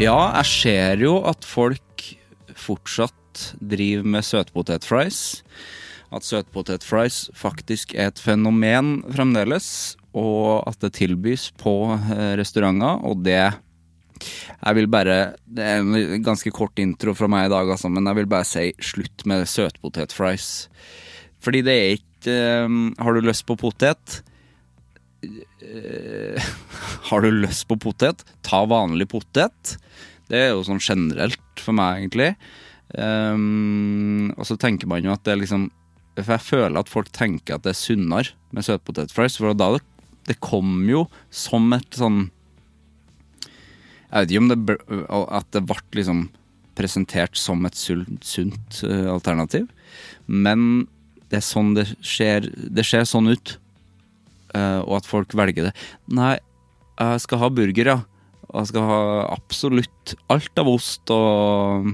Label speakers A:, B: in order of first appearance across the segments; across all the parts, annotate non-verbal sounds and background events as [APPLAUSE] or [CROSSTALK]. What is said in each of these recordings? A: Ja, jeg ser jo at folk fortsatt driver med søtpotetfries. At søtpotetfries faktisk er et fenomen fremdeles, og at det tilbys på eh, restauranter, og det jeg vil bare, Det er en ganske kort intro fra meg i dag, altså, men jeg vil bare si slutt med søtpotetfries. Fordi det er ikke eh, Har du lyst på potet? Har du lyst på potet, ta vanlig potet. Det er jo sånn generelt for meg, egentlig. Ehm, og så tenker man jo at det er liksom For jeg føler at folk tenker at det er sunnere med søtpotetfries. For da det, det kom jo som et sånn Jeg vet ikke om det bl- At det ble liksom presentert som et sunt, sunt eh, alternativ. Men det er sånn det skjer. Det ser sånn ut eh, og at folk velger det. Nei, jeg skal ha burger, ja. Og jeg skal ha absolutt alt av ost og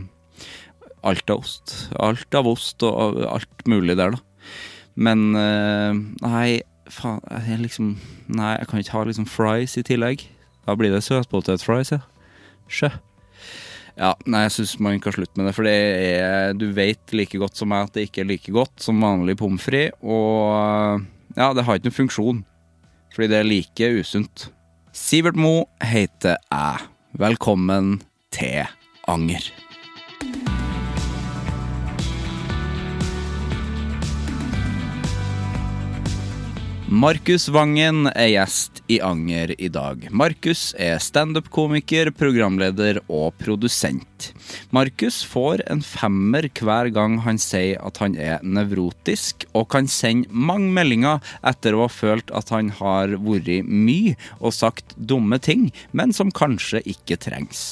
A: Alt av ost. Alt av ost og alt mulig der, da. Men eh, nei, faen jeg er liksom Nei, jeg kan ikke ha liksom fries i tillegg. Da blir det søtpotetfries, ja. Sjø. Ja, nei, jeg syns man kan slutte med det, for det er Du vet like godt som meg at det ikke er like godt som vanlig pommes frites, og ja, det har ikke noen funksjon, fordi det er like usunt. Sivert Mo heter jeg. Velkommen til Anger. Markus Vangen er gjest i Anger i dag. Markus er standup-komiker, programleder og produsent. Markus får en femmer hver gang han sier at han er nevrotisk, og kan sende mange meldinger etter å ha følt at han har vært mye og sagt dumme ting, men som kanskje ikke trengs.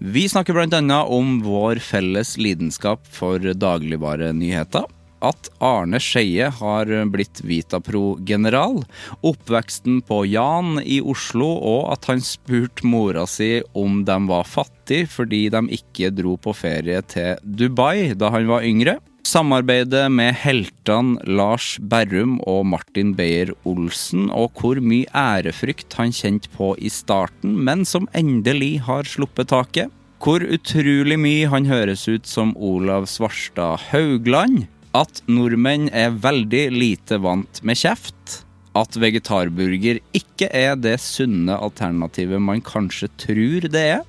A: Vi snakker bl.a. om vår felles lidenskap for dagligvarenyheter. At Arne Skeie har blitt Vitapro-general. Oppveksten på Jan i Oslo, og at han spurte mora si om de var fattige fordi de ikke dro på ferie til Dubai da han var yngre. Samarbeidet med heltene Lars Berrum og Martin Beyer-Olsen, og hvor mye ærefrykt han kjente på i starten, men som endelig har sluppet taket. Hvor utrolig mye han høres ut som Olav Svarstad Haugland. At nordmenn er veldig lite vant med kjeft. At vegetarburger ikke er det sunne alternativet man kanskje tror det er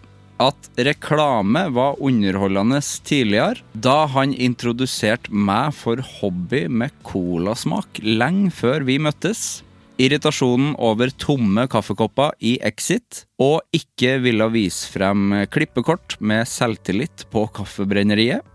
A: at reklame var underholdende tidligere, da han introduserte meg for hobby med colasmak lenge før vi møttes. Irritasjonen over tomme kaffekopper i Exit, og ikke ville vise frem klippekort med selvtillit på Kaffebrenneriet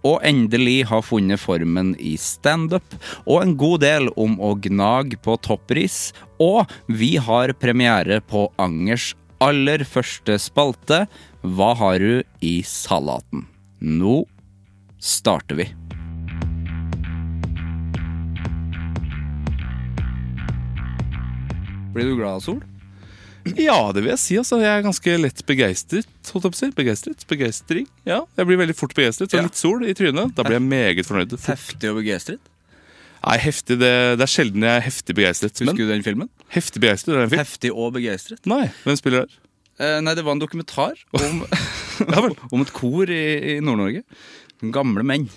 A: og endelig har funnet formen i standup, og en god del om å gnage på toppris, og vi har premiere på Angers aller første spalte, Hva har du i salaten? Nå starter vi. Blir du glad av sol?
B: Ja, det vil jeg si. altså. Jeg er ganske lett begeistret. holdt jeg på å si. Begeistret? Begeistring? Ja, Jeg blir veldig fort begeistret. Så
A: Ja.
B: litt sol i trynet, da blir jeg meget fornøyd. Fort.
A: Heftig og begeistret.
B: Nei, heftig, det, det er sjelden jeg er heftig begeistret.
A: Husker
B: Men
A: du den filmen?
B: heftig begeistret, er det en film?
A: Heftig og begeistret.
B: Nei, hvem spiller der?
A: Eh, nei, det var en dokumentar om,
B: [LAUGHS] Ja vel.
A: [LAUGHS] om et kor i, i Nord-Norge. Gamle menn.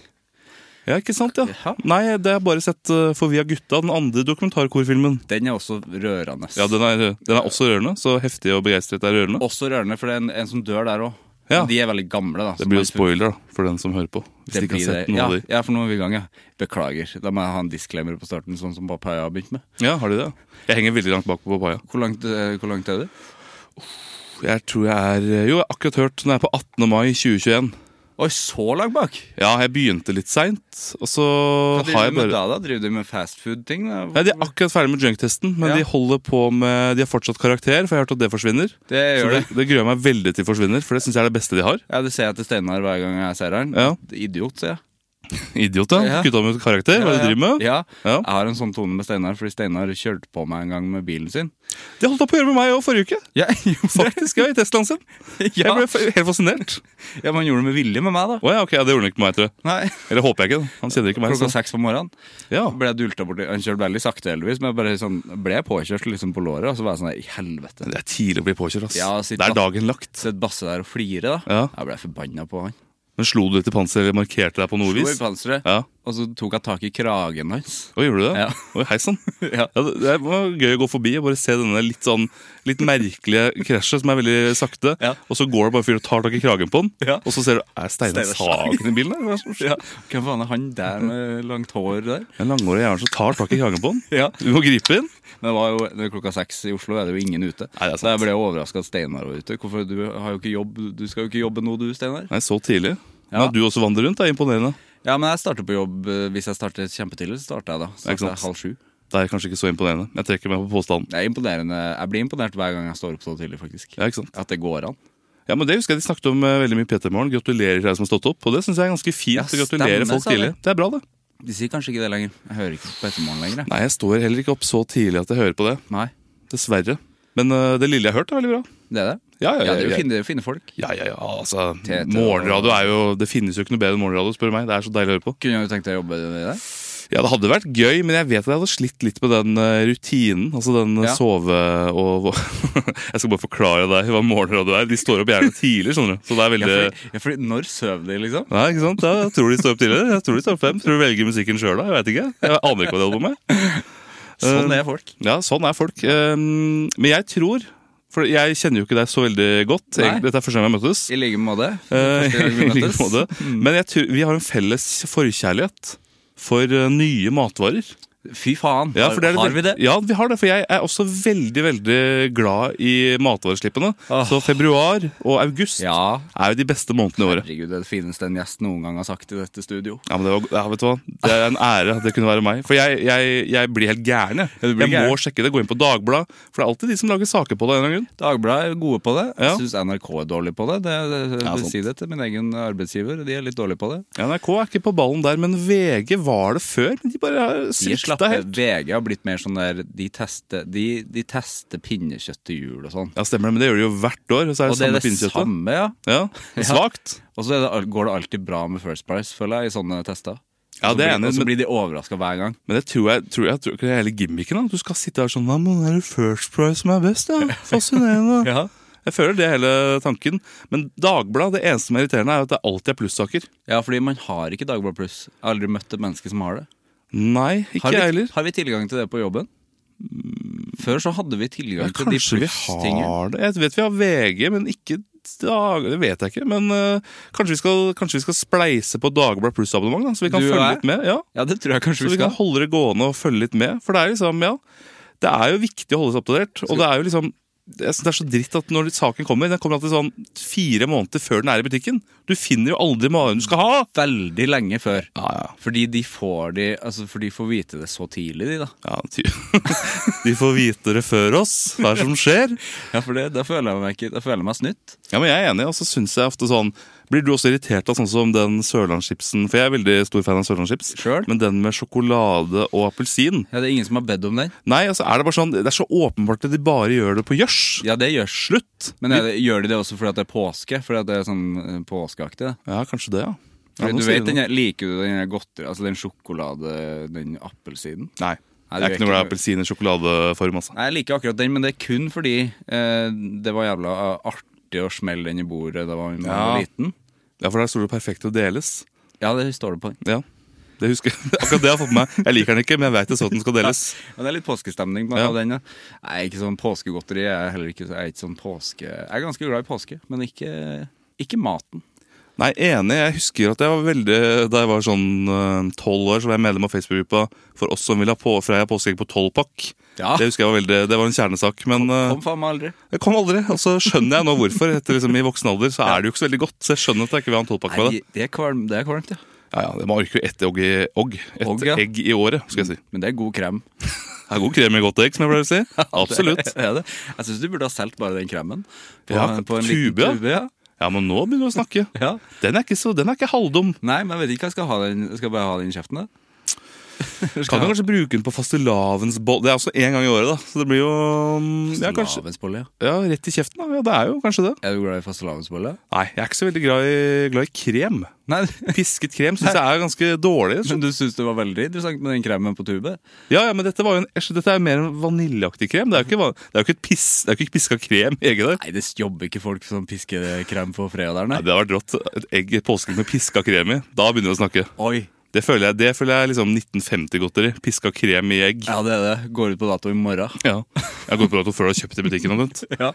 B: Ja, ikke sant, ja.
A: Ja.
B: Nei, det har jeg bare sett eh, for Via gutta, den andre dokumentarkorfilmen.
A: Den er også rørende.
B: Ja, den er, den er også rørende, så heftig og begeistret er rørende.
A: Også rørende, for det er en, en som dør der òg.
B: Ja.
A: De er veldig gamle. da
B: Det
A: som
B: blir
A: har-
B: jo spoiler da, for den som hører på. Hvis
A: Det
B: de ikke
A: blir
B: har sett
A: det.
B: noe
A: ja,
B: av de.
A: ja, for nå er vi i gang, ja. Beklager. Da må jeg ha en disclaimer på starten, sånn som Papaya har begynt med.
B: Ja, har de det? Jeg henger veldig langt bak på Papaya.
A: Hvor langt, eh, hvor langt er det?
B: Jeg tror jeg er Jo, jeg har akkurat hørt. Den er på 18. mai 2021.
A: Oi, så langt bak!
B: Ja, jeg begynte litt seint, og så
A: Hva
B: har
A: driver du
B: jeg
A: med
B: bare
A: da, da? Driver du med fastfood-ting? da?
B: Nei, De er akkurat ferdig med junktesten, men
A: Ja.
B: de holder på med De har fortsatt karakter, for jeg har hørt at det forsvinner.
A: Det
B: Så
A: gjør
B: det,
A: det.
B: det gruer jeg meg veldig til forsvinner, for det syns jeg er det beste de har.
A: Ja, Det ser jeg til Steinar hver gang jeg ser han.
B: Ja.
A: Idiot, sier jeg.
B: Idiot, da.
A: Ja.
B: Gutta med karakter, hva er det de driver med?
A: Ja.
B: Ja.
A: Jeg har en sånn tone med Steinar, fordi Steinar kjørte på meg en gang med bilen sin.
B: De holdt på å gjøre med meg òg forrige uke, [LAUGHS]
A: Ja,
B: faktisk. Ja, I Teslaen sin.
A: [LAUGHS] ja.
B: Jeg ble f- helt fascinert.
A: ja, men han gjorde det med vilje med meg, da.
B: Å ja, ok, ja, det gjorde han ikke med meg, tror jeg.
A: Nei.
B: Eller håper jeg ikke. da. Han kjenner ikke meg.
A: Klokka
B: Så.
A: seks på morgenen
B: Ja.
A: ble jeg dulta borti. Han kjørte veldig sakte, heldigvis, men jeg bare sånn, ble påkjørt liksom på låret. Og så var jeg sånn her, i helvete.
B: Det er tidlig å bli påkjørt, ass.
A: Ja, sitt
B: det er
A: da.
B: dagen lagt.
A: Sett Basse der og flire, da.
B: Ja.
A: Jeg ble forbanna på han.
B: Men slo du deg til panseret eller markerte deg på noe
A: Slo i
B: vis?
A: panseret,
B: Ja.
A: og så tok jeg tak i kragen hans.
B: Å, gjorde du det?
A: Ja.
B: Oi, hei sann.
A: [LAUGHS] Ja.
B: Ja, det- det var gøy å gå forbi og bare se denne litt sånn Litt merkelige krasjet som er veldig sakte.
A: Ja.
B: Og så går det bare en fyr og tar tak i kragen på den,
A: Ja.
B: og så ser du Er Steinar
A: Steinar
B: Sagen i bilen? eller hva er det som skjer?
A: Ja. Hvem faen er han der med langt hår der?
B: En langårig jern som tar tak i kragen på den.
A: [LAUGHS] Ja.
B: Du må gripe inn.
A: Men det var jo det er klokka seks i Oslo, er det jo ingen ute.
B: Nei, det er sant.
A: Så jeg ble overraska at Steinar var ute. Hvorfor, du, har jo ikke jobb, du skal jo ikke jobbe nå, du, Steinar.
B: Nei, så tidlig. Men
A: Ja.
B: at du også vandrer rundt, er imponerende.
A: Ja, men jeg starter på jobb eh, Hvis jeg starter kjempetidlig, så starter jeg da.
B: Det er
A: Starter
B: ikke
A: jeg
B: sant.
A: halv sju.
B: Det er kanskje ikke så imponerende. Jeg trekker meg på påstanden.
A: Det er imponerende. Jeg blir imponert hver gang jeg står opp så tidlig, faktisk.
B: Ja, ikke sant?
A: At det går an.
B: Ja, men Det husker jeg de snakket om eh, veldig mye i P3 Morgen. Gratulerer til deg som har stått opp. Og det syns jeg er ganske fint.
A: Ja,
B: å gratulere
A: stemmer,
B: folk
A: sa de.
B: tidlig. Det er bra, det.
A: De sier kanskje ikke det lenger. Jeg hører ikke på ettermorgen lenger. jeg.
B: Nei, jeg står heller ikke opp så tidlig at jeg hører på det.
A: Nei.
B: Dessverre. Men eh, det lille jeg har hørt, er veldig bra.
A: Det er det?
B: Ja, ja,
A: Ja, det er
B: ja,
A: jo
B: ja.
A: fine, det er jo fine folk.
B: Ja, ja, ja, altså
A: Tete og-
B: Morgenradio er jo Det finnes jo ikke noe bedre enn morgenradio, spør du meg. Det er så deilig å høre på.
A: Kunne du tenkt deg å jobbe der?
B: Ja, det hadde vært gøy, men jeg vet at jeg hadde slitt litt med den eh, rutinen. Altså den eh,
A: Ja.
B: sove og [LAUGHS] Jeg skal bare forklare deg hva morgenradio er. De står opp gjerne tidlig, skjønner du. Så det er
A: Ja,
B: veldig
A: fordi, ja, fordi når søv de, liksom?
B: Nei, ikke sant? Ja, jeg tror de står opp tidligere. Jeg tror de står opp fem. Tror du velger musikken sjøl, da? Jeg vet ikke. Jeg aner ikke hva de holder på med.
A: Sånn er folk.
B: Ja, sånn er folk. Um, Men jeg tror For jeg kjenner jo ikke deg så veldig godt.
A: Nei.
B: Dette er første gang vi har møttes.
A: [LAUGHS] I like måte.
B: Eh,
A: Første
B: [LAUGHS]
A: gang vi
B: I like
A: møtes. Mm.
B: måte. Men jeg tror, vi har en felles forkjærlighet for eh, nye matvarer.
A: Fy faen,
B: Ja, for det er
A: har vi det?
B: Ja, vi har det. For jeg er også veldig veldig glad i matvareslippene.
A: Åh.
B: Så februar og august
A: Ja.
B: er jo de beste månedene i året.
A: Herregud, det er det fineste en gjest noen gang har sagt i dette studio.
B: Ja, men det, var, ja, vet du hva? det
A: [LAUGHS]
B: er en ære at det kunne være meg. For jeg, jeg, jeg blir helt gæren. Jeg,
A: Ja, du blir
B: jeg må sjekke det. Gå inn på Dagbladet. For det er alltid de som lager saker på det. av en eller annen grunn
A: Dagbladet er gode på det.
B: Ja.
A: Jeg syns NRK er dårlig på det. det, det, det
B: Ja, sant.
A: Si det til min egen arbeidsgiver, de er litt dårlige på det.
B: Ja, NRK er ikke på ballen der, men VG var det før. Men de bare har
A: De er
B: svikta
A: slappe.
B: helt.
A: VG har blitt mer sånn der De tester, de, de tester pinnekjøtt til jul og sånn.
B: Ja, stemmer det. Men det gjør de jo hvert år. Og så er det,
A: Og det er
B: samme
A: det
B: pinnekjøttet.
A: samme, ja.
B: Ja,
A: Ja.
B: Svakt.
A: Og så er det al- går det alltid bra med First Price, føler jeg, i sånne tester.
B: Ja,
A: Og så
B: det
A: blir-
B: er enig,
A: Og så
B: men-
A: blir de overraska hver gang.
B: Men det tror jeg, tror jeg, tror ikke det er hele gimmicken. da At Du skal sitte her sånn Hva med er det First Price som er
A: [LAUGHS]
B: best? da? Fascinerende.
A: Ja.
B: Jeg føler det er hele tanken. Men Dagbladet, det eneste som er irriterende, er at det alltid er plussaker.
A: ja, fordi man har ikke Dagbladet Pluss. Jeg har aldri møtt et menneske som har det.
B: Nei, ikke
A: Har
B: jeg
A: vi,
B: heller.
A: har vi tilgang til det på jobben? Før så hadde Mm. vi tilgang
B: Ja,
A: til de
B: kanskje vi
A: pluss-tingene.
B: har det. Jeg vet vi har VG, men ikke dag... Det vet jeg ikke. Men eh, kanskje, vi skal, kanskje vi skal spleise på Dagbladet Pluss-abonnement, da, så vi kan
A: Du og
B: følge
A: jeg?
B: litt med. Ja,
A: Ja, det tror jeg kanskje
B: så
A: vi
B: vi kan
A: skal.
B: holde det gående og følge litt med. For det er liksom, ja Det er jo viktig å holde seg oppdatert. Og det er jo liksom jeg synes Det er så dritt at når saken kommer Den kommer alltid sånn fire måneder før den er i butikken. Du finner jo aldri magen du skal ha!
A: Veldig lenge før.
B: Ja, ja.
A: Fordi de får de, altså for de får vite det så tidlig, de da.
B: ja ty [LAUGHS] De får vite det før oss, hva er det som skjer.
A: Ja, for det, da, føler jeg meg ikke, da føler jeg meg snytt.
B: Ja, men Jeg er enig, og så syns jeg ofte sånn Blir du også irritert av sånn som den sørlandschipsen? For jeg er veldig stor fan av sørlandschips.
A: Selv?
B: Men den med sjokolade og appelsin
A: Ja, det er ingen som har bedt om den.
B: Nei, altså er det bare sånn Det er så åpenbart at de bare gjør det på gjørs.
A: Ja, det gjør
B: Slutt!
A: Men er det, gjør de det også fordi at det er påske? Fordi at det er sånn eh, påskeaktig? da?
B: Ja, kanskje det, ja. ja
A: Fordi
B: nå
A: du
B: sier
A: vet, den, her- Liker du den her godteri, altså den sjokolade, den appelsinen?
B: Nei.
A: Nei, du
B: det er
A: vet
B: ikke noe
A: ikke.
B: glad i appelsin i sjokoladeform, altså.
A: Nei, Jeg liker akkurat den, men det er kun fordi eh, det var jævla artig å smelle den i bordet da man
B: Ja.
A: var liten.
B: Ja, for der står det 'perfekt å deles'.
A: Ja, det står det på den.
B: Ja, det husker jeg. [LAUGHS] Akkurat det har jeg fått med meg. Jeg liker den ikke, men jeg vet jeg så at den skal deles.
A: [LAUGHS] Ja, det er litt påskestemning på
B: Ja.
A: av den. Ja. Jeg er ikke sånn påskegodteri. Jeg er heller ikke, jeg er ikke sånn påske... Jeg er ganske glad i påske, men ikke, ikke maten.
B: Nei, enig. Jeg husker at jeg var veldig Da jeg var sånn tolv år, så var jeg medlem av Facebook-gruppa for oss som ville ha på, Freia påskeegg på tolvpakk.
A: Ja.
B: Det husker jeg var veldig, det var en kjernesak. Men eh,
A: Kom faen meg aldri.
B: jeg kom aldri. Og så skjønner jeg nå hvorfor. Etter liksom I voksen alder så er det jo ikke så veldig godt. Så jeg skjønner at jeg ikke vil ha en tolvpakk
A: Nei,
B: med det.
A: det er kvalm- det er kvalmt, ja.
B: Ja, ja, Man orker jo ett egg i, ogg, ett
A: Ogg, ja.
B: egg i året, skal jeg si.
A: Men det er god krem. [LAUGHS]
B: Det er god krem i godt egg, som jeg [LAUGHS] pleier å si. Absolutt.
A: Det er det. Jeg syns du burde ha solgt bare den kremen. På,
B: Ja,
A: på en
B: tube, ja.
A: liten tube. Ja.
B: Ja, men nå begynner du å snakke.
A: Ja.
B: Den er ikke, så, den er ikke halvdum.
A: Nei, men jeg vet ikke hva jeg skal ha den Skal jeg bare ha den i kjeften, da?
B: Kan jo kanskje bruke den på fastelavnsbolle. Det er også én gang i året, da. Så det blir jo mm, ja, kanskje,
A: Fastelavnsbolle, ja.
B: ja, rett i kjeften. da. Ja, det er jo kanskje det.
A: Er du glad i fastelavnsbolle?
B: Nei, jeg er ikke så veldig glad i, glad i krem.
A: Nei,
B: [LAUGHS] Pisket krem syns jeg er ganske dårlig.
A: [LAUGHS]
B: Så.
A: men du syns det var veldig interessant med den kremen på tube?
B: Ja, ja, men dette, var jo en, æsj, dette er jo mer en vaniljeaktig krem. Det er jo ikke, van- det er jo ikke, et piss, det er jo ikke piska krem i egget der.
A: Nei, det jobber ikke folk som pisker krem på fredag der,
B: Nei, det hadde vært rått. Et egg påskeegg med piska krem i. Da begynner vi å snakke.
A: Oi.
B: Det føler jeg, det føler jeg er liksom 1950-godteri. Piska krem i egg.
A: Ja, det er det. Går ut på dato i morgen.
B: Ja. Jeg har gått på dato før du har kjøpt i butikken. omtrent.
A: [LAUGHS] Ja,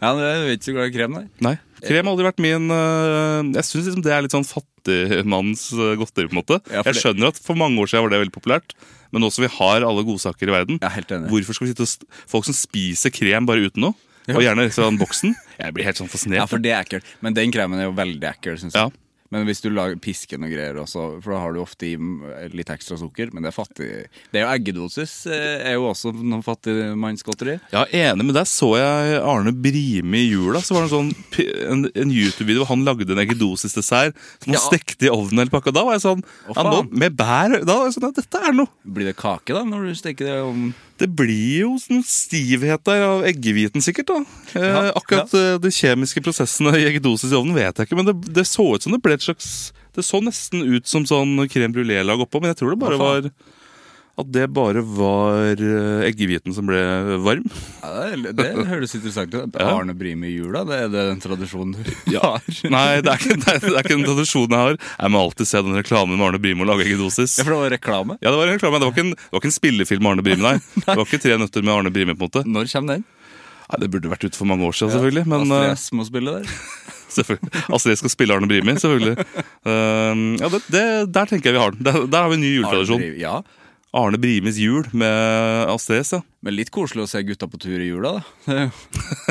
A: ja men Jeg er ikke så glad i krem, [LAUGHS] nei.
B: Nei. Krem har aldri vært min øh, Jeg syns liksom det er litt sånn fattigmanns øh, godteri. på en måte
A: Ja, for
B: Jeg
A: det-
B: skjønner at for mange år siden var det veldig populært, men nå som vi har alle godsaker i verden
A: Jeg er helt enig.
B: Hvorfor skal vi sitte og st folk som spiser krem bare uten noe? Og gjerne fra den boksen. Jeg blir helt sånn fascinert.
A: Ja, for det er ekkelt. Men den kremen er jo veldig ekkel, syns jeg.
B: Ja.
A: Men hvis du lager pisken og greier også, for da har du ofte i mm, litt ekstra sukker. Men det er fattig. Det er jo eggedosis. eh, Er jo også noe fattigmannsgodteri.
B: Ja, enig, men der så jeg Arne Brimi i jula. Så var det en, sånn, p- en, en YouTube-video hvor han lagde en eggedosis-dessert som han
A: Ja.
B: stekte i ovnen. hele pakka. Da var jeg sånn ja, nå,
A: faen.
B: Med bær Da var jeg sånn, ja, Dette er noe!
A: Blir det kake, da, når du steker det om
B: Det blir jo sånn stivhet der av eggehviten, sikkert. da. Eh,
A: Ja,
B: akkurat eh, de kjemiske prosessene i eggedosis i ovnen vet jeg ikke, men det, det så ut som det ble et slags Det så nesten ut som sånn crème brulé-lag oppå, men jeg tror det bare
A: Hva
B: var at det bare var eh, eggehviten som ble varm.
A: ja, det, det høres interessant ut.
B: Ja.
A: Arne Brimi i jula, det er det den tradisjonen du har?
B: [LAUGHS] Nei, det er ikke, det er, det er ikke den tradisjonen jeg har. Jeg må alltid se den reklamen med Arne Brimo og lage eggedosis.
A: Ja, for det var reklame?
B: Ja, det var en reklame, det var ikke en, det var ikke en spillefilm med Arne Brimi,
A: [LAUGHS]
B: nei. Det var ikke Tre nøtter med Arne Brimi, på en måte.
A: Når kommer den?
B: Nei, Det burde vært ute for mange år siden, selvfølgelig. Men,
A: Astrid
B: eh,
A: S må spille der.
B: Selvfølgelig. Astrid skal spille Arne Brimi,
A: [LAUGHS]
B: selvfølgelig. Ehm, ja, det, det, der tenker jeg vi har den. Der, der har vi en ny juletradisjon.
A: Arne Brimi- Ja.
B: Arne Brimis jul med Astrid S. Ja.
A: Men litt koselig å se gutta på tur i jula, da.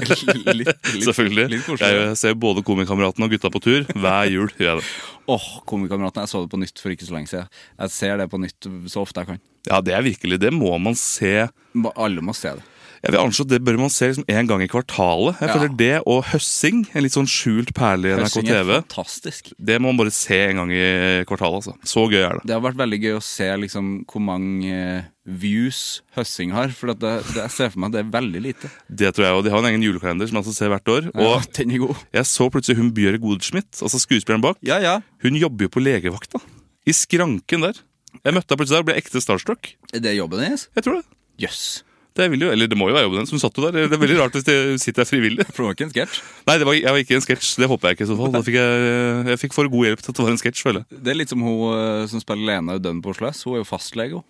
A: [LAUGHS] litt, litt,
B: Selvfølgelig.
A: Litt koselig. ja.
B: jeg ser både Komikameraten og Gutta på tur hver jul. gjør jeg det.
A: Åh, Komikameratene. Jeg så det på nytt for ikke så lenge siden. Jeg ser det på nytt så ofte jeg kan.
B: Ja, det er virkelig det. må man se.
A: Ba- Alle må se det.
B: Jeg vil anslå at Det bør man se liksom en gang i kvartalet. Jeg
A: Ja.
B: føler Det og Høssing, en litt sånn skjult perle i NRK
A: Høsting er
B: TV,
A: fantastisk.
B: det må man bare se en gang i kvartalet. altså. Så gøy er det.
A: Det har vært veldig gøy å se liksom, hvor mange eh, views Høssing har. For at det, det, jeg ser for meg at det er veldig lite.
B: Det tror jeg, og De har en egen julekalender som jeg altså ser hvert år.
A: Ja,
B: Og
A: den er god.
B: jeg så plutselig hun Bjørg Goldschmidt, altså skuespilleren bak.
A: Ja, ja.
B: Hun jobber jo på legevakta. I skranken der. Jeg møtte henne plutselig der og ble ekte starstruck.
A: Er det jobben hennes?
B: Jeg tror det.
A: Jøss. Yes.
B: Det vil jo, eller det må jo være jobben hennes. Hun satt jo der. Det er veldig rart hvis det sitter der frivillig.
A: For det var ikke en sketsj.
B: Nei, det var, jeg var ikke i en sketsj. Det håper jeg ikke i så fall. Da fikk jeg, jeg fikk for god hjelp til at det var en sketsj, føler jeg.
A: Det er litt som hun eh, som spiller Lena Dunn på Oslo S. Hun er jo fastlege, hun.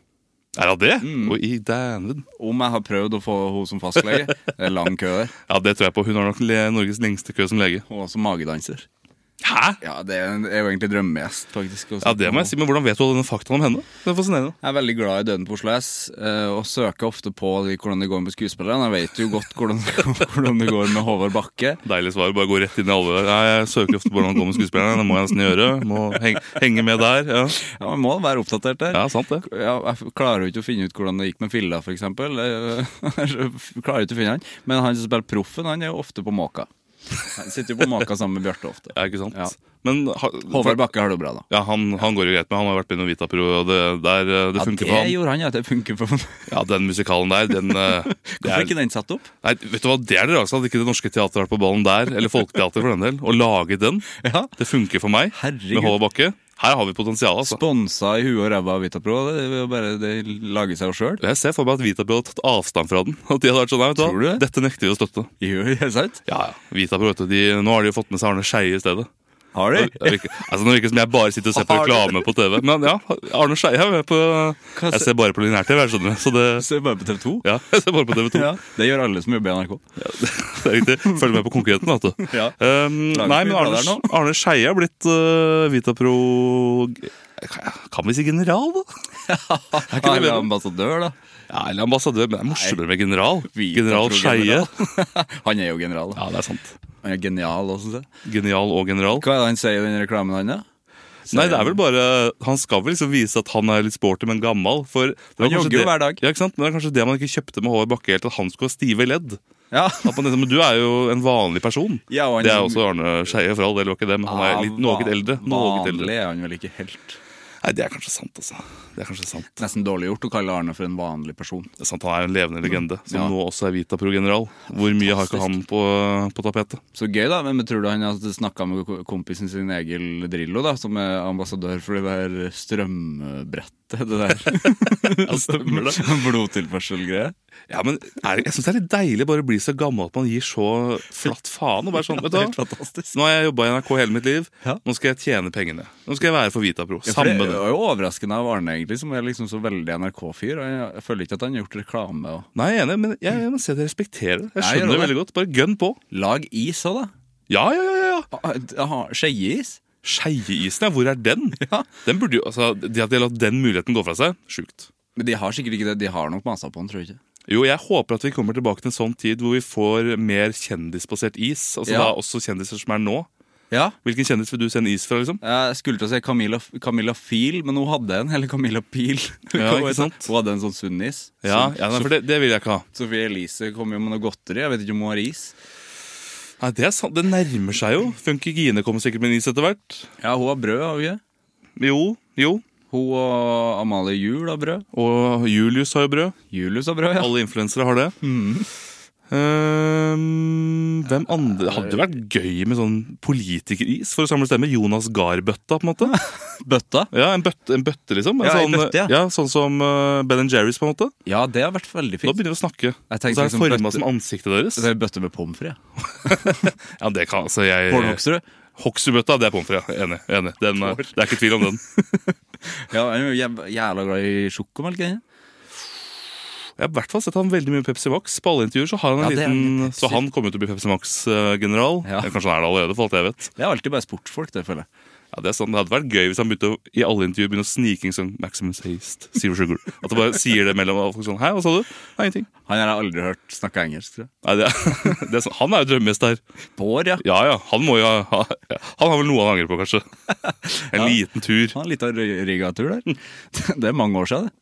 B: Er det det?
A: Mm.
B: Og i dæven.
A: Om jeg har prøvd å få henne som fastlege. Det er lang kø der.
B: Ja, det tror jeg på. Hun har nok le- Norges lengste kø som lege.
A: Hun er også magedanser.
B: Hæ?
A: Ja, det er en- er jo egentlig drømmegjest, faktisk. å
B: Ja,
A: snakke
B: det må
A: med
B: jeg si. Men hvordan vet du alle denne faktaen om henne? Det er fascinerende.
A: Jeg er veldig glad i Døden på Oslo S, eh, og søker ofte på de- hvordan det går med skuespillerne. Jeg vet jo godt hvordan, hvordan det går [LAUGHS] med Håvard Bakke.
B: Deilig svar. Bare gå rett inn i alle. Nei, jeg søker ofte på hvordan det går med skuespillerne. Det må jeg nesten gjøre. Må henge, henge med der. Ja.
A: Ja, Man må være oppdatert der.
B: ja, sant det.
A: Ja, jeg klarer jo ikke å finne ut hvordan det gikk med Filla, Eh, [LAUGHS] f.eks. Klarer jo ikke å finne han. Men han som spiller Proffen, han er jo ofte på måka. Jeg sitter jo på maka sammen med Bjarte ofte.
B: Ja, ikke sant?
A: Ja.
B: Men har-
A: Håvard Bakke har det bra, da.
B: ja, han, han går jo greit med. Han har vært på Novita-pro, og det, der, eh, det
A: Ja,
B: funker
A: det
B: for han.
A: gjorde han, ja. Det funker for [LAUGHS] meg.
B: Ja, Den musikalen der, den
A: [LAUGHS]
B: eh, det
A: Hvorfor
B: er,
A: er ikke den satt opp?
B: Nei, vet du hva, Det er det rareste at ikke Det Norske Teatret har vært på ballen der, eller Folketeatret for den del. Å lage den,
A: Ja.
B: det funker for meg.
A: Herregud.
B: Med Håvard Bakke. Her har vi potensial, altså.
A: Sponsa i huet og ræva av Vitapro. Det er jo bare det lager seg sjøl.
B: Jeg ser for meg at Vitapro har tatt avstand fra den. At de hadde vært sånn, nei, vet
A: Tror
B: du
A: du
B: hva,
A: det?
B: Dette nekter vi å støtte.
A: [LAUGHS]
B: Ja, ja. Vitapro, vet du, de, Nå har de jo fått med seg Arne Skeie i stedet.
A: Har
B: Det
A: du? [LAUGHS]
B: virker, altså, nå virker det som jeg bare sitter og ser på
A: Har du?
B: reklame på TV. Men ja, Arne Skeie er med på
A: Hva
B: Jeg
A: se-
B: ser bare på lineær-TV, jeg skjønner. Så det,
A: Ser bare på TV 2.
B: ja, [LAUGHS] jeg ser bare på TV 2.
A: Ja, det gjør alle som jobber i NRK.
B: Det er riktig. Følg med på konkurrenten, vet du.
A: Ja.
B: Um,
A: Lager så
B: nei,
A: mye
B: men
A: bra
B: Arne,
A: der nå.
B: Arne Skeie er blitt uh, Vitapro Kan vi si general, da?
A: Er
B: ikke det bedre?
A: ambassadør, da?
B: Ja, eller ambassadør, men det er morsommere med general.
A: Vitapro
B: General Skeie.
A: [LAUGHS] han er jo general. Da.
B: Ja, det er sant.
A: Han er genial også, synes jeg.
B: Genial og general.
A: Hva er det han sier i den reklamen han, da?
B: Nei, det er vel bare Han skal vel liksom vise at han er litt sporty, men gammal. For det var
A: Han
B: kanskje
A: jogger jo
B: det-
A: hver dag.
B: Ja, ikke sant? Men det er kanskje det man ikke kjøpte med Håvard Bakke helt, at han skulle ha stive ledd.
A: Ja.
B: At man, liksom, men du er jo en vanlig person.
A: [LAUGHS] Ja, og han
B: det er
A: som-
B: også Arne Skeie, for all del. var ikke det, Men han er litt noe eldre. Noe
A: Ah, Vanlig
B: eldre.
A: er han vel ikke helt.
B: Nei, det er kanskje sant, altså. Det er kanskje sant.
A: Nesten dårlig gjort å kalle Arne for en vanlig person.
B: Det er sant, Han er jo en levende legende,
A: Ja.
B: som nå også er Vitapro-general. Hvor mye har ikke han på, på tapetet?
A: Så gøy, da. Men tror du han hadde snakka med ko- kompisen sin Egil Drillo, da, som er ambassadør for det der strømbrettet? Det der
B: [LAUGHS] Ja,
A: [LAUGHS]
B: stemmer det.
A: blodtilførselgreia?
B: Ja, men er, det- Jeg syns det er litt deilig bare å bli så gammel at man gir så flatt faen. og bare sånn, vet du
A: Helt
B: hva?
A: fantastisk.
B: Nå har jeg jobba i NRK hele mitt liv.
A: Ja.
B: Nå skal jeg tjene pengene. Nå skal jeg være for Vitapro.
A: Ja, for
B: Samme
A: det
B: det.
A: var jo overraskende av Arne, egentlig, som er liksom så veldig NRK-fyr. og Jeg jeg føler ikke at han har gjort reklame. og
B: Nei, jeg er enig, men jeg, jeg må si at jeg respekterer det. Jeg
A: Nei, gjør
B: skjønner det
A: det.
B: veldig godt. Bare gønn på.
A: Lag is òg, da.
B: Ja, ja, ja. ja.
A: Ah, ah, Skeieis.
B: Skeieisen, ja. Hvor
A: [LAUGHS]
B: er den? Den burde jo, altså, De at de har latt den muligheten gå fra seg, sjukt.
A: Men de har sikkert ikke det. De har nok masa på den, tror jeg ikke.
B: Jo, jeg håper at vi kommer tilbake til en sånn tid hvor vi får mer kjendisbasert is. Altså
A: Ja.
B: da også kjendiser som er nå.
A: Ja.
B: Hvilken kjendis vil du se en is fra, liksom?
A: Jeg skulle til å si Camilla, Camilla Fil, men hun hadde en. Eller Camilla Pil.
B: Ja, ikke sant?
A: [LAUGHS] Hun hadde en sånn sunnis.
B: Ja,
A: Som-
B: ja nei, for det, det vil jeg ikke ha.
A: Sofie Elise kom jo med noe godteri. Jeg vet ikke om hun har is.
B: Nei, Det er sant, det nærmer seg jo. Funky Gine kommer sikkert med en is etter hvert.
A: Ja, hun har brød, har hun ikke?
B: Jo, jo.
A: Hun og Amalie Juel har brød.
B: Og Julius har jo brød.
A: Julius har brød, ja. Mm.
B: Alle influensere har det. Ehm, hvem andre Det hadde vært gøy med sånn politikeris for å samle stemmer. Jonas Gahr-bøtta, på
A: [LAUGHS]
B: en måte.
A: Bøtta.
B: Ja, En bøtte, en bøtte liksom. En
A: Ja, en
B: sånn,
A: bøtte, ja.
B: sånn som eh, Ben Jerry's, på en måte.
A: Ja, det har vært veldig
B: Da
A: fint.
B: begynner vi å snakke. Og så
A: tenkte
B: er det
A: liksom
B: forma
A: bøtte-
B: som ansiktet deres.
A: Det er bøtte med pommes frites. ja.
B: [LAUGHS] Ja, det kan altså jeg
A: Bård Hoksrud.
B: Hoksrud-bøtta, det er pommes frites. ja. Enig. enig. Den, eh, det er ikke tvil om den.
A: Ja, han er jo jæv- jævla glad i sjokomelk. ikke?
B: Jeg har i hvert fall sett han veldig mye Pepsi Max. På alle intervjuer så har han en
A: Ja, det er
B: liten
A: en Pepsi.
B: Så han kommer jo til å bli Pepsi Max-general.
A: Ja.
B: Kanskje han er det allerede, for alt jeg vet.
A: Det er alltid bare sportsfolk, det føler jeg.
B: Ja, Det er sånn, det hadde vært gøy hvis han begynte å, i alle intervjuer begynne å snike inn sånn Maximum taste, zero sugar. At han bare sier det mellom og folk sånn Hæ, hva sa du? Nei, ingenting.
A: Han har jeg aldri hørt snakke engelsk, tror jeg.
B: Nei, det er, [LAUGHS] det er sånn, Han er jo drømmegjest her.
A: Bård, ja.
B: Ja ja, han må jo ha ha- Han har vel noe han angrer på, kanskje. [LAUGHS] En liten tur.
A: Han har litt av rigatur der. [LAUGHS] Det er mange år siden, det.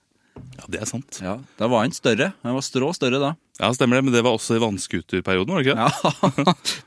B: Ja, det er sant.
A: Ja, Da var han større. Han var strå større da. [LAUGHS]
B: Ja, Stemmer det, men det var også i vannskuterperioden, var det ikke?
A: Ja.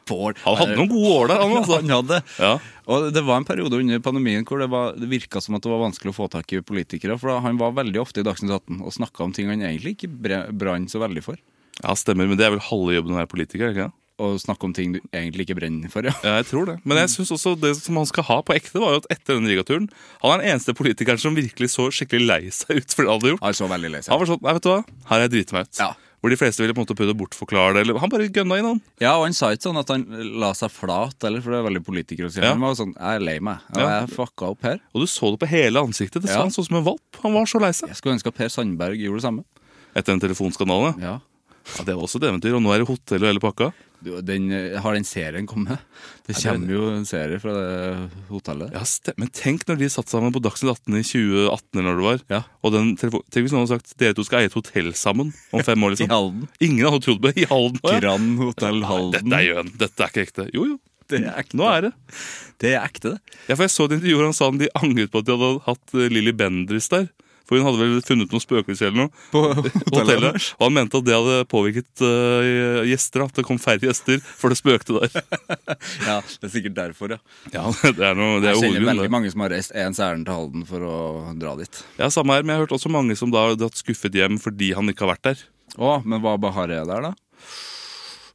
A: Bård.
B: Han hadde noen gode år der, han altså.
A: Han hadde.
B: [LAUGHS] Ja.
A: Og det var en periode under pandemien hvor det, var, det virka som at det var vanskelig å få tak i politikere. For da- han var veldig ofte i Dagsnytt 18 og snakka om ting han egentlig ikke bre- brann så veldig for.
B: Ja, stemmer, men det er vel halve jobben å være politiker? ikke det?
A: Og snakke om ting du egentlig ikke brenner for, ja.
B: Ja, jeg tror det. Men
A: Mm.
B: jeg synes også det som han skal ha på ekte, var jo at etter den rigaturen Han er den eneste politikeren som virkelig så skikkelig lei seg ut for det han hadde gjort.
A: Han så veldig lei seg.
B: Han var sånn Nei, vet du hva, her har jeg driti meg ut.
A: Ja.
B: Hvor de fleste ville på en måte prøvd å bortforklare det. Eller han bare gønna inn, han.
A: Ja, og han sa ikke sånn at han la seg flat, eller, for det er veldig politiker å si.
B: Ja.
A: Han var jo sånn Jeg er lei meg. Ja,
B: Ja.
A: Jeg fucka opp her.
B: Og du så det på hele ansiktet. Det
A: Ja.
B: så Han så ut som en valp. Han var så lei seg.
A: Jeg skulle ønske at Per Sandberg gjorde det samme.
B: Etter den telefonskandalen. Ja.
A: Ja.
B: det var også et eventyr. Og nå er det hotell og hele pakka.
A: Du, Den, har den serien kommet? Det
B: Ja, den-
A: kommer jo en serie fra det hotellet.
B: Ja, stem- Men tenk når de satt sammen på Dagsnytt 18 i 2018, eller når det var.
A: Ja.
B: Og den telefon... Tenk hvis noen hadde sagt dere to skal eie et hotell sammen om fem
A: [LAUGHS] I
B: år. liksom.
A: Halden.
B: Ingen hadde trodd på det. I Halden. å, ja.
A: Grand Hotell Halden.
B: Dette er jo en, dette er ikke ekte. Jo, jo.
A: Det er ekte.
B: Nå er det.
A: Det er ekte, det.
B: Ja, for Jeg så et intervju hvor han sa han de angret på at de hadde hatt eh, Lilly Bendriss der. For hun hadde vel funnet noen spøkelser eller noe
A: På
B: på
A: hotellet.
B: [LAUGHS] hotellet. Og han mente at det hadde påvirket eh, gjester. da, At det kom færre gjester, for det spøkte der.
A: Ja, det er sikkert derfor, [LAUGHS] ja.
B: Ja, [LAUGHS] Det er, noe, det
A: Det
B: er
A: er
B: jo hovedgrunnen.
A: veldig
B: det.
A: mange som har reist ens ærend til Halden for å dra dit.
B: Ja, samme her, men jeg har hørt også mange som da har dratt skuffet hjem fordi han ikke har vært der.
A: Å, men hva har jeg der, da?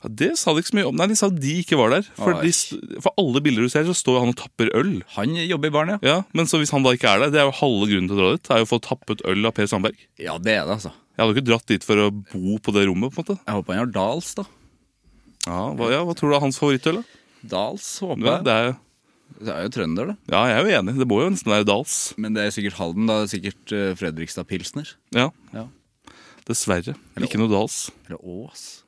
B: Ja, Det sa de ikke så mye om. Nei, de sa de ikke var der. For,
A: Oi.
B: de, for alle bilder du ser, så står han og tapper øl.
A: Han jobber i baren, ja.
B: Ja, Men så hvis han da ikke er der, det er jo halve grunnen til å dra dit. Det er jo å få tappet øl av Per Sandberg.
A: Ja, det er det, altså.
B: Jeg hadde jo ikke dratt dit for å bo på det rommet. på en måte
A: Jeg håper han har Dals, da.
B: Ja, Hva, ja, hva tror du er hans favorittøl? da?
A: Dals, håper
B: Ja,
A: jeg.
B: det er,
A: Det er jo trønder, det.
B: ja, jeg er jo enig. Det må jo nesten være Dals.
A: Men det er sikkert Halden, da. Det er sikkert eh, Fredrikstad Pilsner.
B: Ja,
A: Ja.
B: Dessverre. Ikke noe Dals.
A: Eller Ås.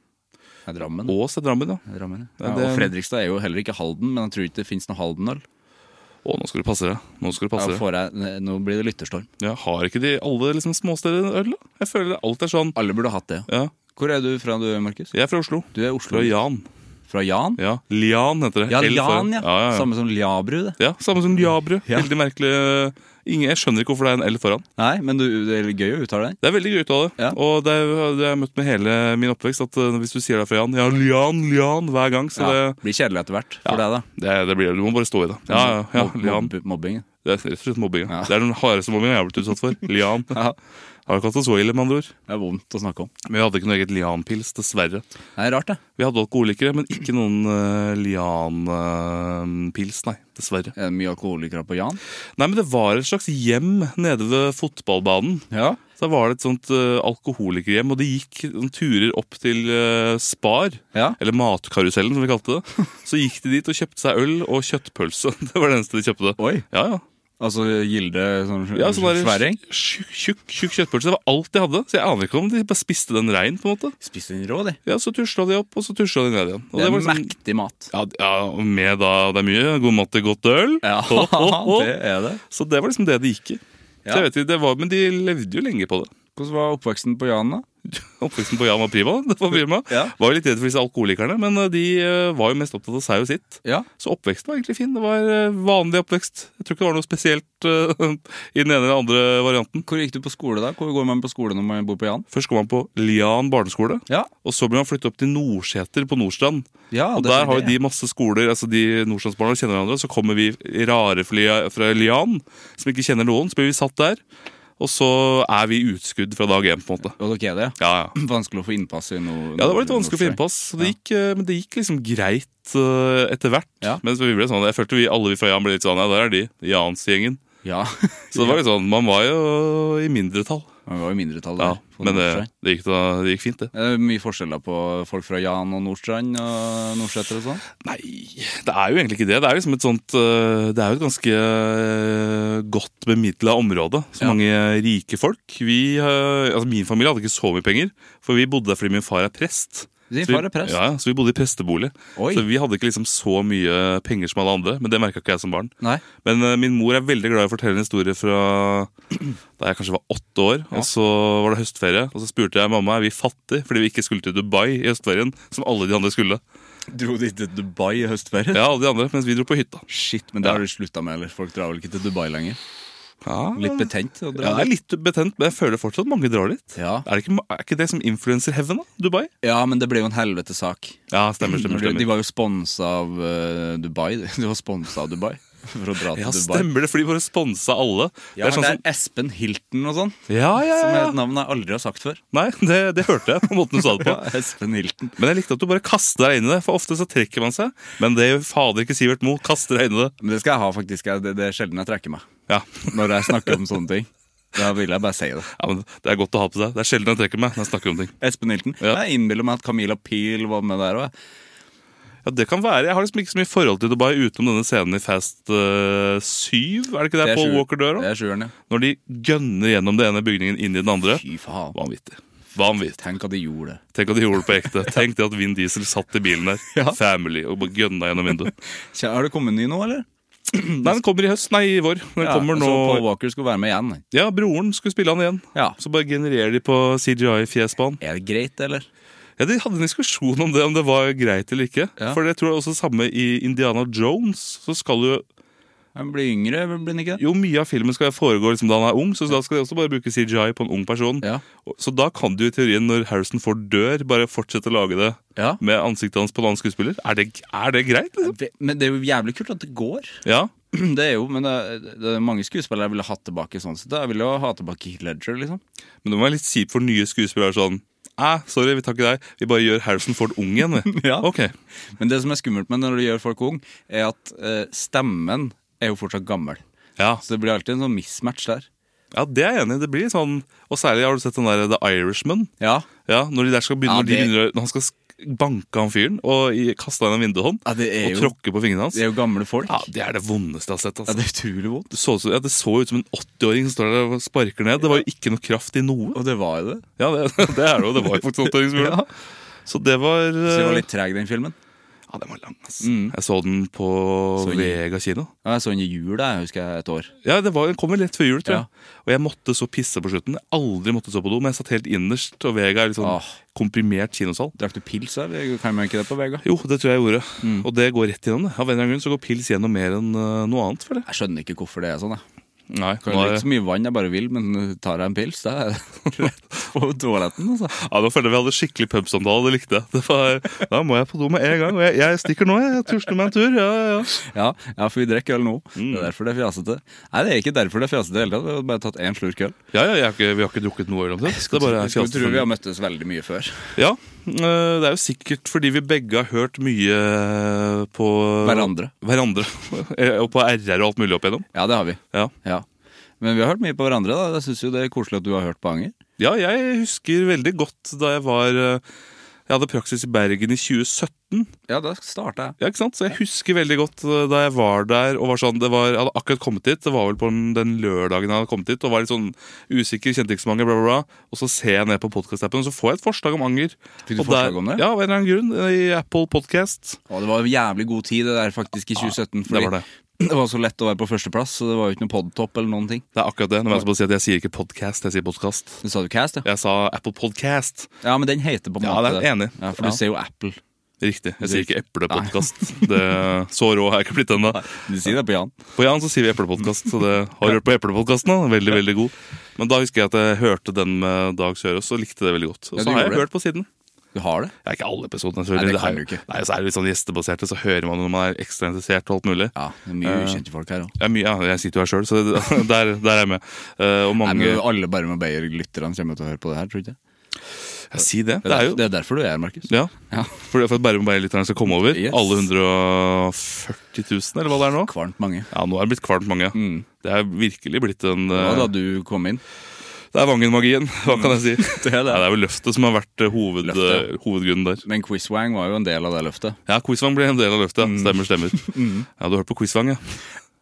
A: Det er Drammen.
B: Ås er Drammen, ja.
A: Det er Drammen, ja.
B: Ja,
A: Ja,
B: det-
A: Og Fredrikstad er jo heller ikke Halden, men jeg tror ikke det fins noe Halden-øl.
B: Å, nå skal du passe deg. Nå skal du passe
A: Ja,
B: deg.
A: får jeg- Nå blir det lytterstorm.
B: Ja, har ikke de alle liksom småsteder øl, da? Jeg føler alt er sånn.
A: Alle burde hatt det. ja.
B: Ja,
A: Hvor er du fra, du, Markus?
B: Jeg er fra Oslo.
A: Du er Oslo.
B: Fra Jan.
A: Fra Jan?
B: Ja, Lian heter det.
A: Mm. Ja,
B: L foran.
A: Jan, ja.
B: ja, ja, ja.
A: Samme som Ljabru, det.
B: Ja, samme som Liabru.
A: Ja.
B: Veldig merkelig. Ingen, jeg skjønner ikke hvorfor det er en L foran.
A: Nei, men du, det er gøy å uttale det.
B: Det er veldig gøy å uttale.
A: Ja.
B: Og det er, det er møtt med hele min oppvekst at eh, hvis du sier det fra Jan Ja, Lian, Lian hver gang, så
A: Ja,
B: det,
A: blir kjedelig etter hvert for
B: Ja.
A: deg, da.
B: det, det blir, Du må bare stå i det. Ja, ja, ja,
A: Mob-
B: Lian.
A: mobb- Mobbing.
B: Det er rett og slett mobbing. ja.
A: Ja.
B: Det er den hardeste mobbingen jeg har blitt utsatt for. [LAUGHS] Lian.
A: Ja.
B: Har ikke hatt det så ille, med andre ord.
A: Det er vondt å snakke om.
B: Men vi hadde ikke noe eget Lian-pils, dessverre.
A: Det er rart, det.
B: Vi hadde alkoholikere, men ikke noen eh, Lian-pils, nei. Dessverre.
A: Er det mye alkoholikere på Jan?
B: Nei, men det var et slags hjem nede ved fotballbanen.
A: Ja.
B: Så var det et sånt eh, alkoholikerhjem, og de gikk sånn turer opp til eh, Spar.
A: Ja.
B: Eller Matkarusellen, som vi kalte det. [LAUGHS] Så gikk de dit og kjøpte seg øl og kjøttpølse. [LAUGHS] Det var det eneste de kjøpte.
A: Oi.
B: Ja, ja.
A: Altså Gilde sånn,
B: ja sånn der
A: sværing?
B: Tjukk, tjukk, tjukk kjøttpølse. Det var alt de hadde. Så jeg aner ikke om de bare spiste den rein, på en måte.
A: Spiste den rå, de.
B: Ja, så tusla de opp, og så tusla de ned igjen. Og
A: Det er
B: var liksom-
A: mektig mat.
B: ja, d- ja, og med da Det er mye god mat til godt øl.
A: [LAUGHS]
B: Ho, ho, ho.
A: det er det.
B: Så det var liksom det de gikk i.
A: Ja.
B: Så jeg vet ikke, det var, Men de levde jo lenge på det.
A: Hvordan var oppveksten på Jan, da?
B: [LAUGHS] Oppveksten på Jan var prima. Det var prima.
A: Ja.
B: Var jo litt redd for disse alkoholikerne, men eh, de eh, var jo mest opptatt av seg og sitt.
A: Ja.
B: Så oppveksten var egentlig fin. Det var eh, vanlig oppvekst. Jeg tror ikke det var noe spesielt eh, [LAUGHS] i den ene eller andre varianten.
A: Hvor gikk du på skole, da? Hvor går man på skole når man bor på Jan?
B: Først kom han på Lian barneskole,
A: Ja,
B: og så ble han flyttet opp til Nordseter på Nordstrand.
A: ja
B: og
A: det
B: Der
A: skjønner
B: har jo
A: jeg.
B: de masse skoler, altså de nordstrandsbarna kjenner hverandre. Så kommer vi rare fly- fra Lian, som ikke kjenner noen. Så blir vi satt der, og så er vi utskudd fra dag én, på en måte.
A: Og dere er det, ja?
B: Ja, ja.
A: Vanskelig å få innpass i noe
B: Ja, det var litt vanskelig å få
A: noe-
B: innpass, så det gikk, eh, men det gikk liksom greit eh, etter hvert.
A: Ja.
B: Men så vi ble sånn, jeg følte vi alle vi fra Jan ble litt sånn, ja, der er de, Jans-gjengen.
A: Ja.
B: [LAUGHS] Så det var litt sånn, man var jo i mindretall.
A: Man var jo i mindretall
B: Ja,
A: der. på
B: men det,
A: Nordstrand.
B: det, gikk, da, det gikk fint, det.
A: Det er mye forskjeller på folk fra Jan og Nordstrand og Nordseter og sånn.
B: Nei, det er jo egentlig ikke det. Det er liksom et sånt eh, Det er jo et ganske eh, godt bemidla område. Så
A: Ja.
B: mange rike folk. Vi, eh, altså Min familie hadde ikke så mye penger, for vi bodde der fordi min far er prest.
A: Din
B: Så vi-
A: far er prest?
B: Ja, ja, Så vi bodde i prestebolig.
A: Oi.
B: Så vi hadde ikke liksom så mye penger som alle andre, men det merka ikke jeg som barn.
A: Nei.
B: Men eh, min mor er veldig glad i å fortelle en historie fra [CLEARS THROAT] da jeg kanskje var åtte år. Og så var det høstferie, og så spurte jeg mamma er vi fattige fordi vi ikke skulle til Dubai i høstferien, som alle de andre skulle.
A: Dro de til Dubai i høstferien?
B: Ja, alle de andre, mens vi dro på hytta.
A: Shit, men det har du slutta med, eller? Folk drar vel ikke til Dubai lenger?
B: Ja,
A: Litt betent å
B: ja,
A: dra
B: det er
A: dit?
B: litt betent, men jeg føler fortsatt mange drar dit.
A: Ja.
B: Er, det ikke, er ikke det som influencer heaven, da? Dubai?
A: ja, men det ble jo en helvete sak.
B: Ja, stemmer, stemmer.
A: De, de
B: stemmer.
A: var jo sponsa av eh, Dubai. [LAUGHS] Du var sponsa av Dubai for å dra til
B: Ja,
A: Dubai.
B: stemmer det, for de bare sponsa alle.
A: Ja,
B: det er sånn
A: det er Espen Hilton og sånn,
B: som, ja, ja,
A: som
B: ja,
A: er et
B: ja.
A: navn jeg aldri har sagt før.
B: Nei, det, det hørte jeg på måten du sa det på. [LAUGHS]
A: Espen Hilton.
B: Men jeg likte at du bare kaster deg inn i det, for ofte så trekker man seg. Men det gjør fader ikke Sivert Moe. Kaster deg inn i det.
A: Men det skal jeg ha, faktisk. Jeg- Det, det er sjelden jeg trekker meg
B: Ja.
A: når jeg snakker om sånne ting. Da vil jeg bare si det.
B: ja, men Det er godt å ha på seg. Det er sjelden jeg trekker meg når jeg snakker om ting.
A: Espen Hilton.
B: Ja.
A: Jeg innbiller meg at Camilla Pil var med der òg.
B: Ja, det kan være. Jeg har liksom ikke så mye forhold til Dubai utenom denne scenen i Fast eh, 7. Er det ikke der Paul Walker dør
A: Det
B: òg?
A: er sjueren, ja.
B: Når de gønner gjennom det ene bygningen inn i den andre.
A: Fy faen.
B: Vanvittig. Vanvittig.
A: Tenk at de gjorde det.
B: Tenk at de gjorde det på ekte. Tenk det at Vin Diesel satt i bilen [LAUGHS] der.
A: Ja.
B: Family. Og bare gønna gjennom vinduet.
A: Kjæ- Har det kommet en ny nå, eller?
B: [LAUGHS] Nei, den kommer i høst. Nei, i vår. Den kommer nå
A: Så Paul Walker skulle være med igjen.
B: Ja, broren skulle spille han igjen.
A: Ja.
B: Så bare genererer de på CGI-fjes på han.
A: Er det greit, eller?
B: Ja, De hadde en diskusjon om det, om det var greit eller ikke.
A: Ja.
B: For jeg tror det er også samme i Indiana Jones. Så skal jo
A: Han blir yngre, blir han ikke det?
B: Jo, mye av filmen skal foregå liksom, da han er ung, så da skal de også bare bruke CGI på en ung person.
A: Ja.
B: Og- Så da kan du i teorien, når Harrison Ford dør, bare fortsette å lage det
A: Ja.
B: med ansiktet hans på en annen skuespiller. Er det, er det greit? Liksom?
A: Det- Men det er jo jævlig kult at det går. [CLEARS THROAT]
B: Ja.
A: Det er jo, men det er, det er mange skuespillere jeg ville hatt tilbake sånn sett. Jeg ville jo ha tilbake Heath Ledger,
B: [LAUGHS]
A: liksom.
B: Men det må være litt kjipt for nye skuespillere sånn Æ, sorry, vi tar ikke deg. Vi bare gjør Harrison Ford ung igjen, vi.
A: [LAUGHS] Ja.
B: Ok.
A: Men det som er skummelt med når du gjør folk ung, er at eh, stemmen er jo fortsatt gammel.
B: Ja.
A: Så det blir alltid en sånn mismatch der.
B: ja, det er jeg enig i. Det blir sånn Og særlig har du sett den der The Irishman?
A: Ja,
B: Ja, når de der skal begynne,
A: Ja,
B: når de
A: det-
B: begynner, å- når han skal sk- banke han fyren og i- kaste han en vinduhånd
A: Ja, det er
B: og
A: jo-
B: tråkke på fingrene hans.
A: det er jo gamle folk.
B: Ja, Det er det vondeste jeg har sett.
A: Ja,
B: altså.
A: det er utrolig vondt.
B: det, så, ut som- ja, det så ut som en 80-åring som står der og sparker ned. Det var jo ikke noe kraft i noe.
A: Og det var jo det.
B: Ja, Det, [LAUGHS] det er det jo. Det var jo faktisk en 80-åring som gjorde det. Så det var
A: Så jeg
B: eh,
A: var litt treg, den filmen.
B: Ja, den var lang, ass. Jeg så den på
A: Så-
B: Vega kino.
A: Ja, jeg så den i jula, jeg husker jeg, et år.
B: Ja, det var, Den kom vel rett før jul, tror
A: Ja.
B: jeg. Og jeg måtte så pisse på slutten. Jeg har aldri måtte så på do, men jeg satt helt innerst. Og Vega er litt sånn
A: Ah.
B: komprimert kinosal.
A: Drakk du pils der? Kan man ikke det på Vega?
B: Jo, det tror jeg jeg gjorde.
A: Mm.
B: Og det går rett gjennom det. Av en eller annen grunn så går pils gjennom mer enn eh, noe annet, føler jeg.
A: Jeg skjønner ikke hvorfor det er sånn. Jeg
B: Nei,
A: kan
B: nå er-
A: drikke så mye vann jeg bare vil, men tar jeg en pils, da er det rett [LAUGHS] på toaletten. altså.
B: Ja, Nå føler jeg vi hadde skikkelig pubsamtale. Det likte jeg. Det var, da må jeg på do med en gang. Og jeg, jeg stikker nå, jeg. jeg Tusler meg en tur. Ja, ja, ja.
A: Ja, ja, for vi drikker øl nå.
B: Mm.
A: Det er derfor det er fjasete. Nei, det er ikke derfor det er fjasete i det hele tatt. Vi har bare tatt én slurk øl.
B: ja, ja jeg har ikke, Vi har ikke drukket noe øl omtrent. Det er bare
A: Skulle tro vi
B: fjaste.
A: har møttes veldig mye før.
B: Ja, øh, det er jo sikkert fordi vi begge har hørt mye eh, på
A: Hverandre.
B: Hverandre. [LAUGHS] Eh, Og på RR og alt mulig opp igjennom.
A: Ja, det har vi.
B: Ja.
A: Ja. Men vi har hørt mye på hverandre. da Jeg syns jo det er koselig at du har hørt på Anger.
B: ja, jeg husker veldig godt da jeg var øh, Jeg hadde praksis i Bergen i 2017.
A: Ja, da starta jeg.
B: Ja, ikke sant? Så jeg husker veldig godt uh, da jeg var der og var sånn, det var, Jeg hadde akkurat kommet dit, det var vel på den- den lørdagen jeg hadde kommet dit, og var litt sånn usikker, kjente ikke så mange, bla, bla, bla. Og så ser jeg ned på podkast-appen, og så får jeg et forslag om anger.
A: Fikk du
B: Og der-
A: forslag om det?
B: Ja, av en eller annen grunn, eh, i Apple Podcast.
A: Og det var jævlig god tid det der faktisk i 2017. Fordi
B: det var det.
A: [CLEARS THROAT] det var så lett å være på førsteplass, så det var jo ikke noe podtopp eller noen ting.
B: Det er akkurat det. Nå må jeg også bare si at jeg sier ikke podcast, jeg sier podcast.
A: Du sa du Cast, ja?
B: Jeg sa Apple Podcast.
A: Ja, men den heter på en
B: Ja,
A: måte
B: det er jeg enig i.
A: Ja, For
B: Ja.
A: du sier jo Apple.
B: Riktig. Jeg sier ikke Eplepodkast. Det- Så rå har jeg ikke blitt ennå.
A: Du sier det på Jan.
B: På Jan så sier vi Eplepodkast, så det har du hørt på Eplepodkasten. da? Veldig, veldig god. Men da husker jeg at jeg hørte den med Dag Sørås og likte det veldig godt. Og
A: Ja,
B: så
A: du
B: har jeg
A: gjorde det.
B: hørt på siden.
A: Du har det?
B: Det er ikke alle episodene.
A: Nei,
B: selvfølgelig.
A: det kan
B: er jo-
A: du ikke.
B: Nei, så er det litt sånn gjestebaserte, så hører man når man er ekstra interessert og alt mulig.
A: Ja, det er mye
B: Eh,
A: ukjente folk her òg.
B: Jeg, er mye, ja, jeg sitter jo her sjøl, så det- [LAUGHS] der, der er jeg med. Eh, og mange
A: Alle bare med Beyer-lytterne kommer til å høre på det her, tror du ikke?
B: ja, Si det.
A: Det
B: Det er
A: er,
B: jo
A: det er derfor du er her, Markus.
B: ja.
A: Ja.
B: For, for at Bærum Beyer-lytterne skal komme over.
A: Yes.
B: Alle 140 000, eller hva det er nå.
A: Kvalmt mange.
B: Ja, nå er det blitt kvalmt mange. Det er virkelig blitt en
A: Det var
B: eh,
A: da du kom inn.
B: Det er Vangen-magien, [LAUGHS] hva kan jeg si?
A: Det er det.
B: Nei, det er vel løftet som har vært eh, hoved,
A: Løftet.
B: eh, hovedgrunnen der.
A: Men Quizwang var jo en del av det løftet.
B: Ja, Quizvang blir en del av løftet.
A: Mm.
B: ja. Stemmer, stemmer. Ja, Du har hørt på Quizvang, ja.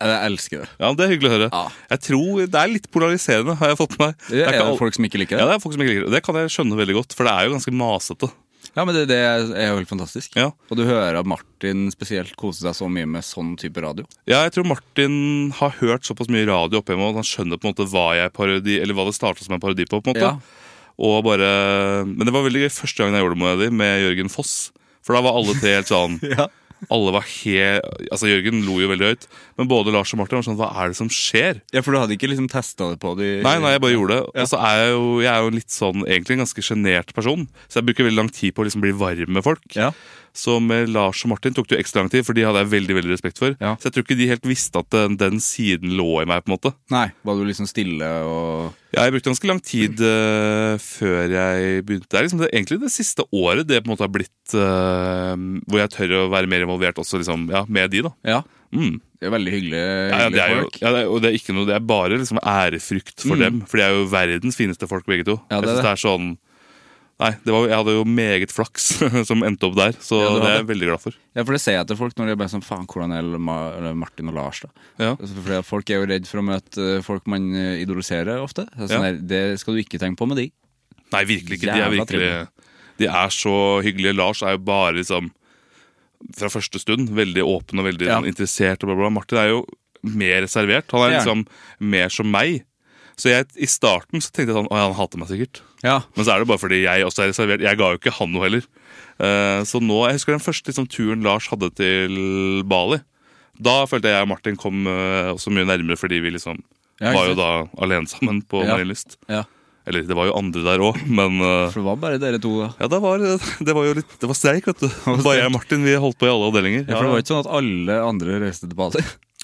A: Jeg elsker det.
B: ja. Det er hyggelig å høre.
A: Ja.
B: Jeg tror Det er litt polariserende, har jeg fått med meg.
A: Det er,
B: ikke all-
A: det folk som ikke liker
B: ja,
A: det.
B: det er folk som ikke liker det. Det kan jeg skjønne veldig godt, for det er jo ganske masete.
A: Ja, men det, det er jo helt fantastisk.
B: Ja.
A: Og du hører at Martin spesielt koser seg så mye med sånn type radio.
B: Ja, jeg tror Martin har hørt såpass mye radio oppe hjemme at han skjønner på en måte hva jeg parodi, eller hva det starta som en parodi på. på en måte.
A: Ja.
B: Og bare, Men det var veldig gøy første gangen jeg gjorde det med dem, med Jørgen Foss. For da var alle tre helt sånn
A: [LAUGHS]
B: Alle var helt, altså Jørgen lo jo veldig høyt, men både Lars og Martin var sånn Hva er det som skjer?
A: Ja, for du hadde ikke liksom testa det på de
B: Nei, nei, jeg bare gjorde det. Og så er jeg jo, jeg er jo en litt sånn, egentlig en ganske sjenert person, så jeg bruker veldig lang tid på å liksom bli varm med folk.
A: Ja.
B: Så med eh, Lars og Martin tok det jo ekstra lang tid, for de hadde jeg veldig veldig respekt for.
A: Ja.
B: Så jeg tror ikke de helt visste at eh, den, den siden lå i meg. på en måte.
A: Nei, var du liksom stille og
B: Ja, jeg brukte ganske lang tid eh, før jeg begynte. Det er liksom det, egentlig det siste året det på en måte har blitt eh, hvor jeg tør å være mer involvert også liksom, ja, med de. da.
A: Ja.
B: Mm.
A: Det er veldig hyggelig,
B: Ja, ja, det
A: hyggelige
B: er jo,
A: folk. Mm.
B: ja, det er, og det er ikke noe, det er bare liksom ærefrykt for dem, for de er jo verdens fineste folk begge to.
A: Ja, det
B: jeg
A: er
B: synes det er sånn, nei, det var, Jeg hadde jo meget flaks [LAUGHS] som endte opp der, så
A: Ja, du
B: det er
A: hadde.
B: jeg veldig glad for.
A: Ja, for det ser jeg til folk når de er bare sånn Faen, hvordan er Ma- eller Martin og Lars, da?
B: Ja.
A: Altså, Fordi at folk er jo redd for å møte eh, folk man eh, idoliserer ofte. Det, er sånn
B: Ja.
A: der, det skal du ikke tenke på med de.
B: Nei, virkelig ikke. De er
A: Jævla
B: virkelig De er så hyggelige. Lars er jo bare liksom fra første stund veldig åpen og veldig
A: Ja.
B: sånn, interessert. Og bla, bla. bla. Martin er jo mer reservert. Han er
A: Det er
B: liksom mer som meg. Så jeg, i starten så tenkte jeg sånn Å ja, han hater meg sikkert.
A: Ja.
B: Men så er det bare fordi jeg også er reservert. Jeg ga jo ikke han noe heller. Eh, Så nå, Jeg husker den første liksom, turen Lars hadde til Bali. Da følte jeg og Martin kom eh, også mye nærmere, fordi vi liksom
A: Ja, ikke
B: var jo
A: sant?
B: da alene sammen på
A: Ja.
B: Marienlyst.
A: Ja,
B: Eller det var jo andre der òg, men eh,
A: for det var bare dere to da.
B: ja, det var, det var jo litt Det var streik, vet du. Det var jeg og Martin vi holdt på i alle avdelinger.
A: Ja, for det var ikke sånn at alle andre reiste til Bali.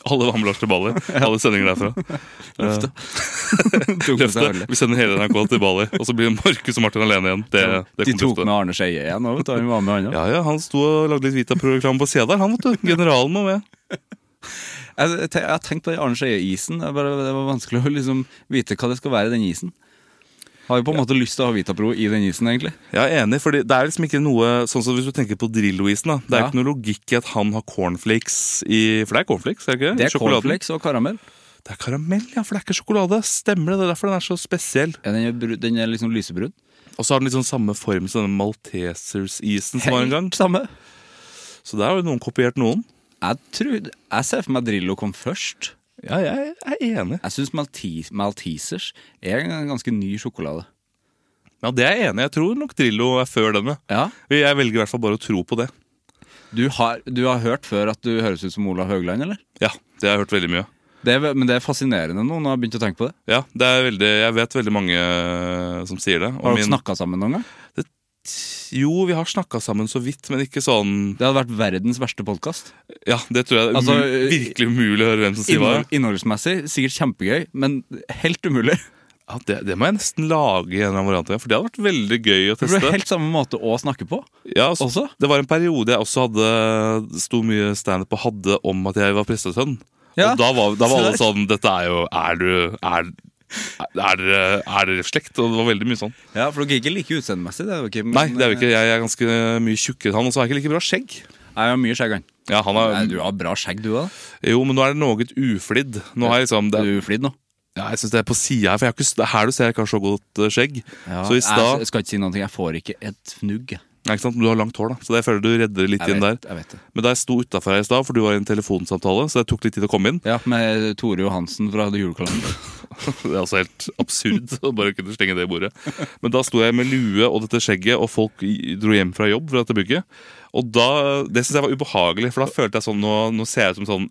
B: Alle var med Lars til Bali. Alle sendinger [LAUGHS] derfra.
A: Løfte. Tok med seg
B: Løftet.
A: alle.
B: Vi sender hele NRK til Bali, og så blir Markus og Martin alene igjen. Det, det
A: De
B: kommer til å
A: tok
B: stå.
A: med Arne Skeie igjen òg, vet du. Han var med, han òg.
B: Ja, ja, Han sto og lagde litt Vita-program på sida der, han, vet du. Generalen må med.
A: Jeg, te- jeg har tenkt på den Arne Skeie-isen. Det, er bare- det var vanskelig å liksom vite hva det skal være i den isen. Har jo på en måte lyst til å ha Vitapro i den isen, egentlig.
B: Jeg er enig, fordi det er liksom ikke noe Sånn som hvis du tenker på Drillo-isen, da. Det er
A: Ja.
B: ikke noe logikk i at han har cornflakes i For det er cornflakes, er det ikke?
A: Det er
B: I sjokoladen.
A: cornflakes og karamell.
B: Det er karamell, ja, for det er ikke sjokolade. Stemmer det. Det er derfor den er så spesiell.
A: Ja, den, er bru- den er liksom lysebrun.
B: Og så har den litt sånn samme form som denne Maltesers-isen som var en gang.
A: samme.
B: Så der har jo noen kopiert noen.
A: Jeg, tror, jeg ser for meg Drillo kom først.
B: Ja, jeg er enig.
A: Jeg syns Maltese, Maltesers er en ganske ny sjokolade.
B: Ja, det er jeg enig. i. Jeg tror nok Drillo er før denne.
A: Ja.
B: Jeg velger i hvert fall bare å tro på det.
A: Du har, du har hørt før at du høres ut som Olav Haugland, eller?
B: Ja, det har jeg hørt veldig mye.
A: Det er, men det er fascinerende nå, når jeg har begynt å tenke på det.
B: Ja, det er veldig, Jeg vet veldig mange eh, som sier det. og
A: Har dere
B: min-
A: snakket snakka sammen noen gang?
B: Jo, vi har snakka sammen så vidt, men ikke sånn
A: Det hadde vært verdens verste podkast.
B: Ja, det tror jeg er
A: Altså,
B: umu- virkelig umulig å høre hvem som sier hva.
A: Innholdsmessig sikkert kjempegøy, men helt [LAUGHS] umulig.
B: Ja, det, det må jeg nesten lage i en eller annen variant, av, for det hadde vært veldig gøy å
A: Det ble
B: teste.
A: helt samme måte å snakke på.
B: Ja, altså,
A: Også?
B: Det var en periode jeg også hadde sto mye standup og hadde om at jeg var prestesønn.
A: Ja.
B: Og da var, da var alle
A: Så
B: sånn Dette er jo Er du Er, er, dere- er dere slekt? Og det var veldig mye sånn.
A: Ja, For dere er ikke like utseendemessig. Det er jo ikke,
B: Nei, det er jo ikke
A: eh,
B: jeg er ganske mye tjukkere enn han, og så har jeg ikke like bra skjegg.
A: Jeg har mye skjegg, han.
B: Ja, han
A: Nei,
B: er,
A: Du har bra skjegg, du òg.
B: jo, men nå er det noe uflidd. Nå har jeg liksom det,
A: Er du flidd nå?
B: ja, Jeg syns det er på sida her, for jeg har ikke, det er her du ser jeg ikke har så godt eh, skjegg. så i stad
A: Jeg skal ikke si noe. Jeg får ikke et fnugg. jeg.
B: Ja, ikke sant? Men Du har langt hår, da, så jeg føler du redder litt
A: Jeg
B: inn
A: vet,
B: der.
A: jeg vet det.
B: Men da jeg sto utafor her i stad, for du var i en telefonsamtale, så det tok litt tid å komme inn.
A: Ja, Med Tore Johansen fra The Julekalender.
B: Det er altså helt absurd [LAUGHS] å bare kunne slenge det i bordet. Men da sto jeg med lue og dette skjegget, og folk i- dro hjem fra jobb fra dette bygget. Og da, Det syns jeg var ubehagelig, for da følte jeg sånn Nå, nå ser jeg ut som sånn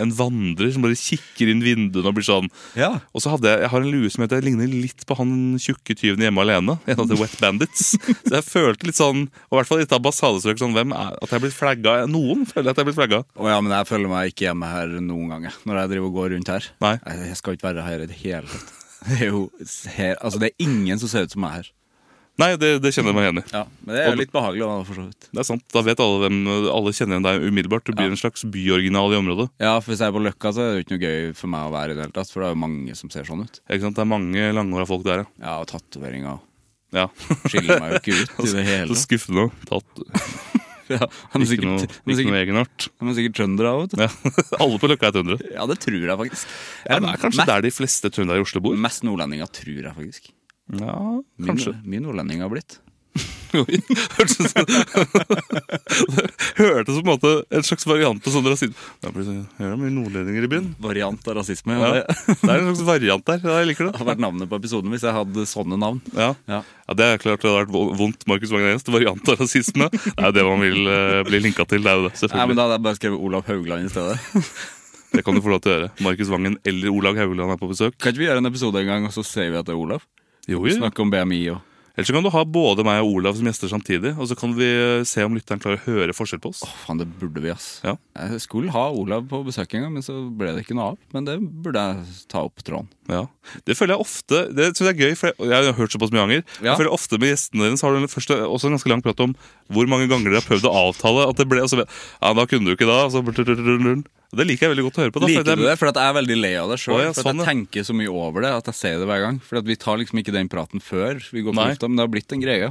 B: en vandrer som bare kikker inn vinduene og blir sånn.
A: Ja.
B: Og så hadde jeg, jeg har en lue som heter, ligner litt på han tjukke tyven i hjemme alene. [LAUGHS] En av The Wet Bandits. Så jeg følte litt sånn, og i hvert fall i et ambassadestrøk, sånn, hvem er, at jeg blir flagga. Noen føler jeg at jeg blir flagga.
A: [LAUGHS] Å ja, men jeg føler meg ikke hjemme her noen gang, jeg, når jeg driver og går rundt her.
B: Nei.
A: Jeg jeg skal ikke være her i det hele tatt. [LAUGHS] Det er jo her, altså det er ingen som ser ut som meg her.
B: Nei, det, det kjenner jeg meg igjen i.
A: Ja, Men det er jo litt behagelig, da, for så vidt.
B: Det er sant, Da vet alle hvem Alle kjenner igjen deg umiddelbart. Du blir en slags byoriginal i området.
A: Ja, for Hvis jeg er på Løkka, så er det jo ikke noe gøy for meg å være i det hele tatt. For det er jo mange som ser sånn ut.
B: Ikke sant? Det er mange langhåra folk der,
A: Ja, og tatoveringer
B: ja.
A: [LAUGHS]
B: ja.
A: skiller meg jo ikke
B: [LAUGHS]
A: ut i det
B: Så
A: hele tatt.
B: skuffende. Tatt,
A: [LAUGHS] Ja, han er
B: ikke noe,
A: sikkert, han er
B: ikke noe
A: sikkert,
B: egenart.
A: han er sikkert trønder, han, vet du.
B: Ja. [LAUGHS] Alle på Løkka er trøndere.
A: Ja, det tror jeg faktisk.
B: Ja, det er kanskje
A: mest,
B: der de fleste trøndere i Oslo bor.
A: mest nordlendinger, tror jeg faktisk.
B: Ja,
A: Mye
B: kanskje. [LAUGHS]
A: nord- Mye nordlendinger har blitt.
B: Hørtes ut som [LAUGHS] Hørtes som på en måte en slags variant av sånn rasisme. Det er plutselig- det er mye nordlendinger i byen.
A: Variant av rasisme.
B: Ja.
A: Ja. [LAUGHS]
B: Det
A: Det
B: er en slags variant der. Ja, jeg liker det.
A: hadde vært navnet på episoden hvis jeg hadde sånne navn.
B: Ja.
A: Ja.
B: Ja, Det er klart det hadde vært vo- vondt. Markus Wagner Eneste variant av rasisme. Det er jo det man vil eh, bli linka til. Det er jo det,
A: Nei,
B: selvfølgelig.
A: men Da hadde jeg bare skrevet Olav Haugland i stedet. [LAUGHS]
B: Det kan du få lov til å gjøre. Markus Vangen eller Olav Haugland er på besøk.
A: Kan ikke vi gjøre en episode en gang, og så sier vi at det er Olav?
B: Jo, jo.
A: Snakke om BMI og
B: Ellers så kan du ha både meg og Olav som gjester samtidig, og så kan vi eh, se om lytteren klarer å høre forskjell på oss.
A: Å, Faen, det burde vi, ass.
B: Ja.
A: Jeg skulle ha Olav på besøk en gang, men så ble det ikke noe av. Men det burde jeg ta opp tråden.
B: Ja. Det føler jeg ofte Det synes jeg er gøy, for jeg, og jeg har hørt såpass mye ganger.
A: Ja.
B: Jeg føler ofte med gjestene deres har du en- først også en ganske lang prat om hvor mange ganger dere har prøvd å avtale at det ble og så, ble- Ja, da kunne du ikke da. Og så, det liker jeg veldig godt å høre på. Da, for
A: Liker
B: det
A: du
B: er-
A: det? For at jeg er veldig lei av det sjøl.
B: Å, ja,
A: for at
B: sånn,
A: jeg
B: ja.
A: tenker så mye over det at jeg sier det hver gang. For at vi tar liksom ikke den praten før vi går på
B: Nei.
A: lufta, men det har blitt en greie.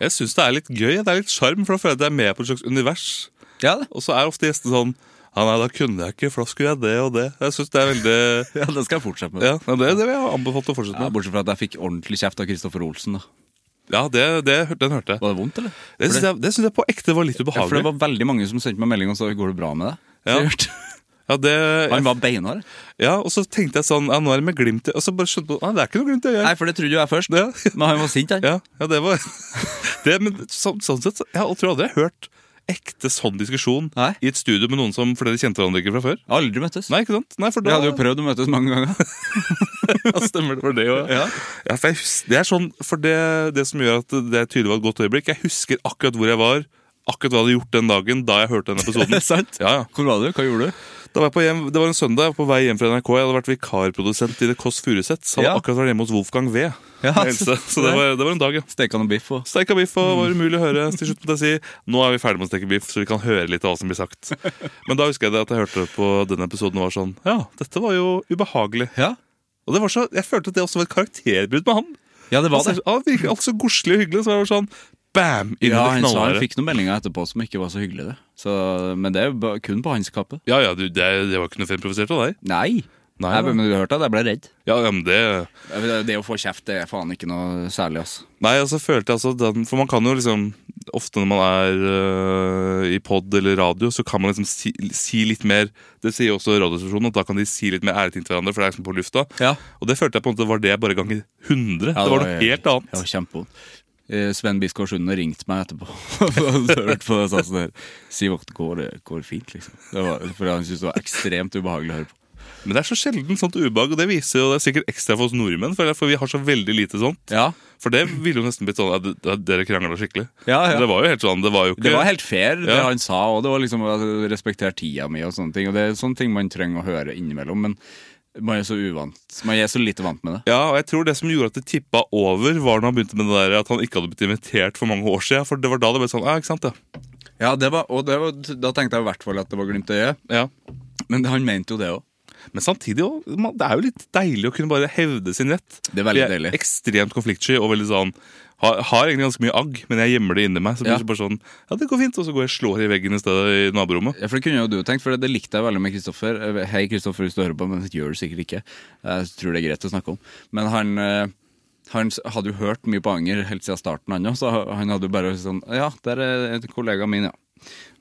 B: Jeg syns det er litt gøy. Det er litt sjarm, for da føler jeg at jeg er med på et slags univers.
A: Ja, det.
B: Og så er ofte gjestene sånn Ja, nei, da kunne jeg ikke, for da skulle jeg det og det. Jeg synes det er veldig
A: [LAUGHS] [LAUGHS] ja, det skal jeg fortsette med.
B: Ja, det, det vil jeg anbefalt å fortsette
A: Ja,
B: med.
A: bortsett fra at jeg fikk ordentlig kjeft av Kristoffer Olsen. da
B: Ja, det, det, den hørte jeg.
A: Var det vondt, eller?
B: Det syns jeg, det synes jeg på ekte var litt
A: Ja, for det
B: ubehagelig.
A: var veldig mange som sendte meg melding og sa 'går det bra med deg'?
B: Ja.
A: Seriøst.
B: [LAUGHS] Ja, det,
A: Han var beinhard.
B: ja, Og så tenkte jeg sånn Ja, nå er det med glimt i Og så bare skjønte jeg ah, det er ikke noe glimt i
A: Nei,
B: øyet.
A: for det trodde jo jeg først,
B: [LAUGHS] Ja.
A: men han var sint, han.
B: [LAUGHS] Ja, ja, det var det, Men så, sånn sett, så- jeg tror aldri jeg har hørt ekte sånn diskusjon
A: Nei.
B: i et studio med noen som for dere kjente hverandre ikke fra før.
A: Aldri møttes.
B: Nei, ikke sant? Nei, for
A: Vi
B: da
A: hadde jo prøvd å møtes mange ganger.
B: Ja, stemmer det for det òg.
A: [LAUGHS] Ja.
B: Ja, for jeg hus- det er sånn, for det, det som gjør at det tydelig var et godt øyeblikk Jeg husker akkurat hvor jeg var, akkurat hva jeg hadde gjort den dagen da jeg hørte den
A: [LAUGHS]
B: episoden.
A: Er det sant?
B: Ja, ja.
A: Hvor var du? Hva gjorde du?
B: Da var jeg på hjem, det var en søndag jeg var på vei hjem fra NRK. Jeg hadde vært vikarprodusent i The Kåss Furuseths. Hadde
A: Ja.
B: akkurat vært hjemme hos Wolfgang V.
A: Ja,
B: den eldste. Så det var, det var en dag, ja.
A: Steka noe biff og
B: Steika biff og var umulig å høre. Til slutt måtte jeg si nå er vi ferdig med å steke biff, så vi kan høre litt av hva som blir sagt. Men da husker jeg det at jeg hørte på den episoden og var sånn Ja, dette var jo ubehagelig.
A: Ja,
B: Og det var så, jeg følte at det også var et karakterbrudd med han.
A: ja det var det.
B: Altså, Han virket alt så godslig og hyggelig, så jeg var sånn bam! Inn i
A: Ja, sånn han
B: det
A: sa han
B: knallharde.
A: fikk noen meldinger etterpå som ikke var så hyggelige. det. Så, men det er jo ba- kun på hans kappe.
B: Ja, ja, du, det, det var ikke noe filmprovisert av deg.
A: Nei.
B: Nei,
A: Nei,
B: da.
A: men du hørte at jeg ble redd.
B: Ja, ja, men det
A: Det å få kjeft det er faen ikke noe særlig, altså.
B: Nei, altså følte jeg altså den, For man kan jo liksom Ofte når man er øh, i pod eller radio, så kan man liksom si, si litt mer Det sier jo også Radioresepsjonen, at da kan de si litt mer ærlig ting til hverandre, for det er liksom på lufta.
A: Ja.
B: Og det følte jeg på en måte var det bare ganger 100. det, var noe helt
A: Ja,
B: annet.
A: kjempevondt. Eh, Sven Biskår Sunde ringte meg etterpå. [LAUGHS] Han hadde hørt på det og sa sånn her Sivert, går det går det fint, liksom? Det var, for han syntes det var ekstremt ubehagelig å høre på.
B: Men det er så sjelden sånt ubehag, og det viser jo det er sikkert ekstra for oss nordmenn, for, for vi har så veldig lite sånn. sånt.
A: Ja,
B: For det ville jo nesten blitt sånn at dere krangla skikkelig.
A: Ja, ja.
B: Det var jo helt sånn, det var jo ikke
A: Det var helt fair, det
B: Ja.
A: han sa, og det var liksom at du respekterer tida mi og sånne ting. Og det er sånne ting man trenger å høre innimellom, men man er så uvant. Man er så lite vant med det.
B: Ja, og jeg tror det som gjorde at det tippa over, var når han begynte med det der at han ikke hadde blitt invitert for mange år siden. For det var da det ble sånn, ja, ikke sant, ja.
A: Ja, det var, og det var, da tenkte jeg i hvert fall at det var glimt i øyet,
B: ja.
A: men han mente jo det òg.
B: Men samtidig, også, man- det er jo litt deilig å kunne bare hevde sin rett.
A: Det er veldig
B: jeg
A: deilig.
B: ekstremt konfliktsky og veldig sånn har, har egentlig ganske mye agg, men jeg gjemmer det inni meg. Så blir
A: Ja.
B: det bare sånn, ja, det går fint, og så går jeg og slår i veggen i stedet i naborommet.
A: Ja, for det kunne jo du tenkt, for det likte jeg veldig med Kristoffer. Eh, Hei, Kristoffer, hvis du hører på, men det gjør du sikkert ikke. Jeg tror det er greit å snakke om. Men han, eh, han s- hadde jo hørt mye på Anger helt siden starten, han òg, så ha- han hadde jo bare sånn Ja, der er en kollega min, ja.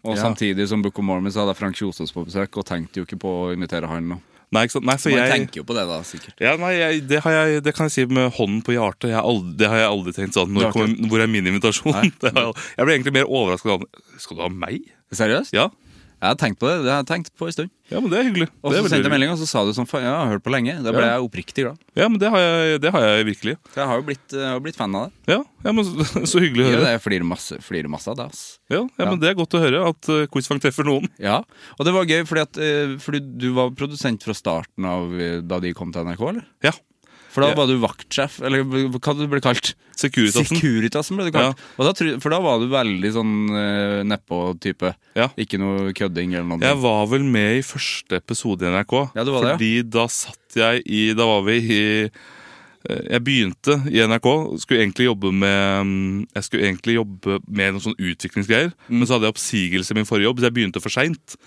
A: Og
B: Ja.
A: samtidig som Book of Mormon så hadde jeg Frank Kjosås på besøk, og tenkte jo ikke på å invitere han nå.
B: Nei, ikke sant? Nei, for
A: Man
B: jeg...
A: tenker jo på det, da, sikkert.
B: Ja, nei, jeg, det, har jeg, det kan jeg si med hånden på hjertet. Jeg har aldri, det har jeg aldri tenkt sånn.
A: Du
B: Når
A: har ikke-
B: kommer, hvor er min invitasjon?
A: Nei.
B: [LAUGHS] Det har jeg, aldri- jeg ble egentlig mer overraska. Skal du ha meg?
A: Seriøst?
B: Ja.
A: Jeg har tenkt på det. Det har jeg tenkt på en stund.
B: ja, men det er hyggelig.
A: Og
B: det, er
A: så
B: veldig
A: sendte jeg
B: hyggelig.
A: melding, og så sa du sånn "Faen, Ja, jeg har hørt på lenge. Da ble
B: Ja.
A: jeg oppriktig glad.
B: Ja, men det har jeg, det har jeg virkelig.
A: For jeg har jo blitt, jeg har blitt fan av det.
B: Ja, ja men så, [LAUGHS] så hyggelig å
A: Ja,
B: høre.
A: det flirer masse, flirer masse av det, ass.
B: Ja, ja, men Det er godt å høre at uh, Quizfang treffer noen.
A: Ja, og det var gøy fordi, at, eh, fordi du var produsent fra starten av eh, da de kom til NRK, eller?
B: Ja.
A: For da
B: Ja.
A: var du vaktsjef, eller hva du ble kalt?
B: Securitasen.
A: Securitasen ble du kalt. Og da, tru- for da var du veldig sånn eh, nedpå-type.
B: Ja.
A: Ikke noe kødding eller noe.
B: Jeg var vel med i første episode i NRK.
A: Ja, du var det, ja.
B: fordi da satt jeg i Da var vi i eh, jeg begynte i NRK. Skulle egentlig jobbe med mm, Jeg skulle egentlig jobbe med noen sånn utviklingsgreier.
A: Mm.
B: Men så hadde jeg oppsigelse i min forrige jobb, så jeg begynte for seint.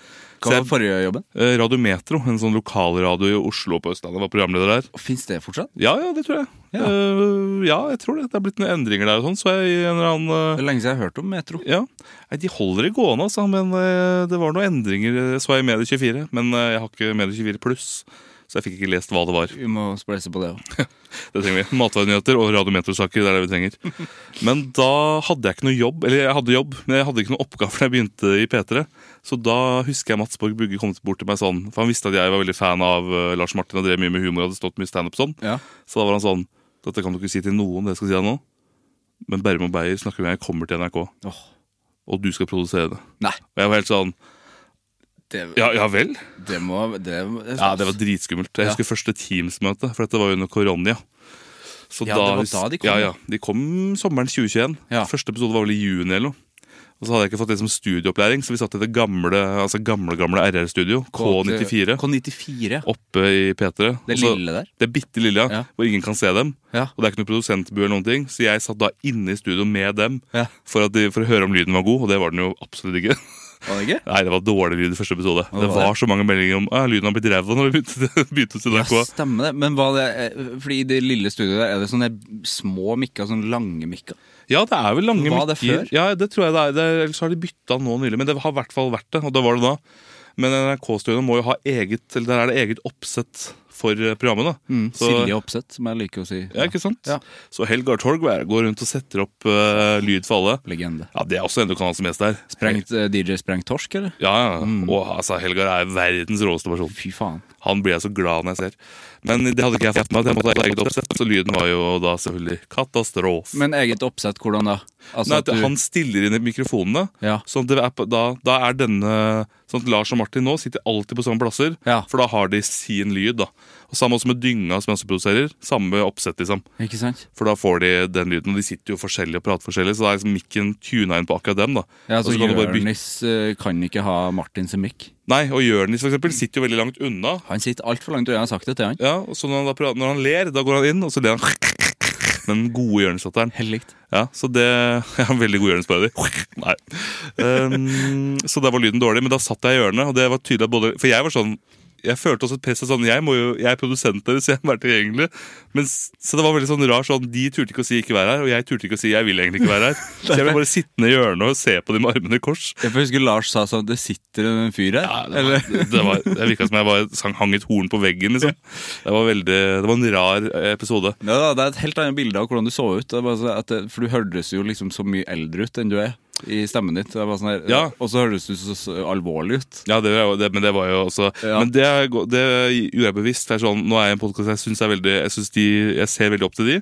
A: hva var forrige jobben?
B: Radio Metro, en sånn lokalradio i Oslo og på Østlandet, var programleder der.
A: Fins det fortsatt?
B: Ja, ja, det tror jeg.
A: Ja.
B: Eh, ja, jeg tror det. Det er blitt noen endringer der og sånn, så jeg i en eller annen eh,
A: Det er lenge siden jeg har hørt om Metro.
B: ja, Nei, De holder det gående, altså, men eh, det var noen endringer. eh, Så jeg i Medie24, men eh, jeg har ikke Medie24 pluss. Så jeg fikk ikke lest hva det var.
A: Vi må spleise på det òg.
B: Det trenger vi. Matvarenyheter og radiometrosaker. det er det vi trenger. Men da hadde jeg ikke noe jobb, eller jeg hadde jobb, men jeg hadde ikke noen oppgaver da jeg begynte i P3. Så da husker jeg Mats Borg Bugge kom bort til meg sånn, for han visste at jeg var veldig fan av eh, Lars Martin og drev mye med humor og hadde stått mye standup sånn.
A: Ja.
B: Så da var han sånn Dette kan du ikke si til noen, det jeg skal si deg nå. Men Berrum og Beyer snakker med jeg kommer til NRK,
A: Åh.
B: og du skal produsere det.
A: Nei,
B: Og jeg var helt sånn
A: det,
B: Ja, ja vel?
A: det må det,
B: Ja, Det var dritskummelt. Jeg
A: Ja.
B: husker første Teams-møte, for dette var jo under korona. Så
A: Ja, det var da de kom,
B: Ja,
A: ja.
B: ja, De kom sommeren 2021.
A: Ja.
B: Første episode var vel i juni eller noe. Og så hadde jeg ikke fått liksom studieopplæring, så vi satt i det gamle altså gamle, gamle RR-studio, K94,
A: K94.
B: oppe i P3.
A: Det
B: Og så-
A: lille der?
B: Det bitte lille, ja,
A: Ja.
B: hvor ingen kan se dem.
A: Ja.
B: Og det er ikke noe produsentbu eller noen ting, så jeg satt da inne i studio med dem
A: Ja.
B: for, at de, for å høre om lyden var god, og det var den jo absolutt ikke.
A: Var det gøy?
B: Nei, det var dårlig lyd i første episode.
A: det
B: Det
A: var
B: var
A: det.
B: så mange meldinger om at lyden har blitt ræva når vi begynte, begynte til [LAUGHS] NRK.
A: Ja, stemmer det. Men var det eh, Fordi i det lille studioet der, er det sånne små mikker, sånne lange mikker?
B: Ja, det er vel lange
A: Var det
B: mikker.
A: før?
B: Ja, det tror jeg det er. Det er ellers har de bytta nå nylig, men det har i hvert fall vært det. Og det var det da. Men NRK-studioene må jo ha eget Eller der er det eget oppsett for eh, programmene. Så-
A: Mm, Silje Opseth, som jeg liker å si.
B: Ja, ikke sant?
A: Ja.
B: Så Helgar Torgvær går rundt og setter opp eh, lyd for alle.
A: Legende.
B: Ja, Det er også NDK-kanalen som gjest der.
A: Sprengt, eh, DJ Sprengt Torsk, eller?
B: Ja, ja.
A: Mm.
B: Og altså, Helgar er verdens råeste person.
A: Fy faen.
B: Han blir jeg så glad når jeg ser. Men det hadde ikke jeg fått med at jeg måtte ha eget oppsett, så lyden var jo da selvfølgelig katastrofe.
A: Men eget oppsett, hvordan da? Altså
B: Nei,
A: at
B: at
A: du-
B: Han stiller inn i mikrofonene,
A: Ja.
B: sånn at det er, på- da, da er denne sånn at Lars og Martin nå sitter alltid på samme plasser,
A: Ja.
B: for da har de sin lyd. da. Og Samme også med dynga som jeg også produserer. Samme oppsett, liksom.
A: Ikke sant?
B: For da får de den lyden, og de sitter jo forskjellig og prater forskjellig, så da er liksom mikken tuna inn på akkurat dem. da.
A: Ja,
B: Og
A: så
B: så kan du bare bytte-
A: Jonis eh, kan ikke ha Martin sin mic.
B: Nei, og Jonis for eksempel sitter jo veldig langt unna.
A: Han sitter altfor langt, og jeg har sagt det til han.
B: Ja, og så når han, da prater, når han ler, da går han inn, og så ler han den gode Jonis-latteren.
A: Helt likt.
B: Ja, så det [LAUGHS] Jeg er en veldig god Jonis-parodi. Nei. Um, så der var lyden dårlig, men da satt jeg i hjørnet, og det var tydelig at både For jeg var sånn jeg følte også et press av sånn, jeg, må jo, jeg er produsent deres, jeg må være tilgjengelig. Men, s- så det var veldig sånn rar sånn, de turte ikke å si 'ikke vær her', og jeg turte ikke å si 'jeg vil egentlig ikke være her'. Så jeg ble bare sittende i hjørnet og se på de med armene i kors.
A: Jeg husker Lars sa sånn Det sitter en fyr her.
B: Ja, det,
A: eller?
B: var, det- det, var, det virka som jeg bare sang, hang et horn på veggen. Liksom. Det, var veldig, det var en rar eh, episode.
A: Ja, da, det er et helt annet bilde av hvordan du så ut. Det er bare så at det, for du hørtes jo liksom så mye eldre ut enn du er i stemmen ditt. Det er bare sånn her,
B: Ja.
A: Og så hørtes du så, så alvorlig ut.
B: Ja, det, var jo- det, men det var jo også
A: Ja.
B: Men det, er go- det gjorde jeg bevisst. Det er sånn, nå er jeg i en podkast jeg syns er veldig Jeg, synes de, jeg ser veldig opp til de.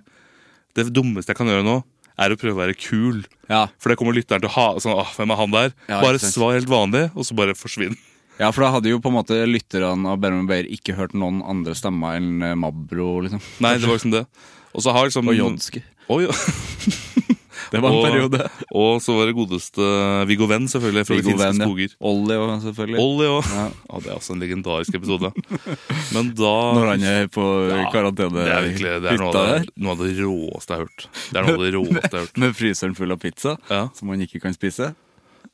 B: Det dummeste jeg kan gjøre nå, er å prøve å være kul.
A: Ja,
B: For det kommer lytteren til å ha sånn, Åh, hvem er han der?
A: Ja,
B: bare
A: ikke sant.
B: svar helt vanlig, og så bare
A: [LAUGHS]
B: forsvinn.
A: ja for da hadde jo på en måte lytterne av Bærum Beyer ikke hørt noen andre stemmer enn eh, Mabro, liksom.
B: Nei, det var liksom det. Og så har liksom
A: Og Jodski.
B: Og jo-
A: [LAUGHS] Det var en periode.
B: Og så var det godeste Viggo Venn, selvfølgelig. Fra
A: Viggo
B: de finske
A: Venn, ja.
B: skoger.
A: Olli og selvfølgelig.
B: Ollie òg.
A: Ja.
B: Å, det er også en legendarisk
A: [LAUGHS]
B: episode. Men da
A: Når han er på
B: Ja, Det er virkelig det
A: karantenehytta
B: er noe, av det,
A: der.
B: noe av det råeste jeg har hørt. Det er noe av
A: [LAUGHS]
B: det råeste jeg har hørt.
A: Med fryseren full av pizza,
B: Ja.
A: som han ikke kan spise.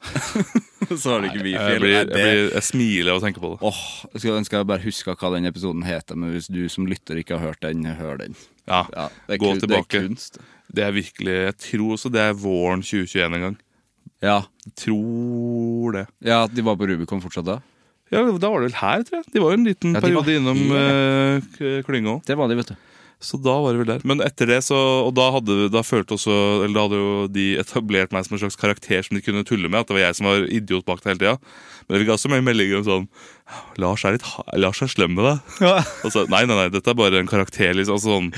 A: [LAUGHS] så har du ikke wifi.
B: Jeg,
A: eller-
B: blir, jeg,
A: Nei, det-
B: blir, jeg smiler av å tenke på det.
A: Åh, jeg skulle ønske jeg bare huska hva den episoden heter, men hvis du som lytter ikke har hørt den, hør den.
B: Ja,
A: Ja, det er
B: Gå
A: kun- Det
B: tilbake.
A: er kunst.
B: Det er virkelig Jeg tror også det er våren 2021 en gang.
A: Ja.
B: Jeg tror det.
A: ja, at de var på Rubicon fortsatt da?
B: Ja, Da var det vel her, tror jeg. De var jo en liten
A: Ja, de var
B: periode innom
A: her.
B: uh, klynga òg.
A: Det var de, vet du.
B: Så da var det vel der. Men etter det, så Og da hadde, da følte også, eller da hadde jo de etablert meg som en slags karakter som de kunne tulle med. At det var jeg som var idiot bak det hele tida. Men jeg fikk også mye meldinger om sånn Lars er litt ha- Lars er slem med deg. [LAUGHS] Og så, nei, nei, nei, dette er bare en karakter, liksom. Altså, sånn.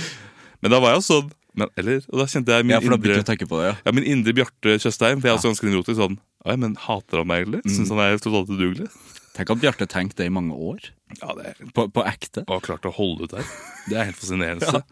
B: Men da var jeg jo sånn men, Eller? Og da kjente jeg min
A: Ja, for da
B: indre
A: begynte jeg å tenke på det, ja.
B: ja, min indre Bjarte Tjøstheim. For jeg er også ganske idiotisk sånn Oi, men hater han meg egentlig? Syns han er totalt udugelig?
A: Tenk at Bjarte tenkte det i mange år.
B: Ja, det er
A: På, på ekte.
B: Og har klart å holde ut der. [LAUGHS] Det er helt fascinerende.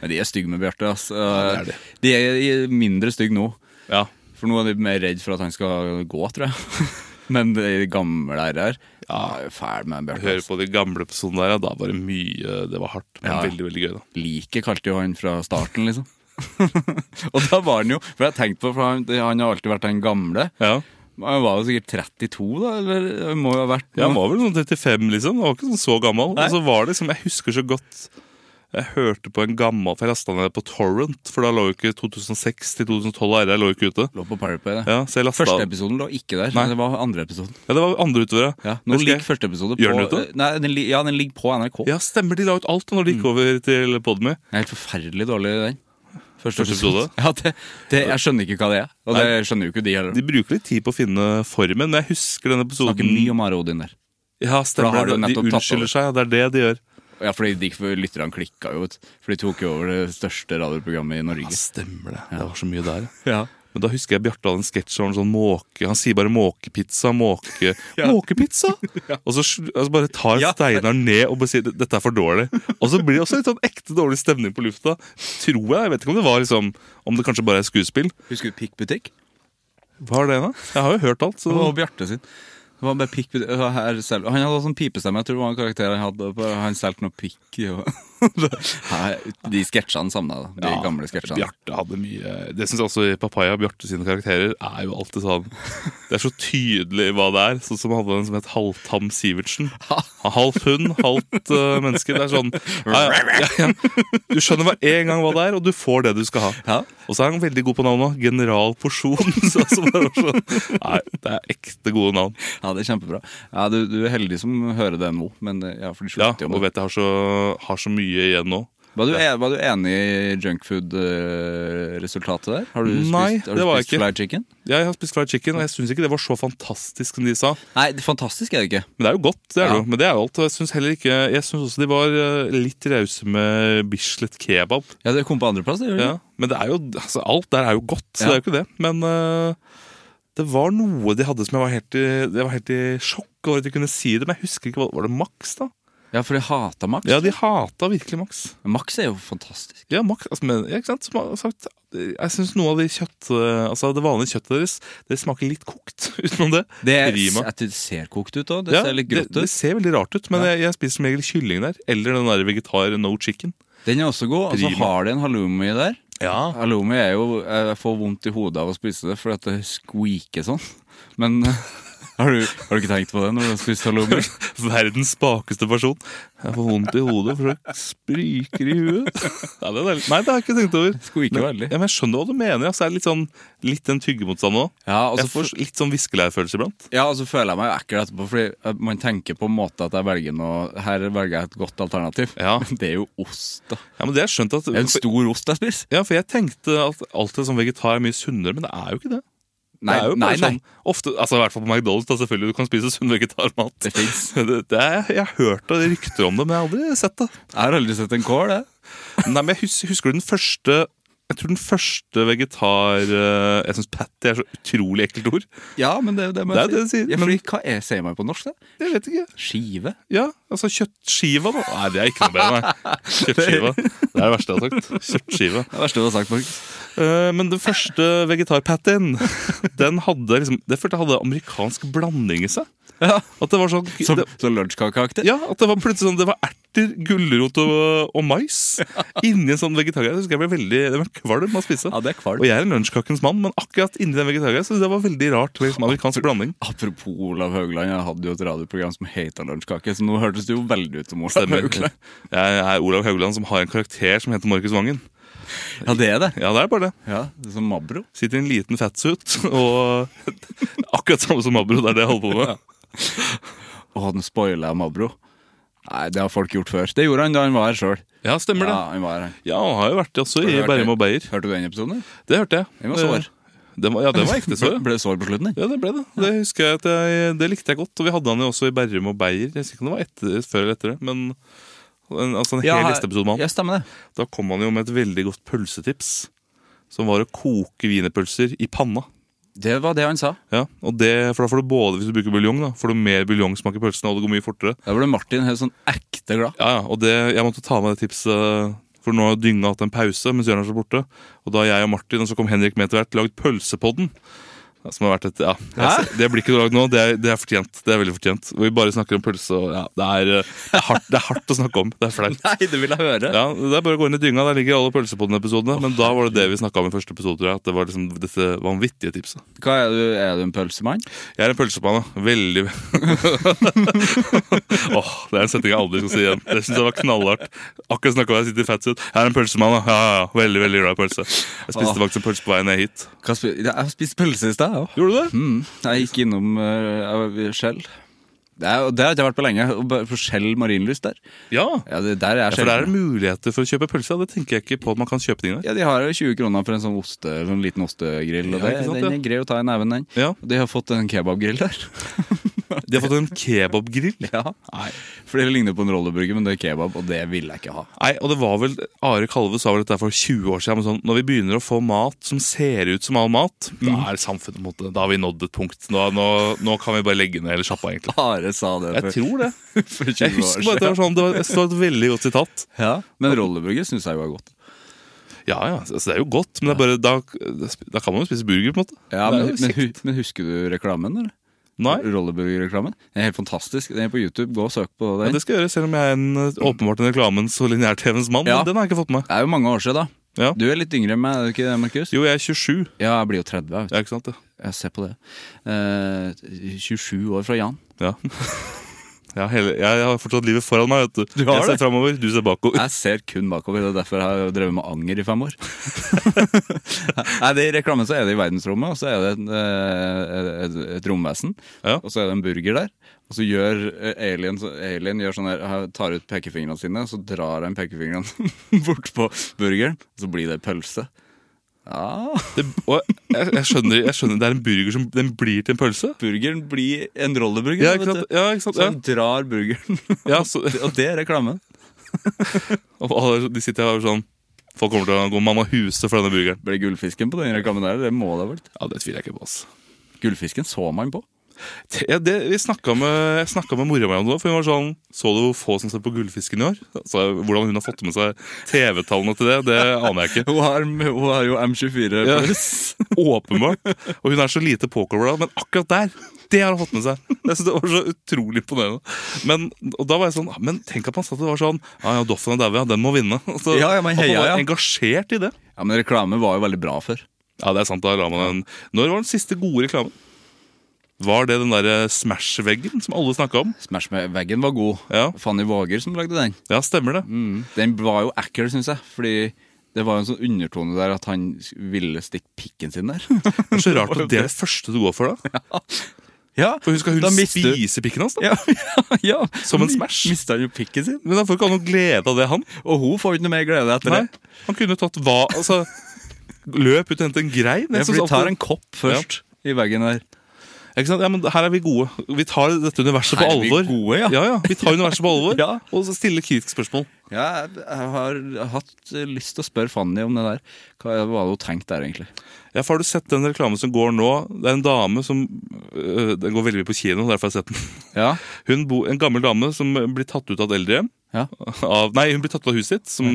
A: Men de er stygge med Bjarte. ass.
B: det er de.
A: de er mindre stygge nå.
B: Ja.
A: For nå er de mer redd for at han skal gå, tror jeg. [LAUGHS] Men de gamle her ja. er jo fæl med Bjarte. altså.
B: Hører
A: ass.
B: på de gamle episodene der, ja, da var det mye Det var hardt, men
A: Ja.
B: veldig, veldig gøy, da.
A: Liket kalte jo han fra starten, liksom. [LAUGHS] og da var han jo For jeg har tenkt på, for han, han har alltid vært den gamle.
B: Ja.
A: Han var jo sikkert 32, da? Eller han må jo ha vært
B: Ja, Han var vel sånn 35, liksom. Han var ikke sånn så gammel.
A: Nei.
B: Og så var det liksom, Jeg husker så godt jeg hørte på en gammel For jeg lasta ned på Torrent, for da lå jo ikke 2006 til 2012 RR lå jo ikke ute.
A: Lå på Powerplay, det.
B: Ja, så jeg
A: Første
B: lastet,
A: episoden lå ikke der,
B: Nei.
A: men det var andre episoden.
B: ja, Det var andre
A: Ja,
B: utover,
A: nå
B: Husker jeg-
A: ligger første episode på
B: Gjør den ute?
A: Nei, den, li- ja, den ligger på NRK.
B: Ja, stemmer. De la ut alt når de gikk over til Podme.
A: Den er helt forferdelig dårlig, den.
B: Første episode?
A: [LAUGHS] Ja, det, det, jeg skjønner ikke hva det er. Og det
B: Nei.
A: skjønner jo ikke de heller.
B: De bruker litt tid på å finne formen, men jeg husker denne episoden.
A: Snakker mye om Are Odin der.
B: Ja,
A: For da har
B: stemmer.
A: du
B: det.
A: nettopp tatt
B: De
A: over.
B: unnskylder seg, ja, det er det de gjør.
A: Ja, fordi de, for lytterne klikka jo ut. For de tok jo over det største radioprogrammet i
B: Ja,
A: Norge.
B: stemmer det. Det var så mye der.
A: Ja.
B: Men da husker jeg Bjarte hadde en sketsj om en sånn måke. Han sier bare 'måkepizza', måke...
A: [LAUGHS] Ja.
B: Måkepizza! Og så sl- altså bare tar
A: Ja.
B: Steinar ned og bare sier 'dette er for dårlig'. Og så blir det også litt sånn ekte dårlig stemning på lufta. Tror jeg. Jeg vet ikke om det var liksom Om det kanskje bare er skuespill.
A: Husker du Pikk butikk?
B: Hva er det, da? Jeg har jo hørt alt, så
A: Det var Bjarte sin. Det var bare pikk, det var her selv. Han hadde også sånn pipestemme. Jeg tror det var en karakter han hadde. på- Han solgte noe pikk. Og... [LAUGHS] Her, de sketsjene savna jeg, da. De
B: Ja,
A: gamle sketsjene.
B: Bjarte hadde mye Det syns jeg også i Papaya og Bjarte sine karakterer er jo alltid sånn Det er så tydelig hva det er. Sånn som han hadde en som het Halvtam Sivertsen. Halvt hund, halvt eh, menneske. Det er sånn ja, ja, ja, ja. Du skjønner hver en gang hva det er, og du får det du skal ha.
A: Ja.
B: Og så er han veldig god på navn òg. General Porsjon. [LAUGHS] Så, så bare sånn, nei, det er ekte gode navn.
A: Ja, det er kjempebra. Ja, du, du er heldig som hører det nå, men eh, ja, for de
B: Ja,
A: slutter jo
B: og
A: med det.
B: vet jeg har så, har så mye igjen nå.
A: Var du, en- var du enig i junkfood-resultatet der? Har du spist,
B: Nei,
A: har
B: det
A: du
B: var jeg
A: spist
B: ikke.
A: fried chicken?
B: Jeg har spist fried chicken, og jeg syns ikke det var så fantastisk som de sa.
A: Nei, det- fantastisk er det ikke.
B: Men det er jo godt, det er det
A: Ja.
B: jo. Men det er jo alt. Og jeg syns heller ikke Jeg syns også de var eh, litt rause med Bislett kebab.
A: Ja, Det kom på andreplass, det gjorde
B: Ja.
A: det.
B: Men det er jo altså, Alt der er jo godt, så
A: Mm. Ja.
B: det er jo ikke det. Men eh, det var noe de hadde som jeg var helt i, jeg var helt i sjokk over at de kunne si det. Men jeg husker ikke hva Var det Max, da?
A: Ja, for de hata Max.
B: Ja, de hata virkelig Max.
A: Max er jo fantastisk.
B: Ja, Max altså, men, ja, ikke sant? Som jeg har sagt, jeg syns noe av de kjøtt, eh, altså, det vanlige kjøttet deres Det smaker litt kokt [LAUGHS] utenom det.
A: Det er,
B: Rima.
A: at det ser kokt ut òg. Det
B: Ja,
A: ser litt
B: det,
A: grått
B: det
A: ut.
B: ser veldig rart ut, men
A: Ja.
B: jeg, jeg spiser som regel kylling der. Eller den der vegetar no chicken.
A: Den er også god. Og så
B: Prima.
A: har de en halloumi der.
B: Ja,
A: Halloumi er jo Jeg får vondt i hodet av å spise det fordi at det squeaker sånn. Men [LAUGHS] har du, har du ikke tenkt på det når du har spist halloumi?
B: [LAUGHS] Verdens spakeste person. Jeg får vondt i hodet, for det spriker i huet. [LAUGHS] Ja, det er deilig. Nei, det har jeg ikke tenkt over.
A: Skulle ikke
B: men,
A: veldig.
B: Ja, men jeg skjønner hva du mener. Altså, det er litt, sånn, litt den tyggemotstanden òg.
A: Ja, og så
B: jeg får litt sånn viskelærfølelse iblant.
A: [LAUGHS] Ja, og så føler jeg meg jo ekkel etterpå, fordi at man tenker på en måte at jeg velger noe Her velger jeg et godt alternativ.
B: Ja.
A: [LAUGHS] Men det er jo ost, da.
B: Ja, men det har jeg skjønt at
A: Det er en stor ost jeg spiser.
B: ja, for jeg tenkte at alltid sånn vegetar er mye sunnere, men det er jo ikke det.
A: Nei,
B: det er jo
A: nei,
B: bare
A: nei.
B: sånn ofte, altså I hvert fall på McDonald's, da selvfølgelig. Du kan spise sunn vegetarmat.
A: Det finnes.
B: [LAUGHS] Det, det er, jeg har hørt av rykter om det, men jeg har aldri sett det.
A: Jeg har aldri sett en kål, jeg.
B: Nei, men jeg husker, husker du den første Jeg tror den første vegetar eh, Jeg syns patty er så utrolig ekkelt ord.
A: Ja, men det, det må
B: Det er
A: jeg
B: det
A: si.
B: jeg sier,
A: Ja,
B: men-
A: fordi hva er, sier man på norsk, det?
B: Jeg vet ikke.
A: Skive?
B: Ja, altså kjøttskiva, da. Nei, det er ikke noe bedre. Nei. Kjøttskiva. [LAUGHS] Det er det verste jeg har sagt. Kjøttskiva.
A: [LAUGHS] Det er det verste du har sagt, Markus.
B: Eh, men den første vegetarpattyen, den hadde liksom Det følte jeg hadde amerikansk blanding i seg.
A: Ja.
B: At det var sånn
A: Som,
B: det,
A: som lunsjkakeaktig?
B: [LAUGHS] Ja, at det var plutselig sånn Det var erter, gulrot og, og mais inni en sånn vegetargreie. Jeg husker jeg ble veldig Det var kvalm av å spise.
A: Ja, det er kvalm.
B: Og jeg er en lunsjkakens mann, men akkurat inni den vegetargreia så det var veldig rart. Liksom, amerikansk blanding.
A: Apropos Olav Haugland, jeg hadde jo et radioprogram som heta Lunsjkake, så nå hørtes det jo veldig ut som Olav
B: Stemmer.
A: Haugland.
B: Jeg er Olav Haugland som har en karakter som heter Markus Vangen.
A: [LAUGHS] Ja, det er det.
B: Ja, det er bare det.
A: Ja, det er Som Mabro.
B: Sitter i en liten fatsuit og [LAUGHS] Akkurat samme som Mabro, det er det jeg holder på med.
A: Å, den spoila Mabro. Nei, det har folk gjort før. Det gjorde han da han var her sjøl.
B: Ja, stemmer det.
A: Ja, han var her.
B: Ja, han har jo vært det også i
A: Hørte-
B: Bærum og Beyer.
A: Hørte du den episoden? eller?
B: Det hørte jeg.
A: Den var sår.
B: Den var, ja, den var ekte sår. ja.
A: [LAUGHS] Ble det sår på slutten? eller?
B: Ja, det ble det. Det husker jeg at jeg, det likte jeg godt. Og vi hadde han jo også i Berrum og Beyer. Jeg husker ikke om det var etter, før eller etter det, men en, altså en hel listeepisode med han.
A: Ja, stemmer det.
B: Da kom han jo med et veldig godt pølsetips, som var å koke wienerpølser i panna.
A: Det var det han sa.
B: Ja, og det, For da får du både, hvis du bruker buljong, da, får du mer buljong-smak i pølsene, og det går mye fortere.
A: Da ble Martin helt sånn ekte glad.
B: Ja, ja, og det, Jeg måtte ta med det tipset, for nå har Dynga hatt en pause mens Jørgen er så borte. Og da jeg og Martin, og så kom Henrik med etter hvert, lagd Pølsepodden. Ja, Som har vært et, ja, jeg, ser- Det blir ikke lagd nå, det er, det er fortjent. Det er veldig fortjent. Og vi bare snakker om pølse, og ja, det er, eh, det er, hardt, det er hardt å snakke om. Det er flaut.
A: Nei, det vil jeg høre.
B: Ja, det er bare å gå inn i dynga, Der ligger alle Pølsepodden-episodene. Men da var det det vi snakka om i første episode. tror jeg, At det var liksom dette vanvittige tipset.
A: Hva er du, er du en pølsemann?
B: Jeg er en pølsepanne. Veldig [LAUGHS] Åh, Det er en setning jeg aldri skal si igjen. Det syns jeg var knallhardt. Akkurat snakka om jeg sitter i fatsuit. Jeg er en pølsemann, da. ja. ja, ja. Veldig veldig glad i pølse. Jeg spiste
A: Åh.
B: faktisk en pølse på vei ned hit.
A: Hva spi- Ja, jeg spiste pølse i stad, jeg òg.
B: Gjorde du det?
A: Mm. Jeg gikk innom uh, Skjell. Det, er- det har jeg ikke vært på lenge. Og bare På Skjell marinlyst der.
B: Ja.
A: Ja, det der er
B: ja. For der er det
A: sjelden.
B: muligheter for å kjøpe pølse. ja. Det tenker jeg ikke på at man kan kjøpe ting der.
A: Ja, De har jo 20 kroner for en sånn oste, sånn liten ostegrill. Og
B: Ja,
A: det,
B: ikke sant,
A: den
B: ja.
A: er grei å ta i neven, den.
B: Ja.
A: Og De har fått en kebabgrill
B: [LAUGHS]
A: der.
B: De har fått en kebabgrill.
A: ja. For det ligner på en rolleburger, men det er kebab, og det vil jeg ikke ha.
B: Nei, og det var vel, Are Kalve sa vel dette for 20 år siden. Men sånn, når vi begynner å få mat som ser ut som all mat, da er samfunnet på en måte, da har vi nådd et punkt. Nå, nå, nå kan vi bare legge ned hele sjappa, egentlig.
A: Are sa det
B: Jeg
A: før.
B: tror det.
A: [LAUGHS] For 20
B: Jeg husker bare at det var sånn, det var, jeg synes det var et veldig godt sitat.
A: Ja, Men rolleburger syns jeg jo er godt.
B: Ja, ja, altså Det er jo godt, men det er bare, da, da kan man jo spise burger, på en måte.
A: Ja,
B: Det er
A: men,
B: jo
A: men,
B: kjekt.
A: hu- men husker du reklamen, eller?
B: Nei.
A: Rollerbug-reklamen. Den er helt fantastisk. Den er på YouTube. Gå og søk på
B: Ja,
A: den.
B: det skal jeg gjøre, selv om jeg er en, eh, åpenbart en reklamens og lineær-TVens mann.
A: Ja.
B: men Den har jeg ikke fått med.
A: Det er jo mange år siden, da.
B: Ja.
A: Du er litt yngre enn meg, er du ikke det, Markus?
B: Jo, jeg er 27.
A: Ja, jeg blir jo 30, jeg, vet
B: Ja, ikke sant? det?
A: du. Jeg ser på det. Eh, 27 år fra Jan.
B: Ja. [LAUGHS] Jeg har, hele, jeg har fortsatt livet foran meg. vet Du
A: Du har
B: Jeg ser
A: det.
B: framover, du ser bakover.
A: Jeg ser kun bakover, det er derfor jeg har drevet med anger i fem
B: [LAUGHS]
A: år. Nei, det, I reklamen så er det i verdensrommet, og så er det en, eh, et, et romvesen.
B: Ja.
A: Og så er det en burger der. Og så gjør eh, alien, så- alien gjør sånn her, tar ut pekefingrene sine, og så drar han pekefingrene [LAUGHS] bort på burgeren. Og så blir det pølse. Ja,
B: Det, og jeg, jeg, skjønner, jeg skjønner, det er en burger som den blir til en pølse.
A: Burgeren blir en rolleburger.
B: Ja,
A: da,
B: ikke
A: vet
B: sant?
A: du. Sånn-
B: Ja, ikke sant?
A: Så
B: Ja.
A: han drar burgeren,
B: Ja, så,
A: [LAUGHS]
B: [LAUGHS]
A: og det er reklamen.
B: og alle, de sitter her og er sånn Folk kommer til å gå mann av huset for denne burgeren.
A: Ble gullfisken på den reklamen der? Det må det ha vært.
B: Ja, Det tviler jeg ikke på. ass.
A: Gullfisken så man på.
B: Det- Ja, det, vi snakka med, jeg snakket med mora mi om det. For hun var sånn Så du hvor få som ser på Gullfisken i år? Så, hvordan hun har fått med seg TV-tallene til det, det aner jeg ikke.
A: [LAUGHS] Hun har, hun har jo M24
B: [LAUGHS] Ja.
A: pluss.
B: Åpenbart. Og hun er så lite påkobla, men akkurat der det har hun fått med seg. Jeg synes Det var så utrolig imponerende. Men, og da var jeg sånn, men tenk at man satt og var sånn Ja, ja, Doffen er daua, ja, den må vinne. [LAUGHS] Og Så,
A: Ja, ja, man
B: at man
A: heia,
B: var
A: ja.
B: engasjert i det.
A: Ja, men reklame var jo veldig bra før.
B: Ja, det er sant. da la man en. Når var den siste gode reklamen? Var det den derre Smash-veggen som alle snakka om?
A: Smash med veggen var god.
B: Ja.
A: Fanny Våger som lagde den.
B: Ja, stemmer det.
A: Den var jo ekkel, syns jeg. Fordi det var jo en sånn undertone der at han ville stikke pikken sin [LAUGHS] der.
B: Det er så rart at det er det første du går for, da.
A: ja,
B: For hun skal
A: da
B: hun
A: mister-
B: spise pikken hans, da.
A: [LAUGHS] ja, ja, ja.
B: Som en Smash.
A: Mista han jo pikken sin.
B: Men han får ikke ha noe glede av det, han.
A: Og hun får jo ikke noe mer glede etter
B: Nei,
A: det.
B: han kunne tatt hva Altså, løp ut og hente en grein.
A: Ja,
B: Jeg
A: for
B: synes
A: de tar
B: alltid-
A: en kopp først i veggen der.
B: Ikke sant? Ja, men her er vi gode. Vi tar dette universet på
A: Her er vi
B: alvor.
A: gode, ja.
B: Ja, Vi tar universet på alvor
A: [LAUGHS] Ja.
B: og så stiller kritiske spørsmål.
A: Ja, jeg jeg har hatt eh, lyst til å spørre Fanny om det der. Hva var det hun tenkte der, egentlig?
B: Ja, for Har du sett den reklamen som går nå? Det er en dame som øh, Den går veldig mye på kino, derfor har jeg sett den.
A: Ja,
B: Hun bo, en gammel dame som blir tatt ut av et eldrehjem.
A: ja.
B: Av, nei, hun blir tatt ut av huset sitt, som,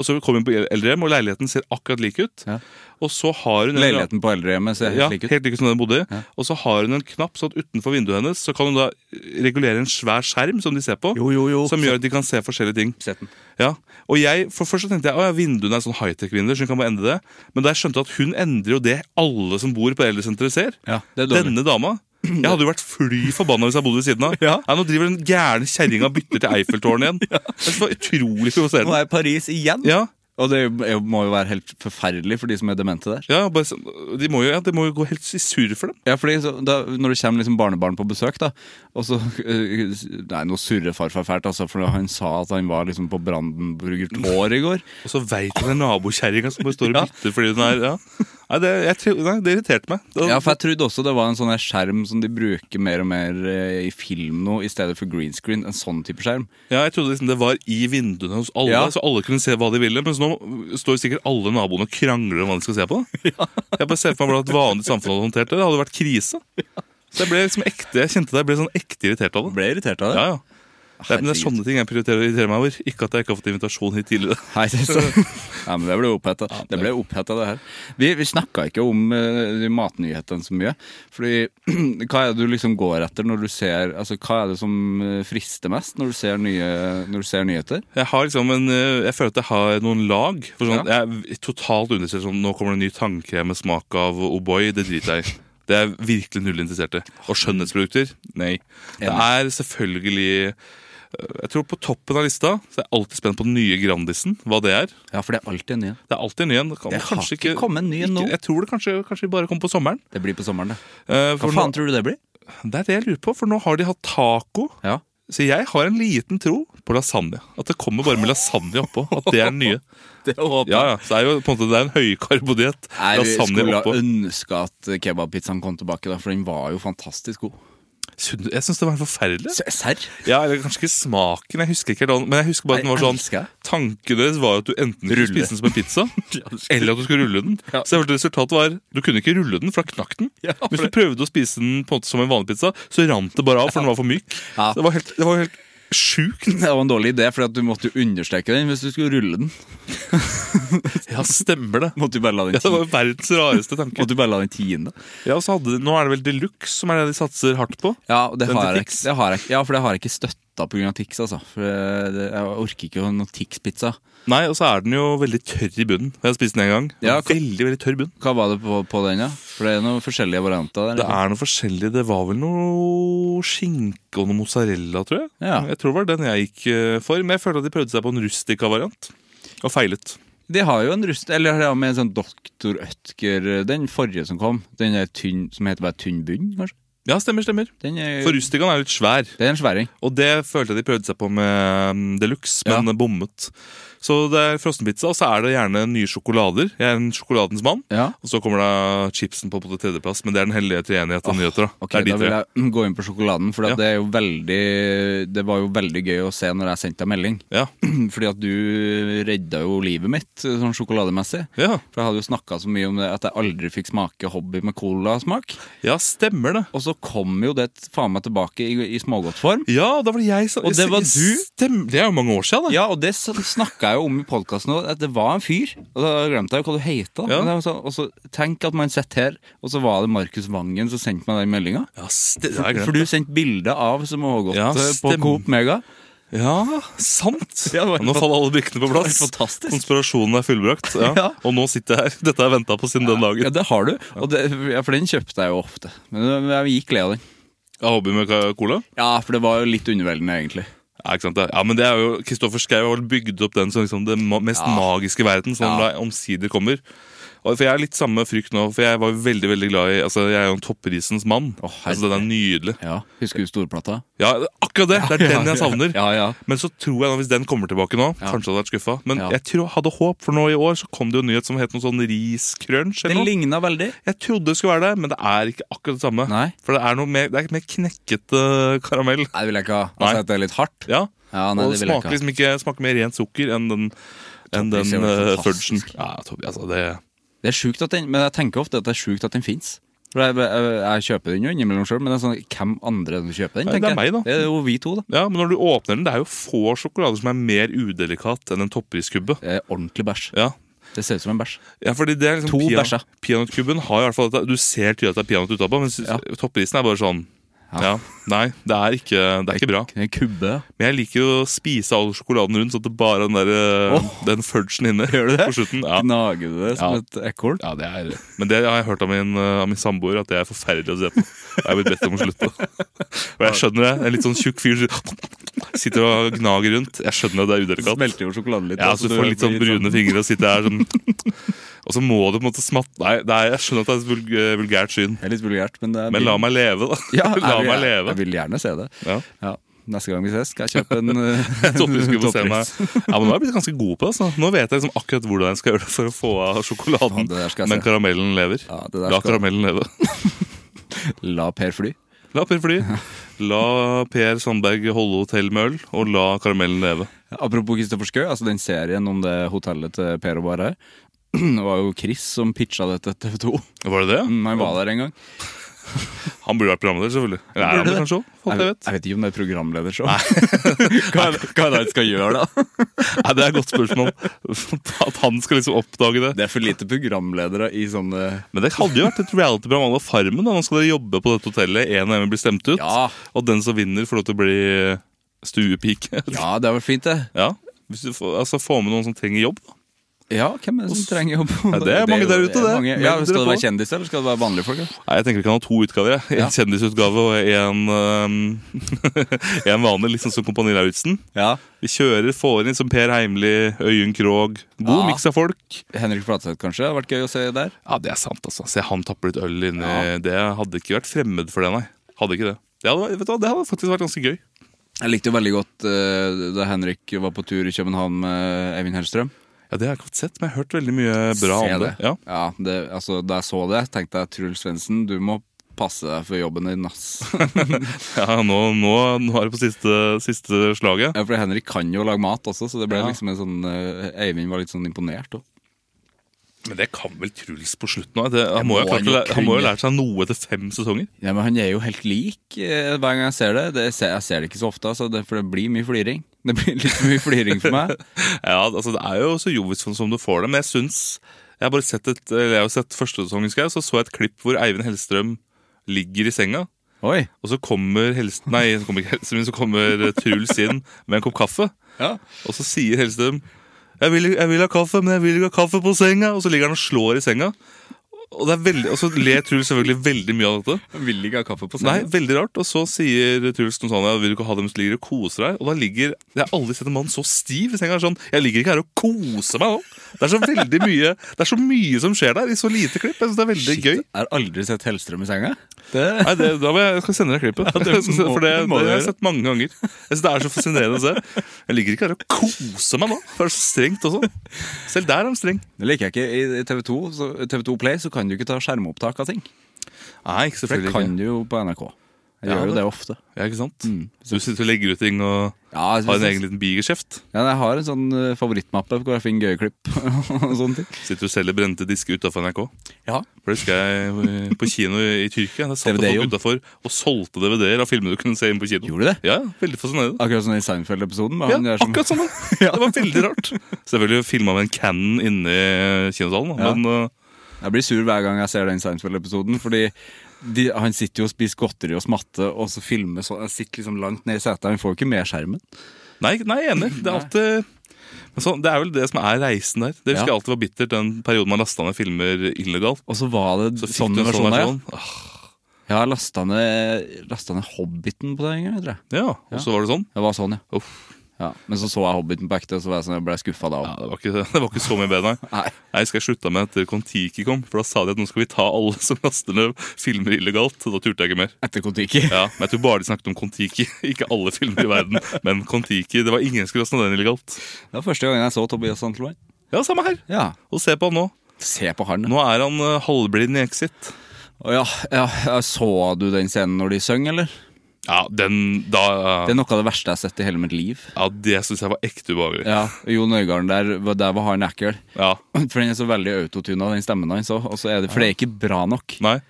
B: og så kommer hun på eldrehjem, og leiligheten ser akkurat lik ut.
A: Ja.
B: Og så har hun en-
A: Leiligheten på eldrehjemmet ser helt
B: ja,
A: lik ut.
B: helt like som den bodde i. Og så har hun en knapp sånn at utenfor vinduet hennes så kan hun da eh, regulere en svær skjerm som de ser på.
A: Jo, jo, jo.
B: Som gjør at de kan se forskjellige ting.
A: Sett den.
B: Ja, og jeg, for Først så tenkte jeg at ja, vinduene er sånn high-tech-vinduer, så hun kan bare endre det. Men da jeg skjønte at hun endrer jo det alle som bor på eldresenteret, ser.
A: Ja, det er dårlig.
B: Denne dama. Jeg hadde jo vært fly forbanna hvis jeg bodde ved siden av.
A: [LAUGHS] Ja.
B: Nei, nå driver den gærne kjerringa og bytter til
A: [LAUGHS]
B: Eiffeltårnet igjen. Jeg synes Det var utrolig
A: Nå
B: provoserende.
A: er jeg i Paris igjen!
B: Ja,
A: Og det er jo- er jo- må jo være helt forferdelig for de som er demente der.
B: ja, bare, sånn- de, må jo, ja det må jo gå helt i surr for dem.
A: Ja, fordi så, da, Når det kommer liksom barnebarn på besøk, da og så, øh, Nei, nå surrer farfar fælt, altså, for han sa at han var liksom på Brandenburger Tor i
B: [LAUGHS]
A: går.
B: Og så veit hun det er nabokjerringa som bare står og
A: Ja.
B: bytter fordi hun er ja. nei, det, jeg, tror- nei, det irriterte meg. Da,
A: Ja, for Jeg trodde også det var en sånn her skjerm som de bruker mer og mer eh, i film nå, i stedet for green screen. En sånn type skjerm.
B: ja, jeg trodde liksom det var i vinduene hos alle,
A: Ja.
B: så alle kunne se hva de ville. Mens nå står sikkert alle naboene og krangler om hva de skal
A: [LAUGHS]
B: se på. Jeg bare ser for meg hvordan et vanlig samfunn hadde håndtert det. Det hadde vært krise. Så jeg ble liksom ekte, jeg kjente det, jeg ble sånn ekte irritert av det.
A: Ble irritert av det.
B: Ja, ja. Det er, men det er sånne ting jeg prioriterer å irritere meg over. Ikke at jeg ikke har fått invitasjon hit tidligere.
A: Nei, det, så. [LAUGHS] Nei, men det ble oppheta. Det ble oppheta, det her. Vi, vi snakka ikke om eh, de matnyhetene så mye. Fordi [CLEARS THROAT] hva er det du liksom går etter når du ser Altså, hva er det som eh, frister mest når du ser, nye, når du ser nyheter?
B: Jeg har liksom en, eh, jeg føler at jeg har noen lag. For sånn, Jeg er totalt understreker sånn, nå kommer det en ny tannkrem med smak av O'boy. Det driter
A: [LAUGHS]
B: jeg i. Det er jeg virkelig null interessert i. Og skjønnhetsprodukter? Nei. Det er selvfølgelig eh, Jeg tror på toppen av lista så er jeg alltid spent på den nye Grandisen. Hva det er.
A: Ja, for det er alltid en ny en.
B: Det er alltid en ny en. Det, kan
A: Det har
B: kanskje
A: ikke kommet en ny en nå.
B: Jeg tror det kanskje, kanskje bare kom på sommeren.
A: Det blir på sommeren, det.
B: Eh,
A: Hva
B: for
A: faen
B: nå,
A: tror du det blir?
B: det er det jeg lurer på, for nå har de hatt taco.
A: Ja.
B: Så jeg har en liten tro på lasagne. At det kommer bare med lasagne oppå. At det er den nye.
A: Det håper
B: Ja, ja. Så det er jo på en måte det er en høykarbodiett.
A: Jeg
B: Lasagne
A: skulle
B: oppå.
A: ha ønska at kebabpizzaen kom tilbake, da, for den var jo fantastisk god.
B: Synd- Jeg syns det var forferdelig.
A: Serr?
B: Ja, eller Kanskje ikke smaken, jeg husker ikke helt hvordan- men jeg husker bare at den
A: Nei,
B: var sånn
A: elsker jeg.
B: Tanken deres var at du enten skulle
A: Rulle.
B: spise den som
A: [LAUGHS]
B: en pizza, eller at du skulle rulle den.
A: Ja.
B: Så jeg følte resultatet var du kunne ikke rulle den, for da knakk den.
A: Ja, for
B: Hvis du
A: det-
B: prøvde å spise den på en måte som en vanlig pizza, så rant det bare av, for den var for myk.
A: Ja.
B: Så Det var helt, det var helt sjukt.
A: Det var en dårlig idé, for du måtte jo understreke den hvis du skulle rulle den.
B: Ja, stemmer det.
A: Måtte du bare la den
B: Ja, Det
A: ti-
B: var jo verdens rareste tanke.
A: måtte du bare la den tiende.
B: Ja, og så hadde de, Nå er det vel Deluxe som er det de satser hardt på.
A: Ja, og det
B: Den til
A: har jeg,
B: Tix.
A: ikke- det har jeg, ikke- ja, for det har jeg ikke støtta pga. Tix. Altså. For eh, det, jeg orker ikke å ha noe Tix-pizza.
B: Nei, og så er den jo veldig tørr i bunnen. Jeg har spist den en gang.
A: Ja, ka-
B: veldig, veldig tørr bunn.
A: Hva var det på, på den, da? For det er noen forskjellige varianter der. liksom.
B: Det er noe forskjellig. Det var vel noe skinke og noe mozzarella, tror jeg.
A: Ja.
B: Jeg tror det var den jeg gikk eh, for, men jeg følte at de prøvde seg på en rustica-variant. Og feilet.
A: De har jo en rust... Eller ja, med en sånn Doktor Ødker Den forrige som kom, den er tynn, som heter bare Tynn bunn, kanskje?
B: Ja, stemmer, stemmer.
A: Den er,
B: For rusticaen er litt svær,
A: det er en sværing.
B: og det følte jeg de prøvde seg på med mm, deluxe, men
A: Ja.
B: bommet. Så det er frossenpizza, og så er det gjerne nye sjokolader. Jeg er en sjokoladens mann.
A: Ja.
B: Og så kommer da chipsen på på tredjeplass, men det er den hellige treenighet av nyheter. Da.
A: Ok,
B: det
A: Da
B: er de
A: vil
B: tre.
A: jeg mm, gå inn på sjokoladen, for
B: Ja.
A: at det, er jo veldig, det var jo veldig gøy å se når jeg sendte deg melding. [CLEARS THROAT]
B: Ja.
A: Fordi at du redda jo livet mitt sånn sjokolademessig.
B: Ja.
A: For jeg hadde jo snakka så mye om det at jeg aldri fikk smake hobby med colasmak.
B: ja, stemmer det.
A: Og så kom jo det faen meg tilbake i, i smågodtform.
B: Ja, da var det jeg som
A: Og det var du?
B: Stemmer. Det er jo mange år siden, da.
A: Ja, og det snakka jeg jo om i podkasten òg, at det var en fyr. Og da glemte jeg jo hva du heter.
B: Ja.
A: Men det var sånn- Og så tenk at man sitter her, og så var det Markus Vangen som sendte meg den meldinga.
B: Ja, ste- det har jeg
A: For
B: glemt.
A: du sendte bilde av smågodt
B: Ja,
A: eh, på
B: stem-
A: Coop Mega.
B: ja, sant!
A: Ja, det var helt
B: nå faller alle brikkene på [LAUGHS] plass.
A: helt fantastisk.
B: Konspirasjonen er fullbrakt. Ja.
A: Ja.
B: Og nå sitter jeg her. Dette har jeg venta på siden den
A: Ja,
B: dagen.
A: det har du. Og det, ja, for den kjøpte jeg jo ofte. Men jeg gikk lei av den.
B: Jeg har hobby med ka- cola.
A: Ja, for det var jo litt underveldende, egentlig.
B: Ja, ikke sant? det? ja, men det er jo, Kristoffer Schou har vel bygd opp den som liksom det ma- mest magiske verden, som
A: Ja.
B: da omsider kommer. Og for Jeg er litt samme frykt nå, for jeg var jo veldig veldig glad i altså Jeg er jo en topprisens mann.
A: herre.
B: altså Den er nydelig.
A: Ja, Husker du storplata?
B: Ja, akkurat det! Det er den jeg savner.
A: Ja, ja.
B: Men så tror jeg da, hvis den kommer tilbake nå Kanskje jeg hadde vært skuffa. Men
A: Ja.
B: jeg tror, hadde håp, for nå i år så kom det jo en nyhet som het noe sånn riscrunch. eller
A: Den
B: noe.
A: ligna veldig.
B: Jeg trodde det skulle være det, men det er ikke akkurat det samme.
A: Nei.
B: For det er noe mer, det er mer knekket eh, karamell.
A: Nei, det vil jeg ikke ha.
B: Nei.
A: Altså, at det er litt hardt.
B: Ja,
A: Ja, nei,
B: Og
A: det
B: det
A: vil jeg
B: smaker
A: ikke ha.
B: liksom ikke smaker mer rent sukker enn den, enn den
A: Toppris er jo
B: eh, fudgen.
A: fantastisk.
B: Ja, topp- altså det
A: Det er sjukt at den Men jeg tenker ofte at det er sjukt at den fins. Jeg, jeg, jeg kjøper den jo innimellom sjøl, men det er sånn, hvem andre enn som kjøper den?
B: Nei, det er
A: tenker jeg.
B: meg, da.
A: Det er jo vi to, da.
B: Ja, men når du åpner den, det er jo få sjokolader som er mer udelikat enn en toppriskubbe.
A: Det er ordentlig bæsj.
B: Ja.
A: Det ser ut som en bæsj.
B: ja, fordi det er liksom
A: To
B: pea-
A: bæsja.
B: Peanøttkubben har i hvert fall dette. Du ser tydelig at det er peanøtt utapå, mens
A: Ja.
B: topprisen er bare sånn
A: Ja.
B: ja. Nei, det er ikke, det er ikke bra.
A: En kubbe.
B: Men jeg liker jo å spise all sjokoladen rundt, så at det bare er den, der, eh,
A: Åh.
B: den fudgen inne
A: [LAUGHS] Gjør du det?
B: på slutten. Ja.
A: Gnager du det som
B: Ja.
A: et ekorn?
B: Ja, det er Men det har jeg hørt av min, eh, av min samboer, at det er forferdelig å se på. Jeg er blitt bedt om å slutte. Og jeg skjønner det. En litt sånn tjukk fyr som sitter og gnager rundt. Jeg skjønner at det er
A: Det
B: udelikat.
A: Smelter jo sjokoladen litt.
B: Ja,
A: da,
B: så du
A: det
B: får litt sånn
A: blir
B: brune fingre og sitter her sånn [LAUGHS] Og så må du på en måte smatte Nei, det er- jeg skjønner at det er et vulg- eh, vulgært syn,
A: Det er litt vulgært, men det er
B: men la meg leve, da.
A: Ja, jeg
B: [LAUGHS] La
A: vil-
B: meg
A: Jeg
B: leve.
A: vil gjerne se det.
B: Ja.
A: Ja. Neste gang vi ses, skal jeg
B: [LAUGHS]
A: kjøpe en eh,
B: Topprisgubbe se meg.
A: toppris.
B: Ja, men Nå har jeg blitt ganske god på det. altså. Nå vet jeg liksom akkurat hvordan jeg skal gjøre det for å få
A: Faen, det
B: av
A: der skal
B: sjokoladen.
A: jeg
B: Men
A: se.
B: karamellen lever.
A: Ja, det der
B: La
A: skal-
B: karamellen leve. [LAUGHS]
A: La Per fly.
B: La Per fly. La Per Sandberg holde hotell med øl, og la karamellen leve.
A: Apropos Kristoffer Schou, altså den serien om det hotellet til Per og Bare. [CLEARS THROAT] Det var jo Chris som pitcha det til TV 2.
B: Var det det?
A: Han var der en gang.
B: Han burde vært programleder, selvfølgelig. Eller er han det, kanskje? også? Folk,
A: Jeg,
B: jeg
A: vet-
B: vet. [LAUGHS]
A: jeg vet ikke om det er programledershow. [LAUGHS] hva er det- hva er det han skal gjøre, da?
B: Nei, det er et godt spørsmål. [LAUGHS] At han skal liksom oppdage det.
A: Det er for lite programledere i sånne
B: Men det hadde jo vært et reality-program à la Farmen. da. Nå skal dere jobbe på dette hotellet, én og én blir stemt ut.
A: Ja.
B: Og den som vinner, får lov til å bli stuepike. [LAUGHS]
A: Ja, det er vel fint, det.
B: Ja. Hvis du får, altså, få med noen som trenger jobb. da.
A: Ja, hvem er det som trenger jobb?
B: Ja, det er mange der ute, det.
A: mange- Ja,
B: Meld
A: skal det
B: dere
A: være
B: på.
A: kjendiser, eller skal det være vanlige folk? da?
B: Nei, Jeg tenker vi kan ha to utgaver. jeg. En
A: Ja.
B: kjendisutgave og en, øhm, [LAUGHS] en vanlig, liksom som Kompani Lauritzen.
A: Ja.
B: Vi kjører, får inn som Per Heimli, Øyunn Krogh. God
A: Ja.
B: miks av folk.
A: Henrik Flatseth, kanskje? Det hadde vært gøy å se der.
B: Ja, det er sant, altså. Se, han tapper litt øl inni det. Hadde ikke vært fremmed for det, nei. Hadde ikke det. Det hadde, vært- vet du hva, det hadde faktisk vært ganske gøy.
A: Jeg likte jo veldig godt eh, da Henrik var på tur i København med eh, Eivind Hellstrøm.
B: Ja, Det har jeg ikke fått sett, men jeg har hørt veldig mye bra
A: Se
B: om det. Ja.
A: Ja, det, altså, da jeg så det, tenkte jeg Truls Svendsen, du må passe deg for jobben din, [LAUGHS] ass.
B: Ja, nå, nå, nå er det på siste, siste slaget.
A: ja, for Henrik kan jo lage mat også, så det ble
B: Ja.
A: liksom en sånn eh, Eivind var litt sånn imponert. også.
B: Men det kan vel Truls på slutten òg? Han
A: må
B: må jo ha klart
A: jo
B: å læ- han må jo
A: kunne.
B: ha lært seg noe etter fem sesonger.
A: Ja, men Han er jo helt lik eh, hver gang jeg ser det. det ser, jeg ser det ikke så ofte, altså, det, for det blir mye fliring. Det blir litt for mye fliring for meg.
B: [LAUGHS] Ja, altså Det er jo så jovisfond som du får det, men jeg syns Jeg har bare sett et, eller jeg har jo sett første sesong, husker jeg, så så jeg et klipp hvor Eivind Hellstrøm ligger i senga.
A: [LAUGHS] Oi.
B: Og så kommer, Hellst, nei, så kommer, ikke Hellstrøm, så kommer Truls inn med en kopp kaffe.
A: Ja.
B: Og så sier Hellstrøm jeg vil, 'Jeg vil ha kaffe, men jeg vil ikke ha kaffe på senga.' Og så ligger han og slår i senga. Og, det er veldig, og så ler Truls selvfølgelig veldig mye av dette.
A: Vil ikke ha kaffe på
B: Nei, veldig rart. Og så sier Truls noe sånn, ja, vil du ikke ha dem som ligger og koser deg? Og da ligger, Jeg har aldri sett en mann så stiv i senga. sånn, Jeg ligger ikke her og koser meg nå. Det er så veldig mye det er så mye som skjer der i så lite klipp. Jeg synes Det er veldig
A: Shit,
B: gøy.
A: Jeg har aldri sett Hellstrøm i senga. Det,
B: Nei, det, da må jeg, jeg skal sende deg klippet. [LAUGHS]
A: det må-
B: For det,
A: det må du
B: det har
A: gjøre.
B: jeg sett mange ganger. Jeg synes Det er så fascinerende å se. Jeg ligger ikke her og koser meg nå. Det er så strengt også. Selv der er de streng.
A: det liker jeg ikke. I TV2, så, TV2 Play så kan du ikke ta skjermopptak av ting.
B: Nei, ikke
A: For det
B: selvfølgelig
A: kan
B: ikke.
A: du jo på NRK. Jeg
B: Ja,
A: gjør jo
B: det-
A: det ofte.
B: Ja, ikke sant? Så du sitter og legger ut ting og
A: Mm. Ja, jeg
B: har en
A: synes-
B: egen liten bigeskjeft.
A: Ja, jeg har en sånn eh, favorittmappe hvor jeg finner gøye klipp. [LAUGHS] og sånne ting.
B: Sitter og selger brente disker utafor NRK.
A: Ja.
B: For det husker jeg eh, på kino i Tyrkia. Der satt det
A: DVD, jo.
B: folk utenfor og solgte DVD-er av filmer du kunne se inn på kino.
A: Gjorde de det?
B: Ja, veldig fascinerende.
A: Akkurat sånn i Seinfeld-episoden. med
B: Ja,
A: han der som-
B: akkurat sånn.
A: [LAUGHS]
B: Det var veldig rart. Selvfølgelig filma med en Cannon inni kinosalen, da,
A: Ja.
B: men eh,
A: Jeg blir sur hver gang jeg ser den Seinfeld-episoden. Fordi de, han sitter jo og spiser godteri og smatter, og så filmer så Han sitter liksom langt ned i setet. Han får jo ikke med skjermen.
B: nei, nei, jeg er enig. Det er alltid men sånn, Det er vel det som er reisen der. Det husker
A: Ja.
B: jeg alltid var bittert, den perioden man lasta ned filmer illegalt.
A: Og så var det
B: Så fikk
A: sånn
B: du en
A: versjon
B: sånn
A: der.
B: versjon. Ah,
A: Ja, jeg lasta ned, lasta ned Hobbiten på det en gang, tror jeg.
B: Ja, og så var det sånn.
A: Det var sånn, ja.
B: Uff.
A: ja. Men så så jeg Hobbiten på ekte, og så var jeg sånn, jeg ble skuffa da òg.
B: Ja, det, var ikke, [LAUGHS] det var ikke så mye bedre, nei.
A: Nei.
B: Nei, jeg husker jeg slutta med etter Kon-Tiki kom, for da sa de at nå skal vi ta alle [LAUGHS] som laster ned filmer illegalt. og Da turte jeg ikke mer.
A: Etter Kon-Tiki.
B: Ja, men Jeg tror bare de snakket om Kon-Tiki, [LAUGHS] ikke alle filmer i verden. Men Kon-Tiki, det var ingen som skulle laste ned den illegalt.
A: Det var første gangen jeg så Tobias Santelmann.
B: Ja, samme her.
A: Ja.
B: Og se på han nå.
A: Se på han.
B: Nå er han eh, halvblind i Exit.
A: Å ja, ja, ja, Så du den scenen når de synger, eller?
B: Ja, den da eh,
A: Det er noe av det verste jeg har sett i hele mitt liv.
B: Ja, det syns jeg var ekte ubehagelig.
A: Ja, Jon Øigarden der, var- der var han ekkel.
B: Ja.
A: For den er så veldig autotuna, den stemmen hans òg. Og så er det, for det er ikke bra nok.
B: Nei.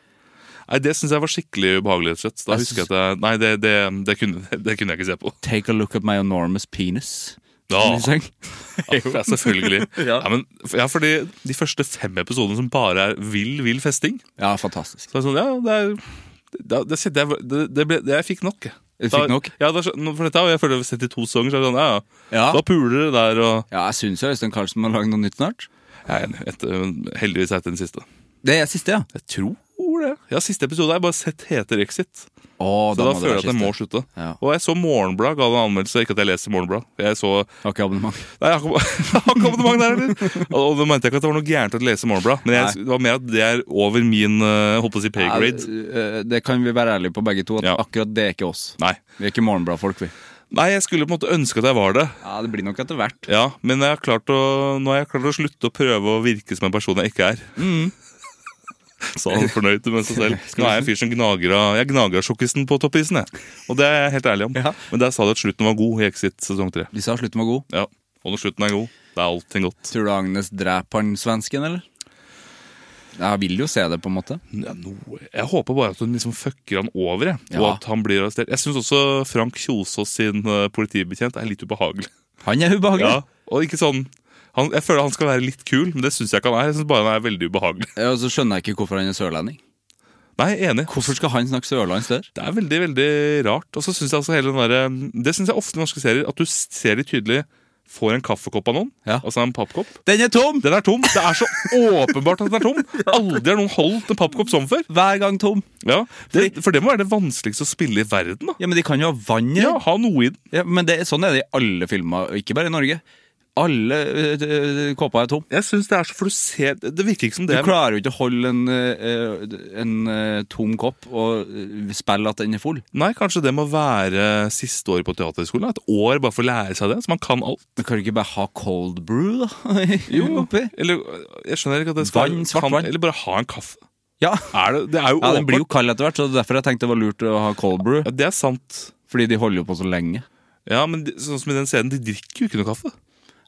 B: Nei, det syns jeg var skikkelig ubehagelig, rett og slett. Da
A: Jeg
B: husker jeg at jeg Nei, det, det, det, kunne, det kunne jeg ikke
A: [LAUGHS]
B: se på.
A: Take a look at my enormous penis.
B: Ja.
A: som de sang.
B: Ja, selvfølgelig.
A: [LAUGHS] Ja.
B: ja. men, ja, fordi De første fem episodene som bare er vill, vill festing
A: ja fantastisk.
B: Så er det sånn, ja, det er da- det, det, det, det ble, det, Jeg fikk nok, jeg.
A: Du
B: Da-
A: fikk nok?
B: Ja, da, skjø- for dette har jeg følt sett i to sesonger. Så er det sånn, ja, ja.
A: Ja.
B: Da puler det der og
A: Ja, jeg syns Øystein Carlsen må lage noe nytt snart.
B: Jeg er enig. Etter, heldigvis er dette den siste.
A: Det er siste, ja.
B: Jeg tror det. Ja, Siste episode har jeg bare sett heter Exit.
A: Å,
B: Så da,
A: må det
B: føler
A: være
B: jeg at jeg
A: siste.
B: må slutte.
A: Ja.
B: Og jeg så Morgenblad ga en anmeldelse. Ikke at jeg leser Morgenblad. Jeg så
A: Har ikke abonnement.
B: Nei, jeg har ikke- [LAUGHS] jeg har ikke abonnement der heller. Og og da mente jeg ikke at det var noe gærent å lese Morgenbladet. Men jeg, det var mer at det er over min eh, holdt på å si pay grade.
A: Ja, eh, det kan vi være ærlige på begge to, at
B: Ja.
A: akkurat det er ikke oss.
B: Nei.
A: Vi er ikke morgenbladfolk, vi.
B: Nei, jeg skulle på en måte ønske at jeg var det.
A: Ja, det blir nok etter hvert.
B: Ja, Men jeg har klart å, nå har jeg klart å slutte å prøve å virke som en person jeg ikke er.
A: Mm.
B: [LAUGHS] Sa han fornøyd med seg selv. Nå er jeg en fyr som gnager av Jeg gnager av sjokkisen på toppisen. jeg. Og det er jeg helt ærlig om.
A: Ja.
B: Men der sa de at slutten var god i Exit sesong tre.
A: De sa slutten var god.
B: Ja. Og når slutten er god, da er allting godt.
A: Tror du Agnes dreper han svensken, eller? Jeg vil jo se det, på en måte.
B: Ja, noe- Jeg håper bare at hun liksom fucker han over, jeg. og
A: Ja.
B: at han blir arrestert. Jeg syns også Frank Kjosås sin eh, politibetjent er litt ubehagelig.
A: Han er ubehagelig.
B: Ja, og ikke sånn han, Jeg føler han skal være litt kul, men det syns jeg ikke han er. Jeg synes bare han er veldig ubehagelig. [LAUGHS]
A: Ja, Og så skjønner jeg ikke hvorfor han er sørlending.
B: Nei, enig.
A: Hvorfor skal han snakke sørlands der?
B: Det er veldig, veldig rart. Og så synes jeg altså hele den der, Det syns jeg ofte i norske serier, at du ser litt tydelig Får en kaffekopp av noen,
A: Ja.
B: altså en pappkopp.
A: Den er tom!
B: Den er tom! Det er så åpenbart at den er tom! [LAUGHS] Aldri har noen holdt en pappkopp sånn før.
A: Hver gang tom.
B: Ja, det, For det må være det vanskeligste å spille i verden. da.
A: Ja, Men de kan jo ha vann i
B: Ja,
A: den.
B: Ha noe i den.
A: Ja, men det, sånn er det i alle filmer, og ikke bare i Norge. Alle øh, øh, kåpa er tom.
B: Jeg synes det er så, for du ser, det det virker ikke som
A: Du
B: det er
A: klarer jo ikke å holde en, øh, øh, en øh, tom kopp og øh, spille at den er full.
B: Nei, kanskje det må være siste året på teaterskolen. da. Et år bare for å lære seg det, så man kan alt.
A: Men kan du ikke bare ha cold brew, da? [LAUGHS] Oppi?
B: Eller, jeg skjønner ikke at det skal
A: Vann, svart
B: kan-
A: vann.
B: Eller bare ha en kaffe.
A: Ja.
B: Er det, det er jo
A: ja, den blir jo
B: åpenbart-
A: kald etter hvert, så det er derfor jeg tenkte det var lurt å ha cold brew.
B: Ja, det er sant.
A: Fordi de holder jo på så lenge.
B: Ja, men de- sånn som i den scenen, de drikker jo ikke noe kaffe.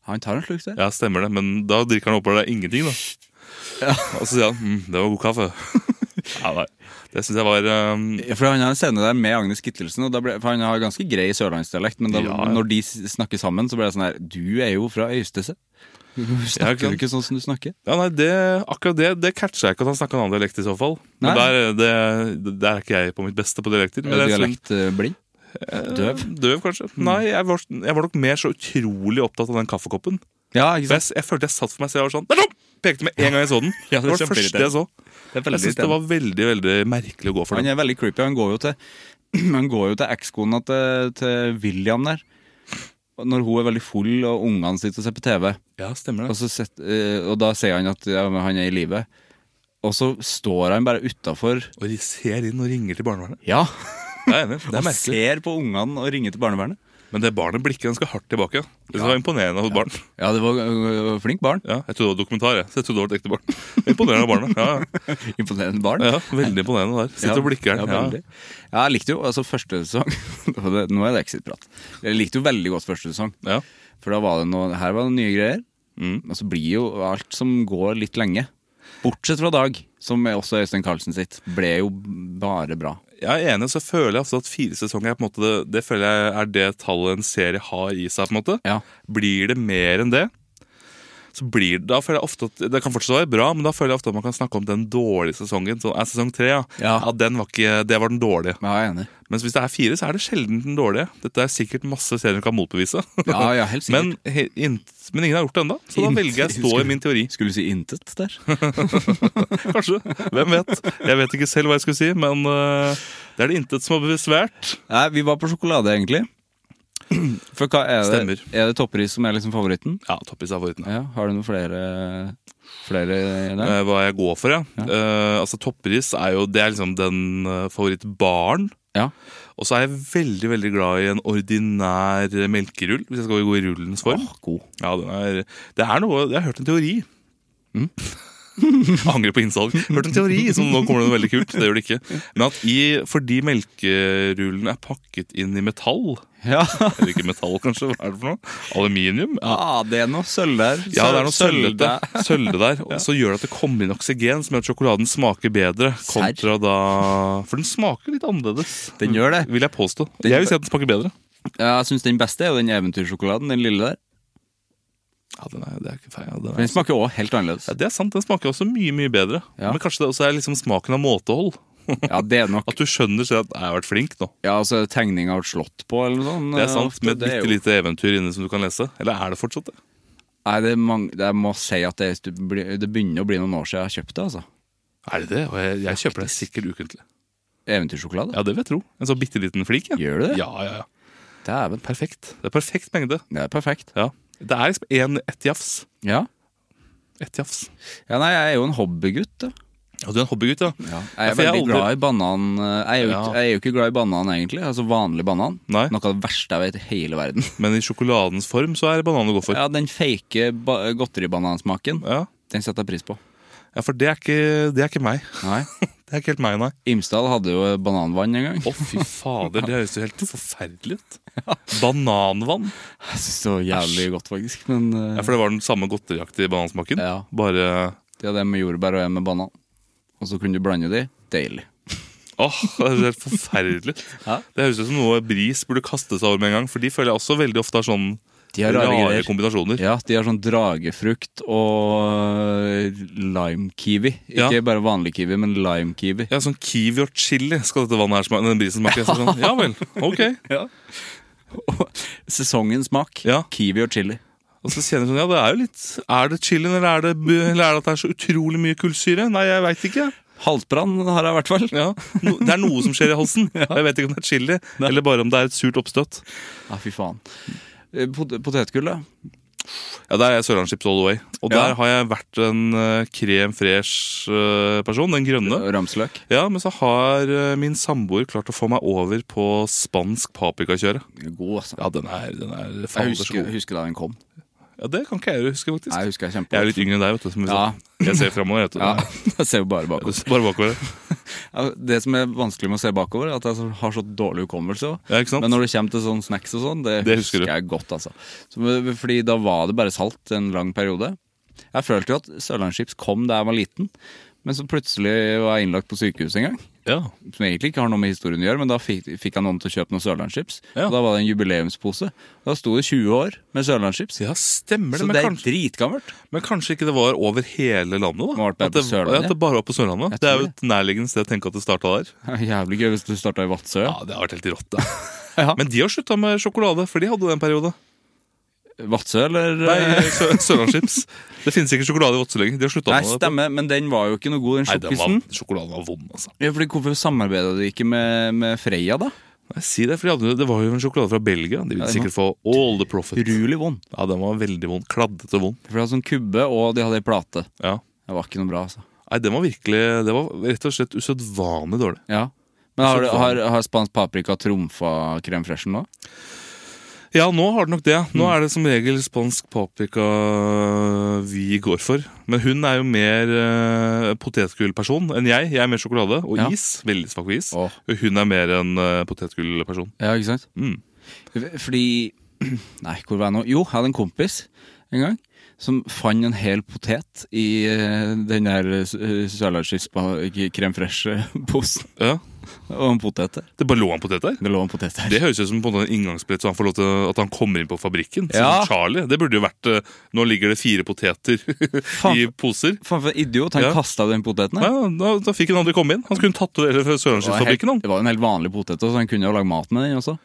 A: Han tar en slurk der.
B: Ja, stemmer det, men da drikker han oppover det er ingenting, da. Og så sier han mm, 'det var god kaffe'. [LAUGHS] ja, nei. Det syns jeg var um,
A: Ja, For han har en scene der med Agnes Kittelsen, og da ble, for han har ganske grei sørlandsdialekt, men da,
B: Ja, ja.
A: når de s- snakker sammen, så blir det sånn her Du er jo fra [LAUGHS] Øystese. Hvorfor Snakker
B: sant.
A: du ikke sånn som du snakker?
B: Ja, nei, det, akkurat det det catcha jeg ikke at han snakka en annen dialekt i så fall.
A: Nei.
B: Men der, det, der er ikke jeg på mitt beste på dialekter.
A: Er
B: Men
A: Eh, du
B: jeg er sånn-
A: Dialektblind? Døv?
B: Døv, kanskje. Nei, jeg var, jeg var nok mer så utrolig opptatt av den kaffekoppen.
A: Ja,
B: For
A: ikke
B: jeg,
A: sant?
B: jeg følte jeg satt for meg selv og var sånn "Det er tom!" Pekte med en gang jeg [LAUGHS] så den.
A: Ja, det
B: det,
A: er
B: var det første jeg så.
A: kjempeirriterende. Det er
B: Jeg synes det var veldig veldig merkelig å gå for
A: Han
B: den.
A: er veldig creepy. Han går jo til [CLEARS THROAT] Han går jo til ekskona til, til William der. Og Når hun er veldig full og ungene sitter og ser på TV,
B: Ja, stemmer
A: og,
B: det.
A: så sett- eh, og da sier han at ja, men han er i live. Og så står han bare utafor
B: Og de ser inn og ringer til barnevernet.
A: Ja!
B: Jeg er enig, det er
A: Og
B: merkelig.
A: ser på ungene og ringer til barnevernet.
B: Men det barnet blikket ganske hardt tilbake. Det var imponerende av et barn.
A: Ja, det var øh, flink barn. [LAUGHS]
B: Ja, jeg trodde det var dokumentar, jeg. Så jeg trodde det var et ekte barn. [LAUGHS] Imponerende av barnet. Ja, ja.
A: Imponerende barn.
B: ja, veldig imponerende der. Sitter og blikker
A: Ja,
B: den.
A: veldig.
B: Ja.
A: ja, jeg likte jo altså første sesong [LAUGHS] og det- Nå er det exit-prat. Jeg likte jo veldig godt første sesong.
B: Ja.
A: For da var det noe Her var det nye greier. Mm. Og så blir jo alt som går litt lenge. Bortsett fra Dag, som er også Øystein Carlsen sitt, ble jo bare bra.
B: Jeg er enig, så føler jeg altså at fire sesonger er på en måte, det, det føler jeg er det tallet en serie har i seg. på en måte.
A: Ja.
B: Blir det mer enn det, så blir det, da føler jeg ofte at det kan fortsatt være bra, men da føler jeg ofte at man kan snakke om den dårlige sesongen. Sånn, er sesong tre, ja.
A: Ja.
B: den var ikke, det var den dårlige.
A: Men jeg er enig.
B: Mens hvis det er fire, så er det sjelden den dårlige. Dette er sikkert masse serier du kan motbevise.
A: Ja, ja, helt
B: men,
A: sikkert.
B: he, int, men ingen har gjort det ennå, så da
A: Int-
B: velger jeg å stå i min teori.
A: Skulle si intet der.
B: Kanskje. Hvem vet? Jeg vet ikke selv hva jeg skulle si, men øh, det er det intet som har besvært.
A: Nei, vi var på sjokolade, egentlig. For hva er det?
B: Stemmer.
A: Er det toppris som er liksom favoritten?
B: Ja, toppis er favoritten.
A: Ja, Har du noen flere, flere der?
B: Eh, hva jeg går for, ja. Eh, altså Toppris er jo det er liksom den eh, favorittbaren.
A: Ja.
B: Og så er jeg veldig veldig glad i en ordinær melkerull, hvis jeg skal gå i rullens form.
A: god.
B: Ja, den er, det er noe, Jeg har hørt en teori. Mm. Jeg Angrer på innsalg. Hørt en teori som nå kommer det noe veldig kult. Det gjør det ikke. Men at i, fordi melkerullene er pakket inn i metall
A: Ja.
B: Eller ikke metall, kanskje. Hva er det for noe? Aluminium? Ja,
A: Ah, det er noe sølv der.
B: Ja, det er noe
A: Sølv-
B: sølvete, sølvete der. [LAUGHS] Og så gjør det at det kommer inn oksygen, som gjør at sjokoladen smaker bedre. Kontra da For den smaker litt annerledes,
A: Den gjør det.
B: vil jeg påstå. Jeg vil si at den smaker bedre.
A: [LAUGHS] Ja, Jeg syns den beste er jo den eventyrsjokoladen, den lille der.
B: Ja, den er, det er ikke feil. Ja, den
A: Den
B: er,
A: smaker òg helt annerledes.
B: ja, det er sant, den smaker også mye, mye bedre.
A: Ja.
B: Men kanskje det også er liksom smaken av måtehold.
A: Ja, det er nok
B: [LAUGHS] At du skjønner selv at jeg har vært flink nå.
A: Ja, altså tegning av et slott på, eller noe sånt.
B: Det er
A: eh,
B: sant,
A: ofte.
B: Med et
A: Det er
B: bitte
A: jo-
B: lite eventyr inne som du kan lese. Eller er det fortsatt det?
A: Nei, det er mange, jeg må si at det, er- det begynner å bli noen år siden jeg har kjøpt det, altså.
B: Er det det? Og jeg, jeg kjøper det sikkert ukentlig.
A: Eventyrsjokolade.
B: Ja, det vil jeg tro. En sånn bitte liten flik. Ja.
A: Gjør du det?
B: Ja, ja, ja.
A: Dæven.
B: Perfekt. Det er perfekt mengde.
A: Det er perfekt.
B: Ja. Det er liksom en- ett jafs.
A: Ja.
B: Ett jafs.
A: ja. Nei, jeg er jo en hobbygutt, da.
B: Ja, du er en hobbygutt, ja.
A: Jeg er
B: for jeg
A: veldig
B: aldri-
A: glad i banan. eh, Jeg er, jo
B: Ja.
A: ikke, jeg er jo ikke glad i banan, egentlig. Altså vanlig banan.
B: Nei.
A: Noe av det verste jeg vet i hele verden.
B: Men i sjokoladens form så er det banan å gå for. Ja.
A: Ja, den fake ba- godteribanansmaken,
B: Ja.
A: den setter jeg pris på.
B: for det er, ikke, det er ikke meg. [LAUGHS]
A: Nei.
B: Det er ikke helt meg, nei.
A: Imsdal hadde jo bananvann en gang. [LAUGHS]
B: Å, fy fader, det høres jo helt forferdelig ut. Bananvann.
A: Jeg synes det var jævlig godt, faktisk. Men eh,
B: Ja, For det var den samme godteriaktige banansmaken.
A: Ja.
B: Bare
A: det er det med jordbær og jeg med banan. Og så kunne du blande de. Deilig.
B: Åh, det høres helt forferdelig ut.
A: Ja.
B: Det høres ut som noe Bris burde kaste seg over med en gang, for de føler jeg også veldig ofte har sånn
A: De har rare greier.
B: kombinasjoner.
A: Ja, de har sånn dragefrukt og lime-kiwi.
B: Ja.
A: Ikke bare vanlig kiwi, men lime-kiwi.
B: Ja, sånn kiwi og chili skal dette vannet her smake. Den brisen smaker. [LAUGHS] Så Sånn, ja vel, ok.
A: [LAUGHS] Sesongens smak.
B: Ja.
A: Kiwi og chili.
B: Og så kjenner jeg sånn, ja det er jo litt Er det chilien, eller er det, bu- eller er det at det er så utrolig mye kullsyre? Nei, jeg veit ikke.
A: Halsbrann har jeg i hvert fall.
B: Ja, no, Det er noe som skjer i [LAUGHS] halsen. Jeg vet ikke om det er chili, eller bare om det er et surt oppstøt.
A: Ja, fy faen. Eh, Pot Potetgull, da?
B: Ja, Der er jeg Sørlandschips all the way. Og
A: Ja.
B: der har jeg vært en uh, krem fresh-person. den grønne.
A: Ramsløk?
B: Ja, Men så har eh, min samboer klart å få meg over på spansk paprikakjøre.
A: God, altså.
B: Ja, den er, den er
A: Jeg
B: fader så
A: husker,
B: god.
A: husker da den kom.
B: Ja, Det kan ikke jeg huske, faktisk.
A: Jeg husker jeg
B: Jeg er litt
A: kjempegodt.
B: yngre enn deg, vet du. Som vi sa.
A: Ja.
B: Jeg ser framover, vet du.
A: Ja, [LAUGHS] jeg ser jo bare bakover.
B: Bare bakover.
A: Ja, Det som er vanskelig med å se bakover, er at jeg så- har så dårlig hukommelse.
B: Ja, ikke sant?
A: Men når det kommer til sånn snacks og sånn, det,
B: Det husker
A: husker
B: du.
A: jeg godt. altså så, Fordi da var det bare salt en lang periode. Jeg følte jo at Sørlandschips kom da jeg var liten, men så plutselig var jeg innlagt på sykehus en gang.
B: Ja.
A: Som egentlig ikke har noe med historien å gjøre, men da fikk, fikk jeg noen til å kjøpe noen Sørlandschips.
B: Ja.
A: Og da var det en jubileumspose. Da sto det 20 år med Sørlandschips.
B: ja, stemmer det.
A: Så
B: Men
A: det er
B: kanskje,
A: dritgammelt.
B: men kanskje ikke det var over hele
A: Det
B: landet? da?
A: var bare
B: at, det,
A: på Sørlandet.
B: at det bare var på Sørlandet.
A: Jeg
B: Det er
A: tror
B: jo et nærliggende sted å tenke at det starta der.
A: Jævlig gøy hvis du starta i Vadsø.
B: Ja,
A: Ja.
B: Det har vært helt [LAUGHS] rått, da.
A: Ja.
B: Men de har slutta med sjokolade, for de hadde det en periode.
A: Vadsø, eller? eh,
B: Nei,
A: [LAUGHS]
B: Sø- Sørlandschips. Det finnes ikke sjokolade i Vadsø lenger. De har slutta
A: Nei,
B: med det.
A: stemmer, men den var jo ikke noe god, den
B: Nei, den var,
A: sjokkisen.
B: sjokoladen var vond, altså.
A: Ja, fordi Hvorfor samarbeida du ikke med, med Freia, da?
B: Nei, si det, for de hadde, det var jo en sjokolade fra Belgia. De ville
A: Ja, den
B: sikkert få all the profit.
A: Utrolig vond.
B: Ja, den var veldig vond. Kladdete vond.
A: For det var sånn kubbe, og de hadde ei plate.
B: Ja.
A: Det var ikke noe bra, altså.
B: Nei, den var virkelig Det var rett og slett usedvanlig dårlig.
A: Ja. Men har, har, har spansk paprika trumfa krem freshen nå?
B: Ja, nå har den nok det.
A: Mm.
B: Nå er det som regel spansk paprika vi går for. Men hun er jo mer uh, potetgullperson enn jeg. Jeg er mer sjokolade og
A: Ja.
B: is. Veldig svak på is.
A: Åh.
B: Og Hun er mer en uh, potetgullperson.
A: Ja, ikke sant?
B: Mm.
A: Fordi [CLEARS THROAT] Nei, hvor var jeg nå? Jo, jeg hadde en kompis en gang som fant en hel potet i eh, den der eh, sørlandsskispa krem [LAUGHS] fresh-posen.
B: Ja.
A: Og en potet der.
B: Det bare lå en potet der.
A: Det lå en potet der.
B: Det høres ut som på en måte en inngangsbillett, så han får lov til at han kommer inn på fabrikken. Som
A: Ja.
B: Charlie. Det burde jo vært eh, Nå ligger det fire poteter [LAUGHS] i
A: Faen.
B: poser.
A: Faen for en idiot, han
B: Ja.
A: kastet kasta den poteten
B: Ja,
A: her.
B: da, da fikk han aldri komme inn. Han skulle tatt det fra
A: Det var, helt,
B: Sørlandsfabrikken. han.
A: det var en helt vanlig potet, så han kunne jo lage mat med den også.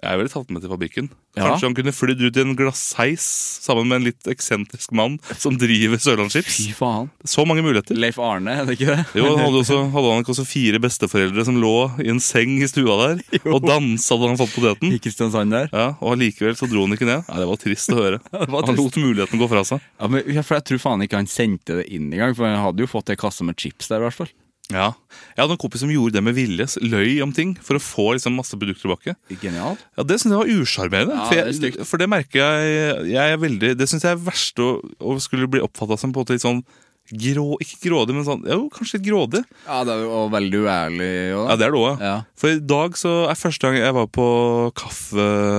B: Jeg ville tatt den med til fabrikken.
A: Ja.
B: Kanskje han kunne flydd ut i en glassheis sammen med en litt eksentrisk mann som driver Sørlandschips.
A: Fy faen.
B: Så mange muligheter.
A: Leif Arne, er det ikke det?
B: Jo, han hadde, også, hadde han ikke også fire besteforeldre som lå i en seng i stua der
A: [LAUGHS]
B: og dansa da han fant poteten?
A: I Kristiansand der.
B: Ja, Og allikevel så dro han ikke ned. Nei, Det var trist å
A: [LAUGHS]
B: høre.
A: var
B: Han lot muligheten gå fra seg.
A: Ja, men ja, for Jeg tror faen ikke han sendte det inn engang, for han hadde jo fått ei kasse med chips der. i hvert fall
B: Ja. Jeg hadde en kompis som gjorde det med vilje. s- Løy om ting for å få liksom, masse produkter tilbake.
A: Genial.
B: Ja, Det syns jeg var usjarmerende.
A: Ja,
B: for,
A: det er
B: jeg-
A: stygt.
B: for det merker jeg, jeg er veldig, Det syns jeg er verst å, å skulle bli oppfatta som på en måte litt sånn grå Ikke grådig, men sånn Jo, kanskje litt grådig.
A: Ja, det er jo veldig uærlig.
B: Ja, det er det òg.
A: Ja.
B: For i dag så er første gang jeg var på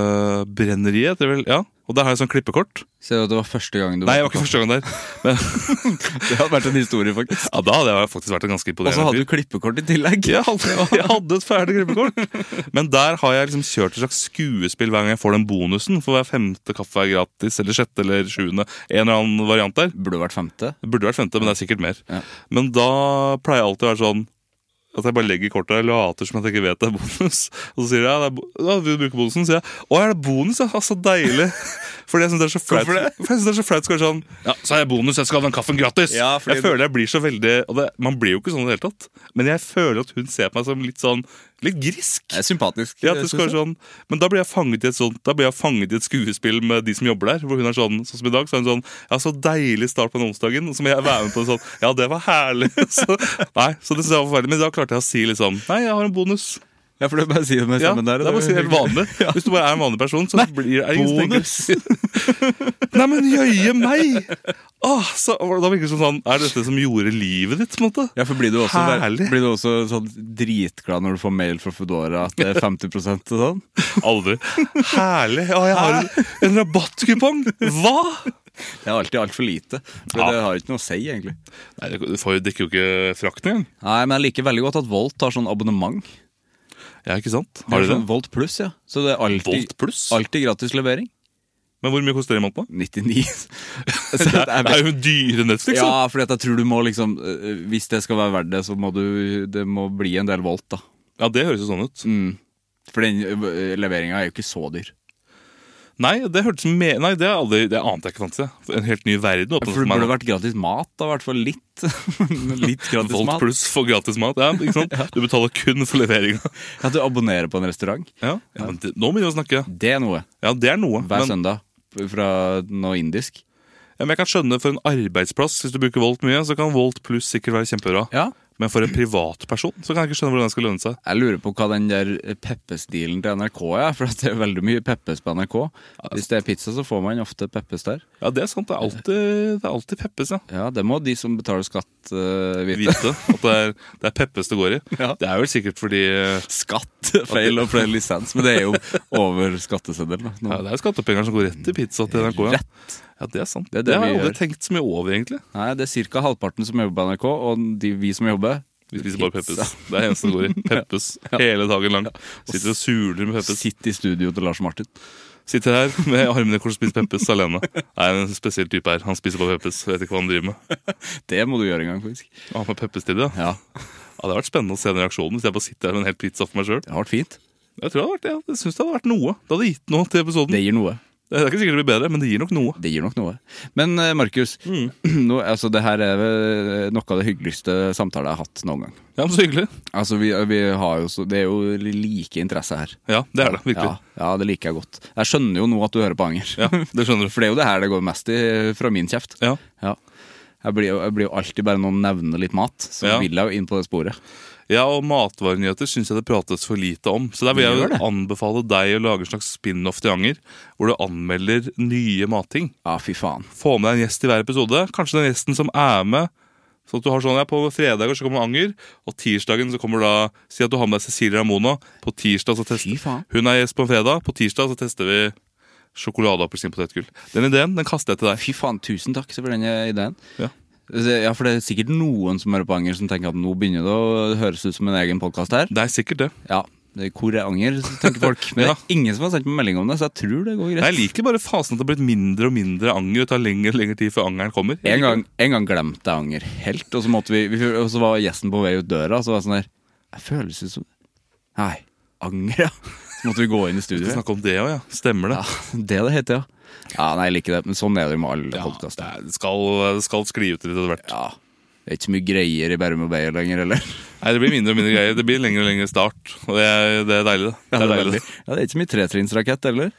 B: Kaffebrenneriet. heter det vel? Ja. Og der har jeg sånn klippekort.
A: Ser du at det var første gang du
B: Nei, jeg var ikke første gang der. Men
A: Det hadde vært en historie, faktisk.
B: ja, da hadde jeg faktisk vært en ganske
A: [LAUGHS] Og så
B: imponerende fyr.
A: hadde du klippekort i tillegg.
B: Jeg hadde, jeg hadde et ferdig gruppekort. Men der har jeg liksom kjørt et slags skuespill hver gang jeg får den bonusen. For hver femte kaffe er gratis, eller sjette eller sjuende. En eller annen variant der.
A: Burde vært femte.
B: Det burde vært femte, men det er sikkert mer.
A: Ja.
B: Men da pleier jeg alltid å være sånn at jeg bare legger kortet og later som at jeg ikke vet det er bonus. Og så sier jeg ja, det er bo ja, vil du bruke bonusen, sier jeg å, er det bonus? Ja, Ah, så deilig. [LAUGHS] Fordi jeg syns det er så flaut.
A: Hvorfor det?
B: For jeg synes det er så flaut skal være sånn Ja, så har jeg bonus, jeg skal ha den kaffen gratis.
A: Ja, fordi
B: jeg føler jeg blir så veldig og det, Man blir jo ikke sånn i det hele tatt. Men jeg føler at hun ser på meg som litt sånn litt grisk.
A: Det er sympatisk.
B: Ja, at det
A: synes
B: skal være sånn Men da blir jeg fanget i et sånt Da blir jeg fanget i et skuespill med de som jobber der. Hvor hun er sånn, sånn som i dag, så er hun sånn Ja, så deilig start på den onsdagen. Og så må jeg være med på en sånn Ja, det var herlig. [LAUGHS] Så, nei, så det synes jeg var forferdelig. Men da klarte jeg å si liksom Nei, jeg har en bonus.
A: jeg. Ja, for det er bare å si det med
B: Ja,
A: stemmen
B: det
A: der.
B: er bare å si det helt vanlig. [LAUGHS] Hvis du bare er en vanlig person, så blir det ingen
A: bonus.
B: [LAUGHS] Nei, men jøye meg! Åh, så, da virker det som sånn Er dette som gjorde livet ditt, på en måte?
A: Ja, for blir du, også,
B: Herlig.
A: blir du også sånn dritglad når du får mail fra Foodora at det er 50 og sånn?
B: Aldri. Herlig. Å, jeg har en, en rabattkupong! Hva?!
A: Det er alltid altfor lite. For
B: Ja.
A: Det har ikke noe å si, egentlig.
B: Nei, det- det får jo- dekker jo ikke frakten engang.
A: Nei, men jeg liker veldig godt at Volt har sånn abonnement.
B: Ja, ikke sant?
A: Har de det? sånn Volt pluss, ja. Så det er alltid,
B: Volt pluss?
A: alltid gratis levering.
B: Men hvor mye koster det i måneden? da? [LAUGHS]
A: 99. Så [LAUGHS] det
B: Det er, det er
A: best-
B: jo dyre Netflix, da!
A: ja, fordi at jeg tror du må liksom øh, Hvis det skal være verdt det, så må du Det må bli en del Volt, da.
B: Ja, det høres jo sånn ut.
A: Mm. For den øh, leveringa er jo ikke så dyr.
B: Nei, det hørtes me Nei, det, er aldri, det ante jeg ikke fantes. jeg. En helt ny verden. åpnet
A: For det
B: meg
A: burde
B: nå.
A: vært gratis mat, da. I hvert fall litt. [LAUGHS]
B: [LAUGHS]
A: litt gratis
B: Volt
A: mat.
B: pluss for gratis mat. Ja, ikke
A: [LAUGHS]
B: sant? Du betaler kun for leveringa.
A: At du abonnerer på en restaurant.
B: [LAUGHS] Ja. Ja, men det, nå begynner vi å snakke.
A: Det er noe.
B: Ja, det er noe.
A: Hver
B: Men,
A: søndag. Fra noe indisk.
B: ja, men jeg kan skjønne for en arbeidsplass, hvis du bruker Volt mye, så kan Volt pluss sikkert være kjempebra.
A: Ja.
B: Men for en privatperson så kan jeg ikke skjønne hvordan det skal lønne seg.
A: Jeg lurer på hva den der Peppes-dealen til NRK er, for at det er veldig mye Peppes på NRK. Hvis det er pizza, så får man ofte Peppes der.
B: Ja, det er sant. Det er alltid, det er alltid peppes, ja.
A: Ja, det må de som betaler skatt eh, vite.
B: Vite at det er, det er peppes det går i.
A: Ja.
B: Det er vel sikkert fordi eh,
A: Skatt, [LAUGHS] feil og flere lisens, men det er jo over skatteseddelen. da.
B: Ja, det er skattepenger som går rett til pizza til NRK. Ja.
A: Rett.
B: Ja, det er sant.
A: Det er
B: Det,
A: det
B: har jeg
A: vi
B: aldri tenkt så mye over, egentlig.
A: Nei, det er ca. halvparten som jobber på NRK, og de, vi som jobber,
B: Vi spiser bare
A: Pizza.
B: Peppes. Det er det eneste det
A: [LAUGHS]
B: går i. Peppes hele dagen lang. Sitter og suler med Peppes.
A: sitter i studio til Lars Martin.
B: Sitter her med armene i kors og spiser Peppes alene. Det er en spesiell type her. Han spiser bare Peppes. Vet ikke hva han driver med.
A: Det må du gjøre en gang, faktisk.
B: Han har Peppes til det. Ja.
A: Ja,
B: Ja, det har vært spennende å se den reaksjonen hvis jeg bare sitter her med en hel pizza for meg sjøl.
A: det har vært fint.
B: Jeg tror det hadde vært, ja, jeg synes det hadde vært noe. Det hadde gitt noe til episoden.
A: Det
B: Det,
A: gir noe.
B: er ikke sikkert det blir bedre, men det gir nok noe.
A: Det gir nok noe. Men eh, Markus, [CLEARS THROAT] nå, altså, det her er vel eh, noe av det hyggeligste samtalen jeg har hatt noen gang.
B: Ja, men Så hyggelig.
A: Altså, vi, vi har jo så, Det er jo like interesse her.
B: Ja, det er det. Virkelig.
A: Ja, ja, det liker jeg godt. Jeg skjønner jo nå at du hører på Anger.
B: Ja, det skjønner
A: [LAUGHS]
B: du.
A: For det er jo det her det går mest i fra min kjeft.
B: Ja.
A: Ja. Jeg blir, jo- jeg blir jo alltid bare noen nevner litt mat, så
B: Ja.
A: vil jeg jo inn på det sporet.
B: Ja, og matvarenyheter syns jeg det prates for lite om. Så der vil jeg
A: Det gjør
B: jo
A: det.
B: anbefale deg å lage en slags spin-off til Anger, hvor du anmelder nye matting.
A: Ja, fy faen.
B: Få med deg en gjest i hver episode. Kanskje den gjesten som er med. Sånn at du har sånn, ja, På fredager så kommer Anger, og tirsdagen så kommer da Si at du har med deg Cecilie Ramona. På tirsdag så
A: Fy faen.
B: tester Hun er gjest på en fredag. På tirsdag så tester vi sjokolade og appelsinpotetgull. Den ideen den kaster jeg til deg.
A: Fy faen, tusen takk for den eh, ideen.
B: Ja.
A: Ja, for det er sikkert noen som hører på Anger som tenker at nå begynner det å høres ut som en egen podkast her.
B: Det er sikkert det.
A: Ja, det er hvor er Anger, tenker
B: [LAUGHS]
A: folk. Men det
B: Ja.
A: er ingen som har sendt meg melding om det, så jeg tror det går greit.
B: Nei, Jeg liker bare fasen at det har blitt mindre og mindre anger. og Det tar lengre og lengre tid før angeren kommer. Jeg
A: En
B: liker
A: gang, en gang glemte jeg anger helt, og så, måtte vi, vi, og så var gjesten på vei ut døra, og så var jeg sånn der Jeg føles ut som Nei, anger, ja. Så måtte vi gå inn i
B: Vi
A: studio.
B: snakker om det òg, ja. Stemmer det.
A: Ja, det det heter, ja. Ja, Nei, jeg liker det, men sånn er det jo med alle
B: Ja, det,
A: podkaster.
B: er, det skal, det skal skli ut litt etter hvert.
A: Ja. Det er ikke så mye greier i Bærum og Beyer lenger,
B: [LAUGHS]
A: eller?
B: Nei, Det blir mindre og mindre greier. Det blir lengre og lengre start. Og det er, det er deilig, det. det, er deilig.
A: Ja, det er ikke så mye tretrinnsrakett heller.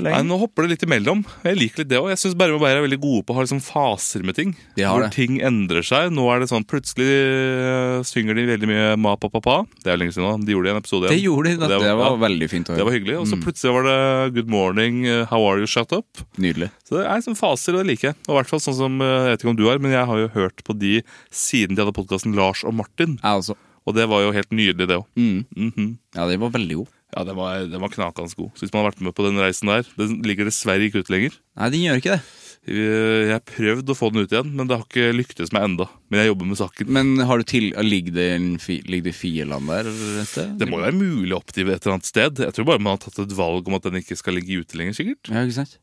B: Nei, Nå hopper det litt imellom. Jeg liker litt det òg. Jeg syns Bærum og Beyer er veldig gode på å ha liksom faser med ting.
A: De har
B: hvor
A: det.
B: ting endrer seg. Nå er det sånn plutselig øh, synger de veldig mye Ma pa pa pa. Det er jo lenge siden nå. De gjorde en episode
A: Det
B: igjen.
A: gjorde de.
B: Og
A: Det, det var Mm.
B: ja,
A: veldig fint å
B: det var
A: høre.
B: hyggelig. Og så plutselig var det Good morning, øh, how are you, shut up.
A: Nydelig.
B: Så det er sånn faser, og det liker jeg. Og i hvert fall sånn som, øh, Jeg vet ikke om du har, men jeg har jo hørt på de siden de hadde podkasten Lars og Martin.
A: Jeg også.
B: Og det var jo helt nydelig, det òg.
A: Mm. Ja, den var veldig god.
B: Ja, den var, den var knakende god. Så hvis man har vært med på den reisen der Den ligger dessverre ikke ute lenger.
A: Nei, den gjør ikke det.
B: Eh, Jeg har prøvd å få den ut igjen, men det har ikke lyktes meg enda Men jeg jobber med saken.
A: Men har du til, ligger det en fi- ligger det i filene der? eller et sted?
B: Det må jo være mulig å oppdrive et eller annet sted. Jeg tror bare man har tatt et valg om at den ikke skal ligge ute lenger, sikkert.
A: Ja, ikke sant?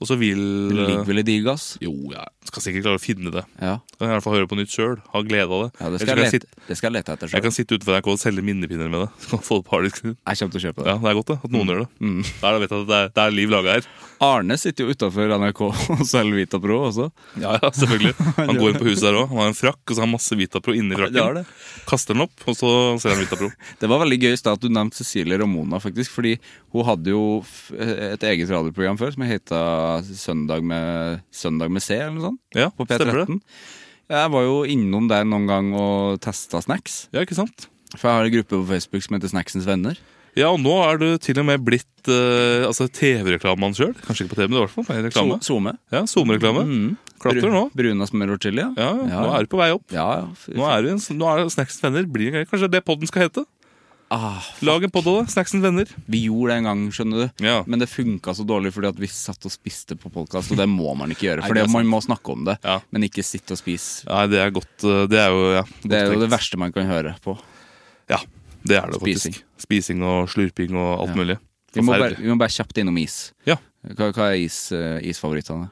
B: Og så vil eh,
A: Det ligger vel i digg, ass.
B: Jo, jeg skal sikkert klare å finne det.
A: Ja,
B: Kan jeg i hvert fall høre på nytt sjøl. Ha glede av det.
A: ja det,
B: Ellers
A: skal
B: kan
A: jeg
B: jeg,
A: lete,
B: sitte,
A: det skal jeg lete etter
B: jeg
A: sjøl.
B: kan sitte utenfor NRK og selge minnepinner med det. Så kan man få det på harddisken.
A: Jeg kommer til å kjøpe det.
B: Ja, det er godt, det. At noen gjør det. Der vet jeg at det er, det er liv laga her.
A: Arne sitter jo utafor NRK [LAUGHS] og selger Vita Pro også.
B: Ja, ja, [LAUGHS] selvfølgelig. Han går inn på huset der òg. Han har en frakk, og så har han masse Vitapro
A: det
B: inni
A: har
B: frakken.
A: det.
B: Kaster den opp, og så ser han Vitapro.
A: Det var veldig gøy i stad at du nevnte Cecilie Ramona, faktisk. Fordi hun hadde jo f- eh, et eget radioprogram før som heta Søndag med, Søndag med C, eller noe sånt.
B: Ja,
A: På
B: stemmer det?
A: P13. Jeg var jo innom der noen gang og testa snacks.
B: Ja, ikke sant?
A: For jeg har en gruppe på Facebook som heter Snacksens venner.
B: Ja, og nå er du til og med blitt eh, altså, TV-reklamemann sjøl. Kanskje ikke på TV, men i hvert fall på reklame.
A: SoMe.
B: Ja, SoMe-reklame. Klatrer nå.
A: Bruna smør og chili,
B: Ja, ja, nå er du på vei opp.
A: Mm. Ja, ja. fy
B: Nå er, du en, nå er Snacksens venner blir en greie. Kanskje det er det podden skal hete?
A: faen. Ah,
B: Lag en podd av det. Snacksens venner.
A: Vi gjorde det en gang, skjønner du.
B: Ja.
A: Men det funka så dårlig fordi at vi satt og spiste på podkast, og det må man ikke gjøre.
B: Nei,
A: For
B: det er
A: man må snakke om det,
B: Ja.
A: men ikke sitte og spise.
B: Nei, det er godt. eh, Det er jo ja, godt
A: Det er jo
B: tenkt.
A: det verste man kan høre på.
B: Ja, det er det
A: Spising.
B: faktisk. Spising og slurping og alt mulig.
A: Vi må, bare,
B: Forferdelig.
A: vi må bare kjapt innom is.
B: Ja.
A: Hva, hva er is, eh, isfavorittene?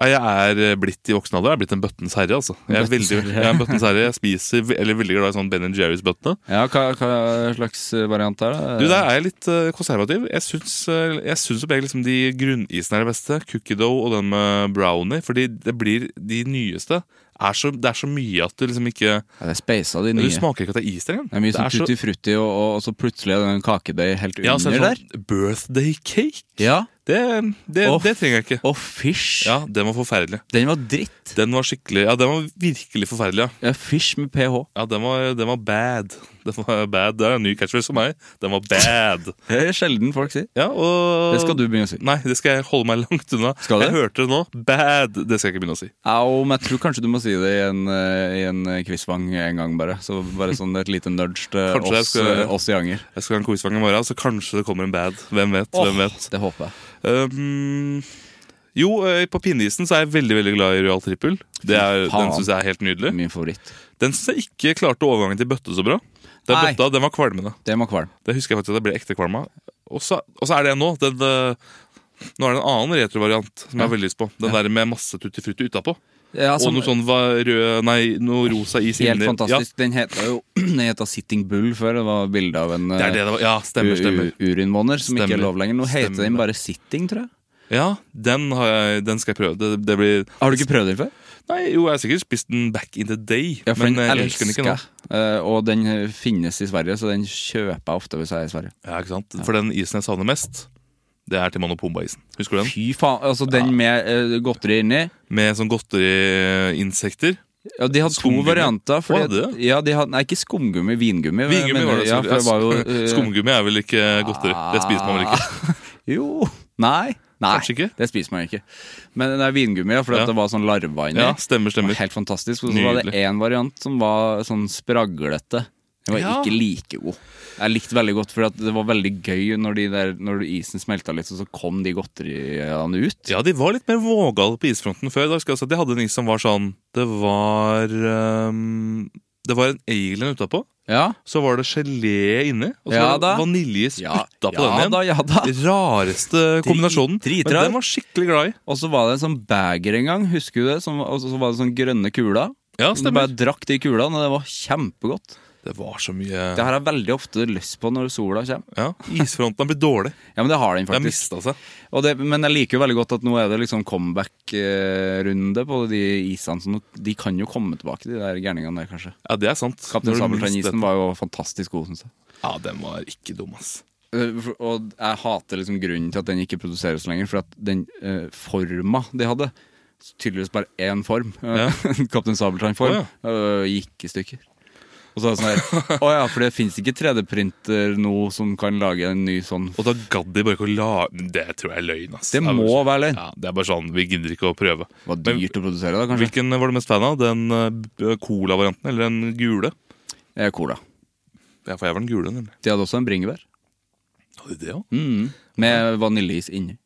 B: Nei, Jeg er eh, blitt i voksen alder, jeg er blitt en bøttens herre. altså Jeg er,
A: Bøttens
B: veldig,
A: herre.
B: jeg er en bøttens herre, jeg spiser ve- eller veldig glad i sånn Ben Jerry's-bøttene.
A: Ja, hva, hva slags eh, variant er det?
B: Du, Der er jeg litt eh, konservativ. Jeg syns, eh, jeg syns som regel liksom de grunnisene er det beste. Cookie dough og den med brownie. Fordi det blir de nyeste. Er så, det er så mye at du liksom ikke
A: Ja, det er speisa, de
B: Du
A: nye.
B: smaker ikke at det er is der engang.
A: Det er mye sånn
B: så-
A: tutti frutti, og, og, og så plutselig er det en kakedeig helt under
B: ja, så er det
A: der.
B: sånn birthday cake.
A: Ja.
B: Det, det,
A: Å,
B: det trenger jeg ikke.
A: Og fish.
B: Ja, Den var forferdelig.
A: Den var dritt.
B: Den var skikkelig Ja, den var virkelig forferdelig. ja
A: Ja, fish med ph.
B: Ja, den var, den var bad. Den var bad. Det er en ny catchphrase for meg. Den var bad.
A: Det er sjelden folk sier.
B: Ja, og...
A: Det skal du begynne å si.
B: Nei, det skal jeg holde meg langt unna.
A: Skal du?
B: Jeg hørte det nå. Bad. Det skal jeg ikke begynne å si.
A: Ja, og men jeg tror kanskje du må si det i en, eh, i en quizvang en gang, bare. Så bare sånn et lite nudge til
B: Kanskje jeg
A: oss,
B: skal-
A: eh, oss i Anger.
B: Jeg skal ha en quizvang i morgen, så kanskje det kommer en bad. Hvem vet? hvem vet?
A: Det håper jeg.
B: Um, Jo, eh, på pinneisen så er jeg veldig veldig glad i Royal Trippel. Det er,
A: Faen.
B: den syns jeg er helt nydelig.
A: Min favoritt.
B: Den syns jeg ikke klarte overgangen til bøtte så bra. Den
A: Nei.
B: bøtta, den var kvalmende.
A: Det må kvalm.
B: Det husker jeg faktisk at jeg ble ekte kvalm av. Og så og så er det en nå. Den, eh, nå er det en annen retrovariant som jeg har veldig lyst på. Den der med masse tutti frutti utapå.
A: Ja, som-
B: og noe sånn va- rød Nei, noe rosa is
A: Helt
B: inni.
A: fantastisk. Den heta jo [CLEARS THROAT] Den heter Sitting Bull før. Det var bilde av en eh,
B: Ja, det er det det var. Ja, stemmer, stemmer.
A: urinvåner som ikke er
B: Stemmer.
A: lov lenger. Nå heter
B: Stemmer
A: den
B: det.
A: bare Sitting, tror jeg.
B: Ja, den, har jeg, den skal jeg prøve. Det, det blir
A: Har du ikke prøvd den før?
B: Nei, jo, jeg har sikkert spist den back in the day.
A: Ja, for
B: men
A: den
B: eh, jeg
A: elsker
B: elsker den ikke nå.
A: jeg. Eh, Og den eh, finnes i Sverige, så den kjøper jeg ofte hvis jeg er i Sverige.
B: Ja, ikke sant? For den isen jeg savner mest, det er til Manopomba-isen. Husker du den?
A: Fy faen. Altså, den med eh, godteri inni.
B: Med sånn godteriinsekter.
A: Ja, de hadde to
B: Skumgummi.
A: varianter. Fordi,
B: Å, hadde de?
A: ja, de hadde, nei, ikke skumgummi, vingummi.
B: Vingummi
A: Eh, mener
B: var det.
A: jeg. Ja, for det var
B: [LAUGHS]
A: jo,
B: selvfølgelig.
A: eh, Ah.
B: Skumgummi er vel ikke godteri. Det spiser man vel ikke.
A: Jo. Nei. nei.
B: Kanskje ikke?
A: Det spiser man ikke. Men det er vingummi, ja, fordi
B: Ja.
A: at det var sånn larver inni.
B: Ja, stemmer,
A: Det var
B: stemmer.
A: Helt fantastisk. Og så var det
B: Nydelig.
A: én variant som var sånn spraglete. Den var
B: Ja.
A: ikke like god. Jeg likte veldig godt, for det var veldig gøy når, de der, når isen smelta litt, og så kom de godteriene ut.
B: Ja, de var litt mer vågale på isfronten før. Da husker jeg også at de hadde en is som var sånn Det var ehm, Det var en alien utapå.
A: Ja,
B: Så var det gelé inni, og så
A: Ja,
B: var det
A: da.
B: vaniljeis
A: Ja,
B: utapå
A: ja
B: den
A: da, ja
B: igjen.
A: da.
B: Rareste kombinasjonen. Men
A: dritrar.
B: den var skikkelig glad i.
A: Og så var det en sånn bager en gang, husker du det? Som, og så var det sånn grønne kuler.
B: Ja,
A: Du
B: stemmer.
A: bare drakk de kulene, og det var kjempegodt.
B: Det var så mye
A: Det har jeg veldig ofte lyst på når sola kommer.
B: Ja, Isfronten har blitt dårlig.
A: Ja, men det har den
B: Det har
A: faktisk.
B: mista seg.
A: Og det, men jeg liker jo veldig godt at nå er det liksom comeback-runde på de isene. Så nå, de kan jo komme tilbake, de der gærningene der, kanskje.
B: Ja, det er sant.
A: Kaptein
B: Når du minst
A: Sabeltann-isen
B: vet-
A: var jo fantastisk god, syns jeg.
B: Ja, den var ikke dum, ass.
A: Eh, for- Og jeg hater liksom grunnen til at den ikke produseres lenger, for at den eh, forma de hadde Tydeligvis bare én form. Eh,
B: Ja.
A: [LAUGHS] Kaptein Sabeltann-form.
B: Å,
A: eh, Gikk i stykker. Og så er det sånn her Å ja, for det fins ikke 3D-printer nå som kan lage en ny sånn
B: Og da gadd de bare ikke å la Det tror jeg er løgn, ass.
A: Det
B: er bare
A: må
B: sånn-
A: være løgn.
B: Ja, det er bare sånn, vi gidder ikke å prøve.
A: Det var
B: Men
A: dyrt å produsere, da, kanskje?
B: Hvilken var du mest fan av? Den eh, b- cola-varianten eller den gule?
A: Eh, Cola.
B: Ja, for jeg var den gule, nemlig.
A: De hadde også en bringebær.
B: Hadde de det også?
A: Mm. Med vaniljeis inni.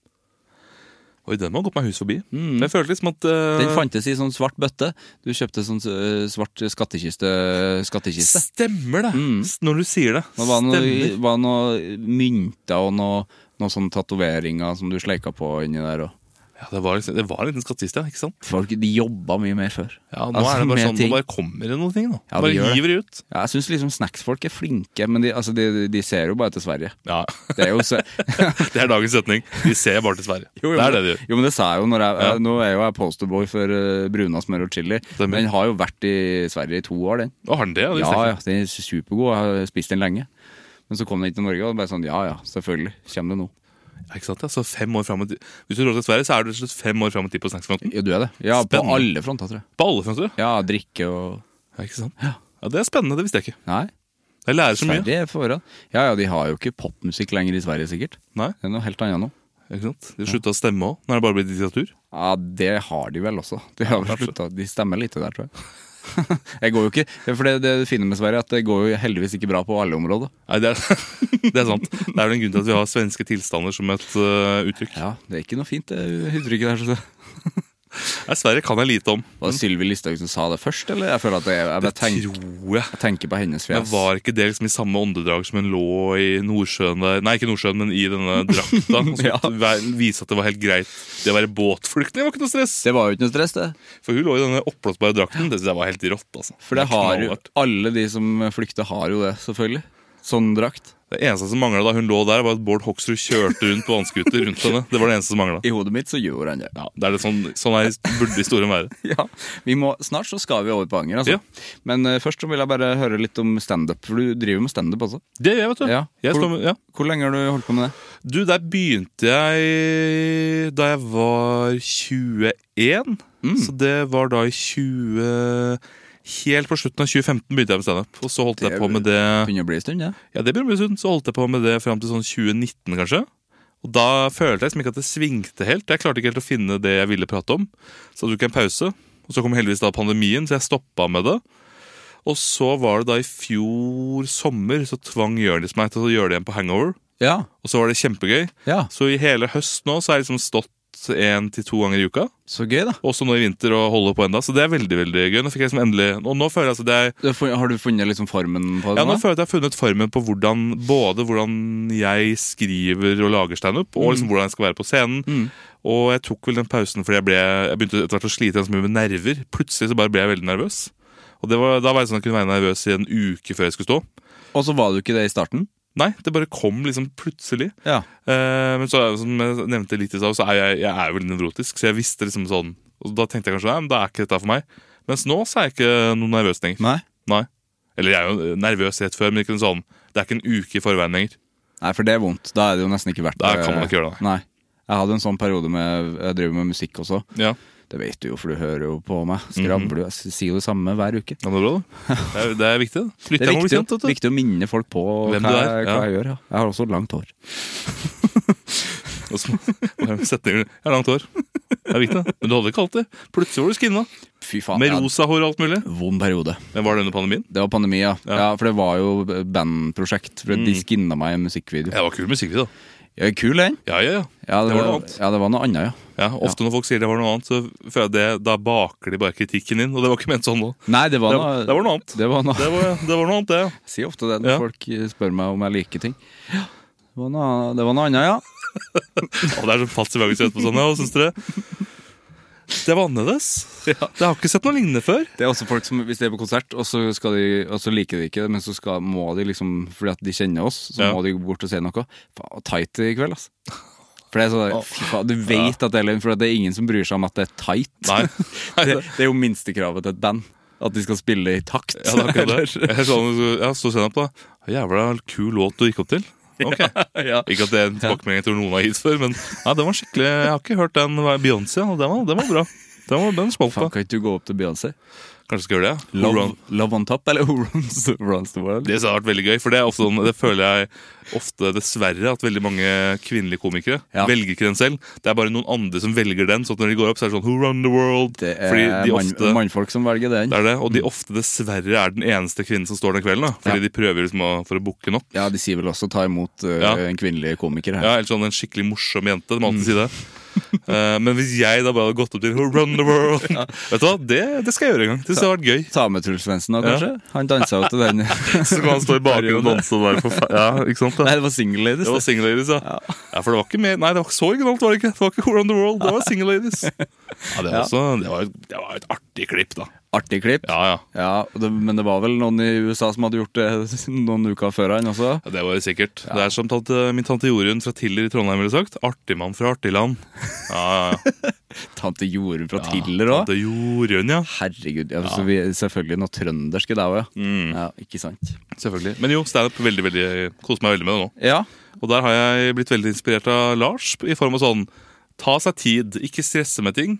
B: Oi, den må ha gått meg hus forbi. Men Jeg følte liksom at eh,
A: Mm. Den fantes i sånn svart bøtte. Du kjøpte sånn eh, svart skattkiste. skattkiste.
B: Stemmer det! S- Når du sier det.
A: Det Mm. var noe,
B: Stemmer.
A: var noe mynter og noe, noe sånn tatoveringer som du sleika på inni der. Og.
B: Ja, det, var liksom, det var en liten skattist, ja. Ikke sant?
A: Folk de jobba mye mer før.
B: Ja, Nå
A: Altså,
B: er det bare
A: med
B: sånn, nå
A: ting.
B: bare kommer det noen ting. nå
A: Ja, det
B: Bare
A: gjør det.
B: hiver det ut.
A: Ja, jeg syns liksom snacksfolk er flinke, men de, altså, de, de ser jo bare til Sverige.
B: [LAUGHS] Ja,
A: Det er jo, så,
B: Det er dagens setning. De ser bare til Sverige.
A: jo, jo,
B: det er det
A: men-
B: de gjør.
A: Jo, men det sa jeg jo når jeg,
B: Ja.
A: Nå er jo jeg posterboy for eh, bruna smør og chili.
B: Stemmer.
A: Den har jo vært i Sverige i to år, den.
B: Og har den det? Ja, det
A: Ja,
B: visste jeg
A: ja, den er supergod. Jeg har spist den lenge. Men så kom den ikke til Norge, og det bare sånn ja ja, selvfølgelig. Kommer det nå?
B: ikke. ikke sant, ja? Så fem år frem i tid Hvis du drar til Sverige, så er du rett og slett fem år fram i tid på snacksfronten.
A: Ja, du er det. Ja, på
B: Spennende.
A: alle fronter, tror jeg.
B: På alle fronter.
A: Ja, drikke og
B: Ja, ikke sant? Ja, Det er spennende, det visste jeg ikke.
A: Nei.
B: Jeg lærer så mye.
A: Sverige er foran. Ja, ja, de har jo ikke popmusikk lenger i Sverige, sikkert.
B: Nei,
A: Det er noe helt annet nå.
B: ikke sant? De slutta å stemme òg. Nå er det bare blitt diktatur.
A: Ja, det har de vel også. De, har vel
B: kanskje.
A: sluttet. de stemmer lite der, tror jeg. jeg [LAUGHS] går jo ikke, for det, det fine med Sverige er at det går jo heldigvis ikke bra på alle områder.
B: Nei, det er, [LAUGHS] det er sant. Det er vel en grunn til at vi har svenske tilstander som et øh, uttrykk.
A: Ja, Det er ikke noe fint, det uttrykket der. synes jeg.
B: [LAUGHS] Nei, Sverige kan jeg lite om.
A: Var det Sylvi Listhaug som sa det først, eller? Jeg føler at jeg, jeg, bare tenker,
B: tror jeg.
A: jeg tenker på hennes
B: Men
A: fjes.
B: var ikke det liksom i samme åndedrag som hun lå i Nordsjøen der Nei, ikke Nordsjøen, men i denne
A: [LAUGHS]
B: drakta. Og så
A: Ja.
B: væ- vise at det var helt greit. Det å være båtflyktning var ikke noe stress.
A: Det var jo ikke noe stress, det.
B: For hun lå i denne oppblåsbare drakten. Det synes jeg var helt rått. altså
A: For det
B: er
A: har jo,
B: knallhardt.
A: alle de som flykter, har jo det, selvfølgelig. Sånn drakt.
B: Det eneste som mangla da hun lå der, var at Bård Hoksrud kjørte rundt på vannskuter rundt henne. Det var det eneste som manglet.
A: I hodet mitt så gjorde han det.
B: Ja, det er det sånn, sånn er, burde historien være.
A: [LAUGHS] Ja, vi må, Snart så skal vi over på anger. Altså.
B: Ja.
A: Men eh, først så vil jeg bare høre litt om standup. For du driver med standup også.
B: Det gjør jeg, vet du.
A: Ja.
B: Jeg
A: Hvor-
B: står med, ja.
A: Hvor lenge har du holdt på med det?
B: Du, der begynte jeg da jeg var 21. Så det var da i 20 Helt på slutten av 2015 begynte jeg med standup. Og så holdt
A: Det
B: jeg på med det
A: Begynner å bli en stund, ja.
B: Ja, det begynner å bli en stund. Så holdt jeg på med det fram til sånn 2019, kanskje. Og da følte jeg liksom ikke at det svingte helt. Jeg klarte ikke helt å finne det jeg ville prate om. Så tok jeg en pause. Og så kom heldigvis da pandemien, så jeg stoppa med det. Og så var det da i fjor sommer så tvang Jonis meg til å gjøre det igjen på Hangover.
A: Ja,
B: Og så var det kjempegøy.
A: ja.
B: Så i hele høst nå så har jeg liksom stått rundt én til to ganger i uka.
A: Så gøy, da.
B: Også nå i vinter og holder på enda, så det er veldig veldig gøy. Nå fikk jeg liksom endelig, og nå føler jeg altså det er,
A: Du har fun- Har du funnet liksom formen på det?
B: ja, nå
A: nå?
B: føler jeg at jeg har funnet formen på hvordan, både hvordan jeg skriver og lager standup,
A: Mm.
B: og liksom hvordan jeg skal være på scenen. Og jeg tok vel den pausen fordi jeg, ble, jeg begynte etter hvert å slite ganske mye med nerver. Plutselig så bare ble jeg veldig nervøs. Og det var, da var jeg sånn at jeg kunne være nervøs i en uke før jeg skulle stå.
A: Og så var du ikke det i starten?
B: Nei, det bare kom liksom plutselig.
A: Ja.
B: Eh, men så, er det som jeg nevnte litt i stad, så er jeg, jeg er jo veldig nevrotisk. Så jeg visste liksom sånn Og da tenkte jeg kanskje nei, men da er ikke dette for meg. Mens nå så er jeg ikke noe nervøs lenger.
A: Nei?
B: Nei. Eller jeg er jo nervøs rett før, men ikke en sånn Det er ikke en uke i forveien lenger.
A: Nei, for det er vondt. Da er det jo nesten ikke verdt eh,
B: Da kan man ikke gjøre det.
A: Nei. Jeg hadde en sånn periode med Jeg driver med musikk også.
B: Ja,
A: Det vet du jo, for du hører jo på meg.
B: Mhm.
A: Skravler du? Jeg sier jo det samme hver uke.
B: ja Det er bra, da. [LAUGHS] Det er, det er viktig. da.
A: Det er
B: Lytteren må bli
A: viktig,
B: kjent, vet du. [LAUGHS]
A: viktig å minne folk på
B: Hvem
A: hva,
B: du
A: jeg,
B: er,
A: hva
B: ja.
A: jeg gjør. Ja. Jeg har også langt hår.
B: Og så- og her med setninger. Jeg har langt hår. Det er viktig, da. Men du hadde ikke alltid. Plutselig var du skinna.
A: Fy faen.
B: Med
A: jeg hadde
B: rosa hår og alt mulig.
A: en Vond periode.
B: Men Var det under pandemien?
A: Det var pandemi, ja.
B: Ja. Mm.
A: ja. for det var jo bandprosjekt. For De skinna meg i en musikkvideo.
B: Ja, det var kul musikkvideo. da.
A: Ja, kul, den.
B: Ja, ja, ja.
A: Ja,
B: det var noe annet.
A: Ja, det var noe annet, ja.
B: Ja, Ofte når folk sier det var noe annet, så føler jeg det, da baker de bare kritikken inn. Og det var ikke ment sånn nå.
A: Nei, det var
B: Det,
A: noe
B: det var noe annet.
A: Det var noe
B: Det var, det var noe annet, det. ja.
A: Jeg sier ofte det når
B: Ja.
A: folk eh, spør meg om jeg liker ting. Det var noe, det var noe annet, ja.
B: Å, det er så fast i magen så jeg vet på sånn, ja, hva syns dere? Det var annerledes. Det har ikke sett noe lignende før.
A: Det er også folk som, Hvis de er på konsert, og så, skal de, og så liker de ikke det, men så skal, må de liksom Fordi at de kjenner oss, så
B: Ja.
A: må de gå bort og si noe. Faen, tight i kveld, altså. For det er sånn, fy faen, Du vet at det er løgn, for det er ingen som bryr seg om at det er tight.
B: [LAUGHS] Nei. Nei,
A: Det,
B: det-
A: det er jo minstekravet til et band. At de skal spille i takt.
B: Ja, det er
A: [LAUGHS]
B: akkurat det.
A: Eller-
B: Jeg så han- ja, så senere på det. Jævla kul låt du gikk opp til. Ok. Ikke at det er en tilbakemelding jeg tror noen har gitt før, men ja, den var skikkelig Jeg har ikke hørt den var Beyoncé, og den var, den var bra. Den, var, den smalt
A: Faen,
B: på.
A: kan ikke du gå opp til Beyoncé?
B: Kanskje skal gjøre det. ja. Who
A: Love,
B: run-
A: love on top, eller Who runs, runs the world?
B: Det har vært veldig gøy, for det, er ofte sånn, det føler jeg ofte dessverre at veldig mange kvinnelige komikere
A: Ja.
B: velger ikke den selv. Det er bare noen andre som velger den, så at når de går opp, så er det sånn Who run the world?
A: Det
B: Fordi
A: er
B: de
A: mann,
B: ofte,
A: mannfolk som velger den.
B: det er det, og de ofte dessverre er den eneste kvinnen som står den kvelden. Da,
A: Ja.
B: fordi de prøver liksom å, for å booke den opp.
A: Ja, de sier vel også 'ta imot eh,
B: Ja.
A: en kvinnelig komiker' her.
B: Ja, Eller sånn en skikkelig morsom jente. De må alltid si [LAUGHS] det. Eh, men hvis jeg da bare hadde gått opp til Who run the world? Vet du hva, det, det skal jeg gjøre en gang. Det synes jeg har vært gøy.
A: Ta med Truls Svendsen da, kanskje? Han dansa jo til den.
B: [LAUGHS] Så kan han stå i bakgrunnen og
A: [LAUGHS] Periode.
B: danse og være på fe- Ja, ikke sant? Da?
A: Nei, det var Single Ladies.
B: Det var
A: det.
B: single ladies, ja. ja. for det var ikke mer Nei, det var ikke så originalt, var det ikke? Det var ikke Around the World, [LAUGHS] det var single ladies. Ja, Det var, også, det var, det var et artig klipp, da.
A: Artig klipp.
B: Ja, ja.
A: Ja, og det, Men det var vel noen i USA som hadde gjort det [LAUGHS] noen uker før han også?
B: Ja, Det var det sikkert. Det er som tante, min tante Jorunn fra Tiller i Trondheim ville sagt. Artig mann fra artig land. Ja, ja,
A: [LAUGHS]
B: ja.
A: Tante Jorunn fra Tiller òg?
B: Tante Jorunn, ja. Mm.
A: Herregud. Ja, så vi, selvfølgelig noe trøndersk i deg òg, ja. ja. Ikke sant?
B: Selvfølgelig. Men jo, standup veldig, veldig koser meg veldig med det nå.
A: Ja.
B: Og der har jeg blitt veldig inspirert av Lars i form av sånn ta seg tid, ikke stresse med ting.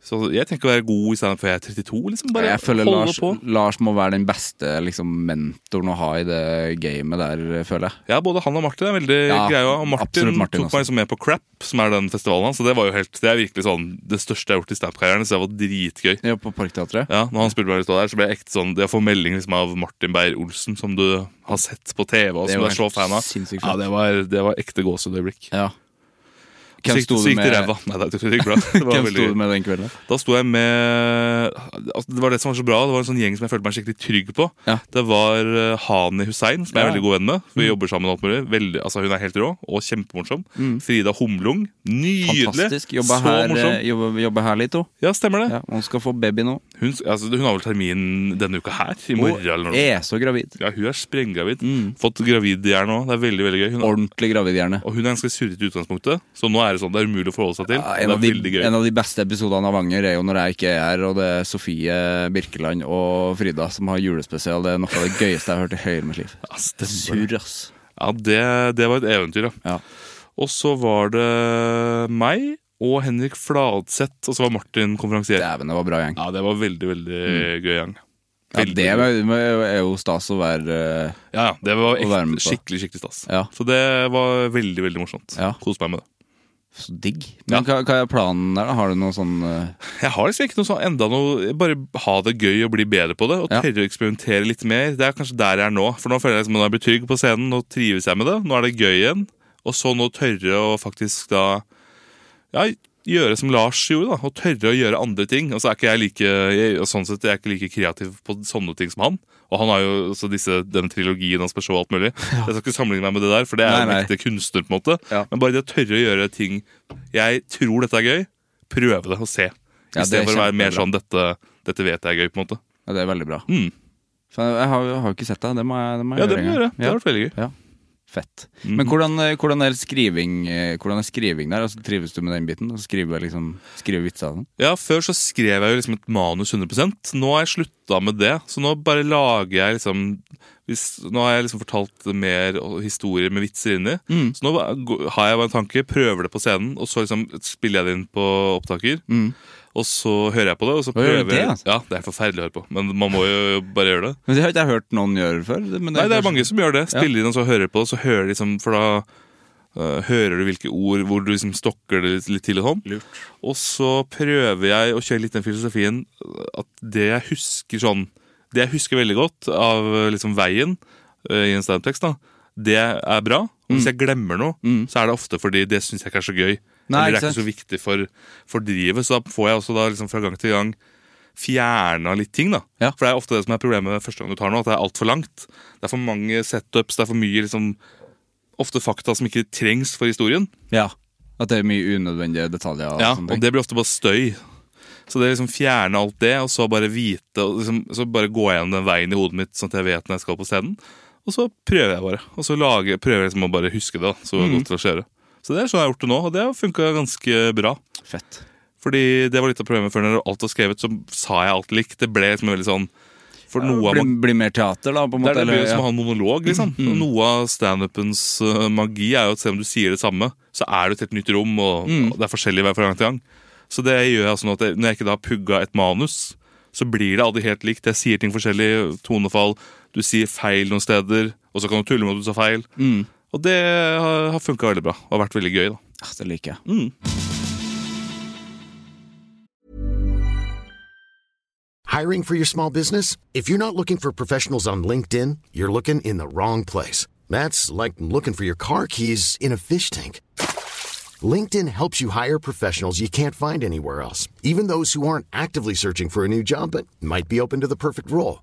B: Så jeg tenker å være god i standup før jeg er 32, liksom. Bare
A: Jeg føler
B: holde
A: Lars,
B: på.
A: Lars må være den beste liksom, mentoren å ha i det gamet der, føler jeg.
B: Ja, både han og Martin er veldig
A: Ja,
B: greia. Og Martin,
A: absolutt Martin
B: tok
A: også.
B: meg liksom med på Crap, som er den festivalen hans. Så det var jo helt, det er virkelig sånn det største jeg har gjort i standup-karrieren. Så det var dritgøy.
A: Ja, på Parkteatret.
B: Ja, når han spurte meg å stå der, så ble jeg ekte sånn Det å få melding liksom av Martin Beyer-Olsen, som du har sett på TV, og
A: Det
B: som du
A: var
B: er så
A: helt
B: fan av.
A: sinnssykt
B: Ja,
A: fett.
B: det var, det var ekte gåsehudøyeblikk.
A: Ja. Hvem
B: Så gikk
A: sto du
B: så gikk det i
A: med,
B: ræva. Nei, det gikk
A: [LAUGHS]
B: bra. [LAUGHS] Det var
A: hvem sto
B: veldig
A: du
B: gøy.
A: med den kvelden?
B: Da sto jeg med altså, Det var det som var så bra. Det var en sånn gjeng som jeg følte meg skikkelig trygg på.
A: Ja.
B: Det var eh, Hani Hussein, som jeg er
A: Ja. Mm.
B: veldig god venn med. Vi jobber sammen og alt mulig. Veldig, altså, hun er helt rå og kjempemorsom. Frida Humlung. Nydelig!
A: Mm. Fantastisk.
B: Så
A: Jobba her,
B: morsom.
A: eh, jobba, jobba her litt òg.
B: Ja, stemmer det.
A: Ja, hun skal få baby nå.
B: Hun, altså, hun har vel termin denne uka her? I morgen eller noe?
A: er så gravid.
B: Ja, hun er sprenggravid.
A: Mm.
B: Fått gravidhjerne òg. Det er veldig veldig gøy. Hun,
A: Ordentlig gravid, gjerne.
B: og hun er ganske surrete i utgangspunktet, så nå er det sånn, det er umulig å forholde seg til.
A: Ja,
B: og
A: en, av
B: det
A: de,
B: er veldig gøy.
A: en av de beste episodene av Vanger er jo når jeg ikke er her, og det er Sofie Birkeland og Frida som har julespesial. Det er noe av det gøyeste jeg har hørt i hele mitt liv.
B: Ja, stemmer.
A: Sur, ass.
B: Ja, det, det var et eventyr, ja.
A: Ja.
B: Og så var det meg og Henrik Fladseth, og så var Martin konferansier.
A: Dæven, det var bra gjeng.
B: Ja, det var veldig, veldig gøy gjeng.
A: Ja,
B: Veldig
A: det
B: gøy.
A: er jo- er jo stas å være eh,
B: ja, ja, det var
A: å være med på.
B: ekte, skikkelig skikkelig stas.
A: Ja.
B: Så det var veldig veldig morsomt.
A: Ja.
B: Kos meg med det.
A: så digg. Men hva, hva er planen der, da? Har du noe sånn eh,
B: Jeg har liksom ikke noe sånn enda noe Bare ha det gøy og bli bedre på det, og
A: Ja.
B: tørre å eksperimentere litt mer. Det er kanskje der jeg er nå. For nå føler jeg liksom, nå er jeg blitt trygg på scenen, nå trives jeg med det. Nå er det gøy igjen. Og så nå tørre å faktisk da ja, gjøre som Lars gjorde, da, og tørre å gjøre andre ting. Og så er ikke jeg like jeg, og sånn sett, jeg er ikke like kreativ på sånne ting som han. Og han har jo også disse, den trilogien hans med show og alt mulig. Jeg skal ikke sammenligne meg med det der, for det er
A: Nei,
B: en
A: nei.
B: ekte kunstner. på en måte
A: Ja.
B: Men bare det å tørre å gjøre ting Jeg tror dette er gøy, prøve det og se.
A: Ja, det er
B: Istedenfor å være mer
A: kjempebra.
B: sånn dette, 'dette vet jeg er gøy', på en måte.
A: Ja, det er veldig bra.
B: Mm.
A: For jeg har jeg har jo ikke sett det. Det må jeg, det må jeg
B: Ja, det må
A: en
B: du
A: gang.
B: gjøre. Det
A: Ja.
B: har vært Mhm. veldig gøy.
A: Ja, fett. Men hvordan, eh, hvordan er skriving eh, Hvordan er skriving der? Altså, trives du med den biten? Altså, skrive, liksom, skrive vitser og sånn?
B: Ja, Før så skrev jeg jo liksom et manus 100 Nå har jeg slutta med det. Så nå bare lager jeg liksom hvis, Nå har jeg liksom fortalt mer og- historier med vitser inni. Så nå ba- gå- har jeg bare en tanke, prøver det på scenen, og så liksom spiller jeg det inn på opptaker. Og så hører jeg på det. og så
A: Å, gjør
B: prøver
A: du det, altså?
B: Ja, det er forferdelig å høre på, men man må jo bare gjøre det.
A: Men Det har ikke jeg hørt noen gjøre før. Men
B: Nei, det er
A: kanskje-
B: mange som gjør det.
A: Ja.
B: Spiller inn og så hører på det, så hører de liksom For da eh, hører du hvilke ord hvor du liksom stokker det litt til og sånn. Og så prøver jeg å kjøre litt den filosofien at det jeg husker sånn Det jeg husker veldig godt av eh, liksom veien eh, i en standup-tekst, da, det er bra. Og
A: Mm.
B: hvis jeg glemmer noe, så er det ofte fordi det syns jeg ikke er så gøy.
A: Nei,
B: eller
A: ikke
B: det er ikke
A: sant?
B: så viktig for, for drivet. Så da får jeg også da liksom fra gang til gang fjerna litt ting. da
A: Ja.
B: For det er ofte det som er problemet første gang du tar noe, at det er altfor langt. Det er for mange setups, det er for mye liksom ofte fakta som ikke trengs for historien.
A: Ja. At det er mye unødvendige detaljer. Og
B: Ja,
A: sånne
B: og
A: ting.
B: det blir ofte bare støy. Så det er liksom fjerne alt det, og så bare vite og liksom, Så bare gå gjennom den veien i hodet mitt, sånn at jeg vet når jeg skal på scenen. Og så prøver jeg bare. Og så lager, prøver jeg liksom å bare huske det. da, Så godt det skjer. Så det er sånn jeg har gjort det nå, og det har funka ganske bra.
A: Fett.
B: Fordi det var litt av problemet før når alt var skrevet, så sa jeg alt likt. Det ble liksom veldig sånn For noe av
A: Blir bli mer teater, da? på en
B: det
A: måte
B: er det blir
A: eller- Mm,
B: jo som
A: ja.
B: å ha en monolog, liksom. Noe av standupens uh, magi er jo at selv om du sier det samme, så er du til et nytt rom, og,
A: Mm.
B: og det er forskjellig hver fra gang til gang. Så det gjør jeg sånn at jeg, når jeg ikke da har pugga et manus, så blir det aldri helt likt. Jeg sier ting forskjellig, tonefall, du sier feil noen steder, og så kan du tulle med at du sa feil.
A: Mm.
B: Og det har, har funka veldig bra, og har vært veldig gøy, da.
A: Ja, Ah, det liker jeg.
C: Hiring for your small business? If you're not looking for professionals on LinkedIn, you're looking in the wrong place. That's like looking for your car keys in a fish tank. LinkedIn helps you hire professionals you can't find anywhere else, even those who aren't actively searching for a new job but might be open to the perfect role.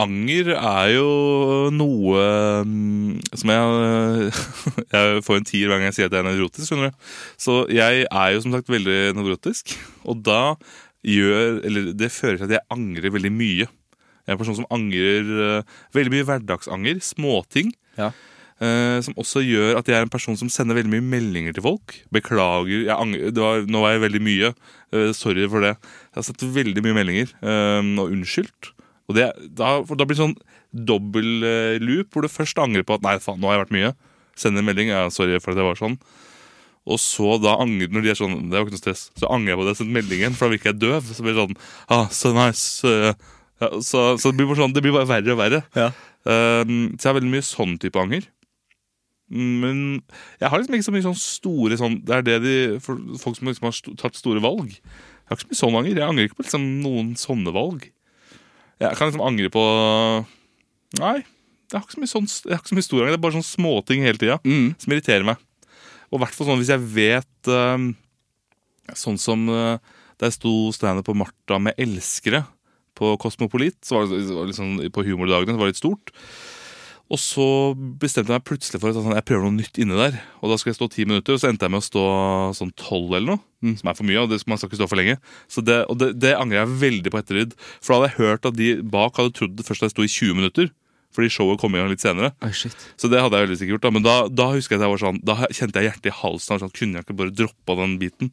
B: Anger er jo noe mm, som jeg [LAUGHS] Jeg får en tier hver gang jeg sier at jeg er nevrotisk, skjønner du. Så jeg er jo som sagt veldig nevrotisk, og da gjør Eller det fører til at jeg angrer veldig mye. Jeg er en person som angrer eh, veldig mye hverdagsanger, småting.
A: Ja.
B: Eh, som også gjør at jeg er en person som sender veldig mye meldinger til folk. Beklager, jeg angrer, det var, nå var jeg veldig mye. Eh, sorry for det. Jeg har sett veldig mye meldinger, eh, og unnskyldt. Og det, da, for da blir det sånn dobbel eh, loop, hvor du først angrer på at nei, faen, nå har jeg vært mye. Sender en melding, ja, sorry for at jeg var sånn. Og så da angrer når de er sånn, det var ikke noe stress, så angrer jeg på det, sendt meldingen, for da virker jeg døv. Så blir det sånn, ah, so nice. eh, ja, så, så det blir bare sånn, det blir bare verre og verre.
A: Ja.
B: Um, så jeg har veldig mye sånn type anger. Men jeg har liksom ikke så mye sånn store sånn Det er det de for folk som liksom har sto, tatt store valg. Jeg har ikke så mye sånn anger. Jeg angrer ikke på liksom noen sånne valg. Jeg kan liksom angre på Nei, jeg har ikke så mye, sånn, jeg har ikke så mye stor anger. Det er bare sånne småting hele tida som irriterer meg. Og i hvert fall sånn hvis jeg vet um, Sånn som eh, da jeg sto standup på Martha med elskere på Kosmopolit, så var det, det var liksom, på humordagene, så var det litt stort. Og så bestemte jeg meg plutselig for at sånn, jeg prøver noe nytt inne der. Og da skal jeg stå ti minutter, og så endte jeg med å stå sånn tolv eller noe. mm, Som er for mye, og det skal man skal ikke stå for lenge. Så det, og det, det angrer jeg veldig på ettertid. For da hadde jeg hørt at de bak hadde trodd det først da jeg sto i 20 minutter. Fordi showet kom i gang litt senere.
A: Oi, shit.
B: Så det hadde jeg veldig sikkert gjort. Da. Men da, da husker jeg at jeg var sånn Da kjente jeg hjertet i halsen. og Sånn, kunne jeg ikke bare droppa den biten?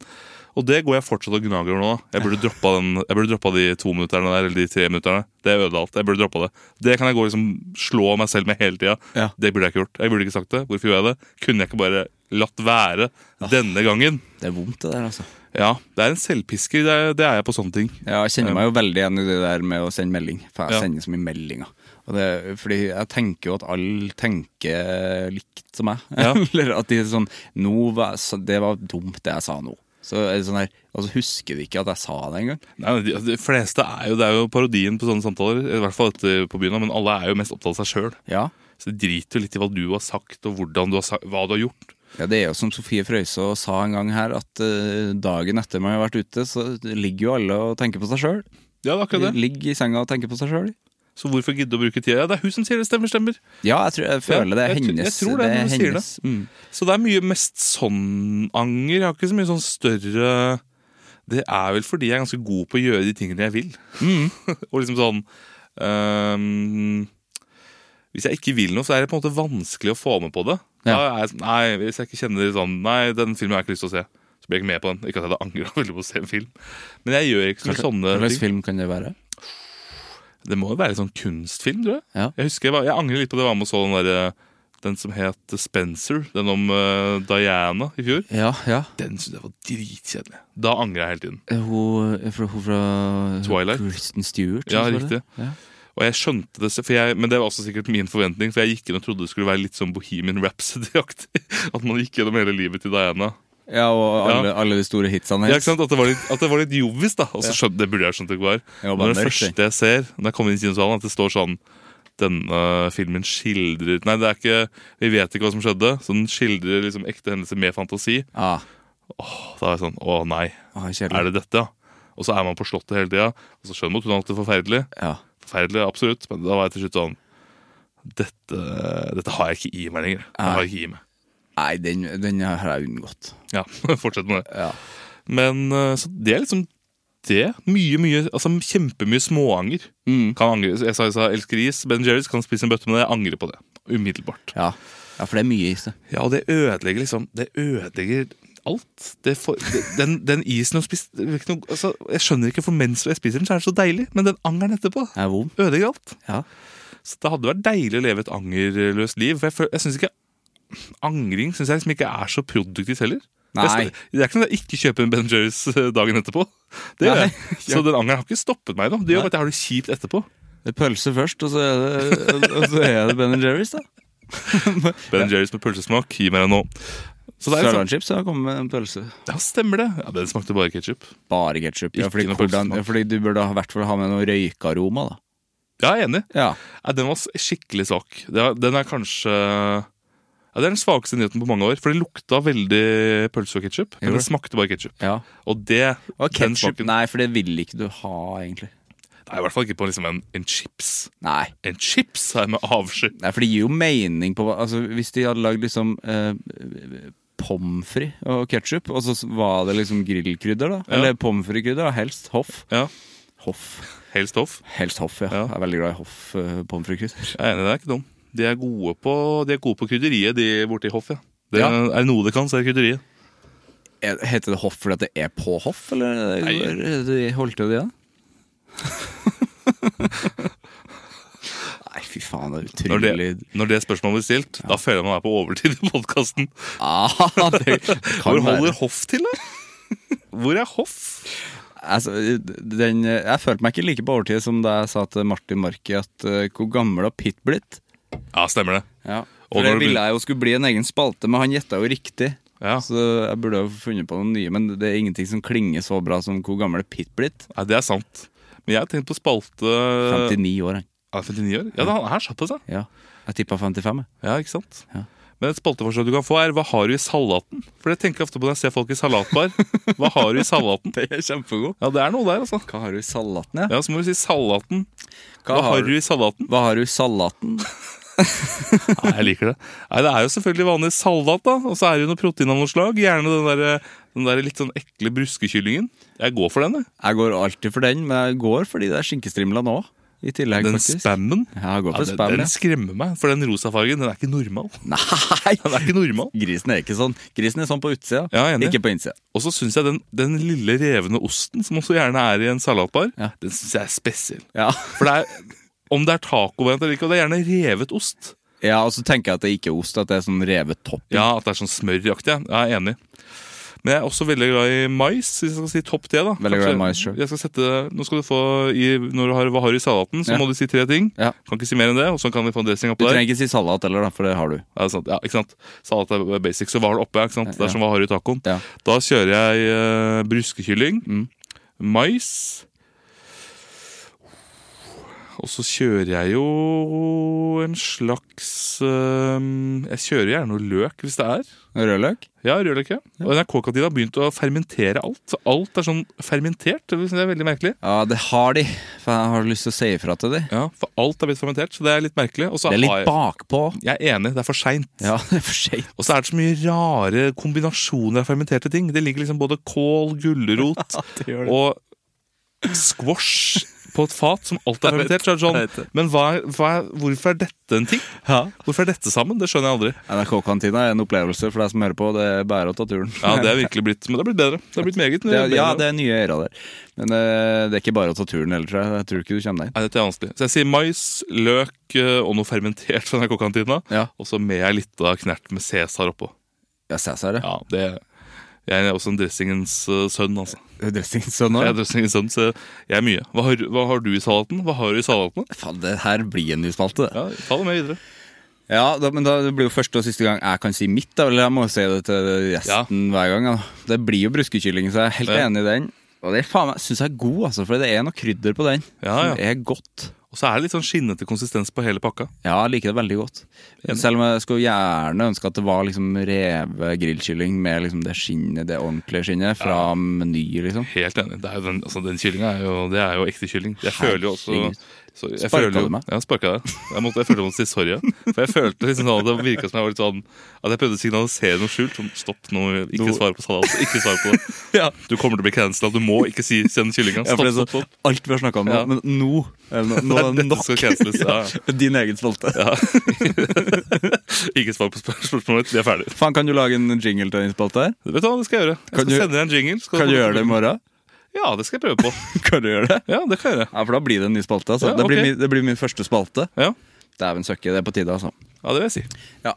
B: Og det går jeg fortsatt og gnager over nå. da. Jeg burde droppa, den, jeg burde droppa de to minutterne der, eller de tre minutterne. Det ødela alt. Jeg burde droppa det. Det kan jeg gå og liksom slå meg selv med hele tida.
A: Ja.
B: Det burde jeg ikke gjort. Jeg burde ikke sagt det. Hvorfor gjorde jeg det? Kunne jeg ikke bare latt være denne gangen?
A: Det er vondt, det der, altså.
B: Ja, det er en selvpisker. Det er, det er jeg på sånne ting.
A: Ja, jeg kjenner meg jo veldig igjen i det der med å sende melding. For jeg
B: Ja.
A: sender så mye meldinger. Og det, fordi jeg tenker jo at alle tenker likt som meg.
B: Ja.
A: [LAUGHS] Eller at de er sånn nå var, jeg så- Det var dumt, det jeg sa nå. Så er det sånn her, og så husker de ikke at jeg sa det engang.
B: Nei, men de, de fleste er jo, Det er jo parodien på sånne samtaler. I hvert fall ute på byen, da, men alle er jo mest opptatt av seg sjøl.
A: Ja.
B: Så det driter jo litt i hva du har sagt, og hvordan du har sagt, hva du har gjort.
A: ja, det er jo som Sofie Frøysaa sa en gang her, at eh, dagen etter man har vært ute, så ligger jo alle og tenker på seg sjøl.
B: Ja, det er akkurat det.
A: Ligger i senga og tenker på seg sjøl.
B: Så hvorfor gidde å bruke tida? Ja, det er hun som sier det. Stemmer, stemmer.
A: Ja, jeg, tror, jeg føler det er
B: jeg tr- jeg
A: hennes.
B: tror det når du sier det.
A: hennes. Mm.
B: Så det er mye mest sånn anger. Jeg har ikke så mye sånn større Det er vel fordi jeg er ganske god på å gjøre de tingene jeg vil. [LAUGHS] og liksom sånn ehm, Hvis jeg ikke vil noe, så er det på en måte vanskelig å få med på det. Da er jeg sånn, nei, Hvis jeg ikke kjenner sånn Nei, den filmen har jeg ikke lyst til å se. Så blir jeg ikke med på den. Ikke at jeg hadde angra veldig på å se en film. Men jeg gjør ikke så mye sånne
A: Hva slags
B: ting.
A: film kan det være?
B: Det må jo være sånn kunstfilm, tror jeg.
A: Ja.
B: Jeg husker jeg, var, jeg angrer litt på det jeg var med og så den der, eh, den som het Spencer. Den om eh, Diana i fjor.
A: Ja, ja.
B: Den syntes jeg var dritkjedelig. Da angrer jeg hele tiden.
A: Eh, Hun fra, hun fra eh,
B: Twilight.
A: Kristen Stewart.
B: Ja,
A: var det?
B: riktig.
A: Ja.
B: Og jeg skjønte det, for jeg, men det var også sikkert min forventning. For jeg gikk inn og trodde det skulle være litt sånn Bohemian Rhapsody-aktig. [LAUGHS] At man gikk gjennom hele livet til Diana.
A: ja, og alle,
B: Ja.
A: alle de store hitsene
B: Ja,
A: hennes.
B: ikke sant? At det var litt, at det var litt jovis, da. Og så skjønte, det burde jeg skjønt det ikke var.
A: Ja, bare
B: Når det
A: mørkt,
B: første jeg ser, når jeg kommer inn i kinosalen, at det står sånn denne filmen skildrer Nei, det er ikke, vi vet ikke hva som skjedde, så den skildrer liksom ekte hendelser med fantasi.
A: Ah,
B: Da er jeg sånn Å nei,
A: ah,
B: er det dette, ja? Og så er man på Slottet hele tida, og så skjønner man at hun har hatt det forferdelig.
A: Ja.
B: Forferdelig, absolutt, men da var jeg til slutt sånn dette, dette har jeg ikke i meg lenger. Det har jeg ikke i meg.
A: Nei, den, den har jeg unngått.
B: Ja, [LAUGHS] fortsett med det.
A: Ja.
B: Men eh, så det er liksom det. Mye, mye, altså kjempemye småanger. Kan angre. Jeg sa jeg sa elsker is. Ben Jerrys kan spise en bøtte, men jeg angrer på det. Umiddelbart.
A: Ja. ja, for det er mye is, det.
B: Ja, og det ødelegger liksom Det ødelegger alt. Det for, det, den, den isen hun spiste det er ikke noe, altså, Jeg skjønner ikke, for mens jeg spiser den, så er den så deilig, men den angeren etterpå
A: Det er vond.
B: ødelegger alt.
A: Ja.
B: Så det hadde vært deilig å leve et angerløst liv. For jeg, føl- jeg synes ikke Angring syns jeg liksom ikke er så produktivt heller.
A: Nei.
B: Jeg, skal- det er ikke noe jeg ikke kjøper en Ben Jerrys eh, dagen etterpå. Det gjør
A: Nei. [LAUGHS]
B: jeg. Så den angeren har ikke stoppet meg. nå Det gjør bare at jeg har det kjipt etterpå.
A: Det er pølse først, og så er det, og så er det Ben Jerry's,
B: [LAUGHS]
A: da.
B: Ben Jerrys med pølsesmak, gi meg det nå. Så det er liksom,
A: Sørlandschips har kommet med en pølse.
B: ja, stemmer det. Ja, Den smakte bare ketsjup.
A: Bare ketsjup. Ja,
B: Ikke
A: fordi,
B: noe
A: hvordan-
B: pølsesmak.
A: ja, fordi du burde i hvert fall ha med noe røykaroma, da.
B: Ja, jeg er enig.
A: Ja.
B: Nei, den var s- skikkelig svak. Det er- Den er kanskje ja, Det er den svakeste nyheten på mange år. For det lukta veldig pølse og ketsjup, men
A: Gjorde
B: det smakte bare ketsjup.
A: ja.
B: Og det
A: Og
B: den
A: ketsjup
B: smaken-
A: Nei, for det vil ikke du ha, egentlig.
B: Nei, i hvert fall ikke på liksom en, en chips.
A: Nei.
B: En chips her med avsky.
A: Nei, for det gir jo mening på hva- altså, Hvis de hadde lagd liksom eh, pommes frites og ketsjup, og så var det liksom grillkrydder, da. Eller pommes frites-krydder, da. helst hoff.
B: Ja,
A: Hoff.
B: Helst hoff.
A: Helst hoff, ja.
B: Ja.
A: Jeg er veldig glad i hoff eh, pommes frites-krydder.
B: Jeg er enig, det er ikke dum. De er gode på, de er gode på krydderiet de borte i hoff, ja. Det
A: Ja.
B: er noe de kan, så er det krydderiet.
A: Er- Heter det hoff fordi at det er på hoff, eller
B: Nei.
A: er det- holdt til det?
B: [LAUGHS]
A: Nei, fy faen, det er
B: Når det,
A: utrolig
B: når det spørsmålet blir stilt, da føler jeg man er på overtid i podkasten.
A: ah, [LAUGHS] det, det kan
B: Hvor
A: være.
B: holder hoff til, da? [LAUGHS] Hvor er hoff?
A: Altså, den, jeg følte meg ikke like på overtid som da jeg sa til Martin Marki at eh, hvor gammel har Pitt blitt?
B: Ja, stemmer det.
A: Ja.
B: Og
A: For det
B: når det
A: ville
B: blir-
A: jeg jo skulle bli en egen spalte, men han gjetta jo riktig.
B: Ja.
A: Så jeg burde jo funnet på noen nye, men det er ingenting som klinger så bra som hvor gammel er Pitt blitt?
B: Nei, det er sant. Men jeg har tenkt på spalte
A: 59 år, han.
B: Ja, 59 år? Ja, da, her satt det seg.
A: Ja. Jeg tippa 55, jeg.
B: Ja, ikke sant?
A: Ja.
B: Men et spalteforslag du kan få, er 'Hva har du i salaten?' For det tenker jeg ofte på når jeg ser folk i salatbar. Hva har du i salaten?
A: [LAUGHS] Det er kjempegod.
B: Ja, det er noe der, altså.
A: Hva har du i salaten, ja?
B: Ja, så må du si salaten. Hva har du i
A: [LAUGHS]
B: salaten?
A: Hva har du i salaten?
B: Nei, jeg liker det. Nei, Det er jo selvfølgelig vanlig salat, da. Og så er det jo noe protein av noe slag. Gjerne den der, den der litt sånn ekle bruskekyllingen. Jeg går for den, jeg.
A: Jeg går alltid for den, men jeg går for de der skinkestrimlene òg. i tillegg,
B: Den
A: faktisk.
B: spammen
A: Ja, gå for
B: Ja, den,
A: spam, ja.
B: den skremmer meg, for den rosa fargen den er ikke normal.
A: [LAUGHS]
B: [LAUGHS]
A: Nei!
B: Den er ikke normal.
A: Grisen er ikke sånn. Grisen er sånn på utsida,
B: Ja, jeg er enig.
A: ikke på innsida.
B: Og så syns jeg den, den lille revne osten, som også gjerne er i en salatbar,
A: Ja.
B: den syns jeg er spesiell.
A: Ja.
B: For det er, om det er tacovariant eller ikke, og det er gjerne revet ost.
A: ja, og så tenker jeg at det ikke er ost, at det er sånn revet topp.
B: Ja, at det er sånn smøraktig. ja. Jeg er enig. Men jeg er også veldig glad i mais. Hvis jeg skal si topp det, da.
A: Veldig glad i
B: Kanskje-
A: mais selv.
B: Jeg skal sette, nå skal du få i, Når du har hva har du i salaten, så
A: Ja.
B: må du si tre ting.
A: Ja.
B: Kan ikke si mer enn det, og så kan vi få en dressing
A: Du
B: oppå der.
A: trenger ikke si salat heller, da, for det har du.
B: Ja, det er sant. Ja, ikke sant? Salat er basic, så hva har du oppe? ja, Ikke sant? Det
A: Ja.
B: er som hva har du i tacoen.
A: Ja.
B: Da kjører jeg eh, bruskekylling,
A: Mm.
B: mais Og så kjører jeg jo en slags eh, Jeg kjører gjerne noe løk, hvis det er.
A: Rødløk?
B: Ja, rødløk. Ja. Og NRK-kantina har begynt å fermentere alt. Alt er sånn fermentert. Det synes jeg er veldig merkelig.
A: Ja, det har de. For jeg har lyst til å si ifra til de.
B: Ja, For alt er blitt fermentert, så det er litt merkelig. Og
A: Det
B: så
A: er
B: har
A: litt
B: jeg,
A: bakpå.
B: jeg er enig, det er for seint.
A: Ja, [LAUGHS] det er for seint.
B: Og så er det så mye rare kombinasjoner av fermenterte ting. Det ligger liksom både kål, gulrot
A: [LAUGHS]
B: og squash på et fat som alt er fermentert. Så er det
A: jeg vet
B: sånn, men hva er, hva er, hvorfor er dette en ting?
A: Ja.
B: Hvorfor er dette sammen? Det skjønner jeg aldri.
A: NRK-kantina er en opplevelse for deg som hører på. Det er bare å ta turen.
B: Ja, Det er virkelig blitt, men det har blitt bedre. Det har blitt
A: [LAUGHS]
B: meget
A: Det er,
B: bedre.
A: ja, det er nye eiere der. Men eh, det er ikke bare å ta turen heller, tror jeg. Jeg tror ikke du kommer deg inn.
B: Nei, dette er vanskelig. Så jeg sier mais, løk eh, og noe fermentert fra NRK-kantina.
A: Ja.
B: Og så med ei lita knert med Cæsar oppå.
A: Ja, Cæsar, ja.
B: Ja, det, jeg er også en dressingens eh, sønn, altså.
A: Dressingsønn
B: Jeg er
A: òg.
B: dressingens sønn, så jeg er mye. Hva har, hva har du i salaten? Hva har du i salatene?
A: Faen, det her blir en ny spalte, det.
B: Ja, ta det med videre.
A: Ja, da, men da det blir jo første og siste gang jeg kan si mitt. Da, eller jeg må jo si det til gjesten hver gang. Da. Det blir jo bruskekylling, så jeg er helt
B: Ja.
A: enig i den. Og det faen meg, syns jeg er god, altså, for det er noe krydder på den
B: Ja,
A: som
B: ja.
A: er godt.
B: Og så er det litt sånn skinnete konsistens på hele pakka.
A: Ja, jeg liker det veldig godt. Selv om jeg skulle gjerne ønske at det var liksom reve grillkylling med liksom det skinnet, det ordentlige skinnet fra Meny, liksom.
B: Helt enig. Det er jo den, altså, den kyllinga er jo, det er jo ekte kylling. Jeg føler jo også
A: Herregud.
B: sorry, jeg
A: Sparka
B: føler jo-
A: du meg?
B: Ja, sparka deg. Jeg, måtte, jeg følte jeg måtte si sorry. ja. For jeg følte liksom sånn at det virka som jeg var litt sånn At jeg prøvde å signalisere noe skjult. Sånn, stopp nå, ikke svar på salat. Ikke svar på det. [LAUGHS] Du kommer til å bli cancela. Du må ikke si send kyllinga.
A: Ja, for
B: Stopp,
A: det er
B: stopp,
A: så-
B: stopp.
A: Alt vi har snakka om nå,
B: Ja.
A: men nå er det no- nå er
B: [LAUGHS] Nei,
A: det
B: dette
A: nok.
B: skal canceles. Ja.
A: [LAUGHS] Din egen spalte.
B: [LAUGHS] Ikke svar på spør- spørsmålet mitt. Vi er ferdig.
A: Faen, kan du lage en jingle til den spalta her?
B: Vet du hva, det skal jeg gjøre. Jeg
A: Kan
B: skal
A: du-
B: sende deg en jingle. Skal
A: Kan du
B: få-
A: gjøre det i morgen?
B: Ja, det skal jeg
A: [LAUGHS]
B: prøve på.
A: Kan du gjøre det?
B: Ja, det kan jeg gjøre.
A: Ja, for da blir det en ny spalte. Altså.
B: Ja,
A: det, blir
B: ok.
A: min, det blir min første spalte.
B: Ja,
A: Dæven søkke, det er på tide, altså.
B: ja det vil jeg si.
A: Ja.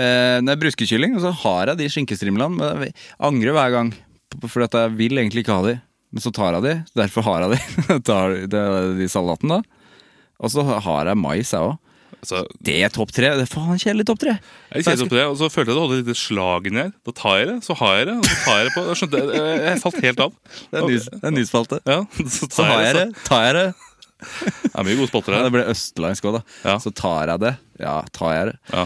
A: Eh, det er bruskekylling, og så har jeg de skinkestrimlene. Men jeg angrer hver gang, for at jeg vil egentlig ikke ha de. Men så tar jeg de, så derfor har jeg de. [LAUGHS] Jeg tar de, de salaten, da. Og så har jeg mais, jeg òg.
B: Altså,
A: Det er topp tre. Det er faen kjedelig topp tre.
B: Jeg kjente opp det, og så følte jeg det holdt et lite slag inni her. Da tar jeg det, så har jeg det, og så tar jeg det på Jeg skjønte, jeg, jeg falt helt av.
A: [LAUGHS] Det er en ny, det er en ny spalte.
B: Ja, [LAUGHS] så
A: Så har jeg det, tar jeg det.
B: Det er mye gode spotter
A: Ja, det
B: her.
A: ble østlandsk òg, da.
B: Ja.
A: Så tar jeg det. Ja, tar jeg det.
B: Ja.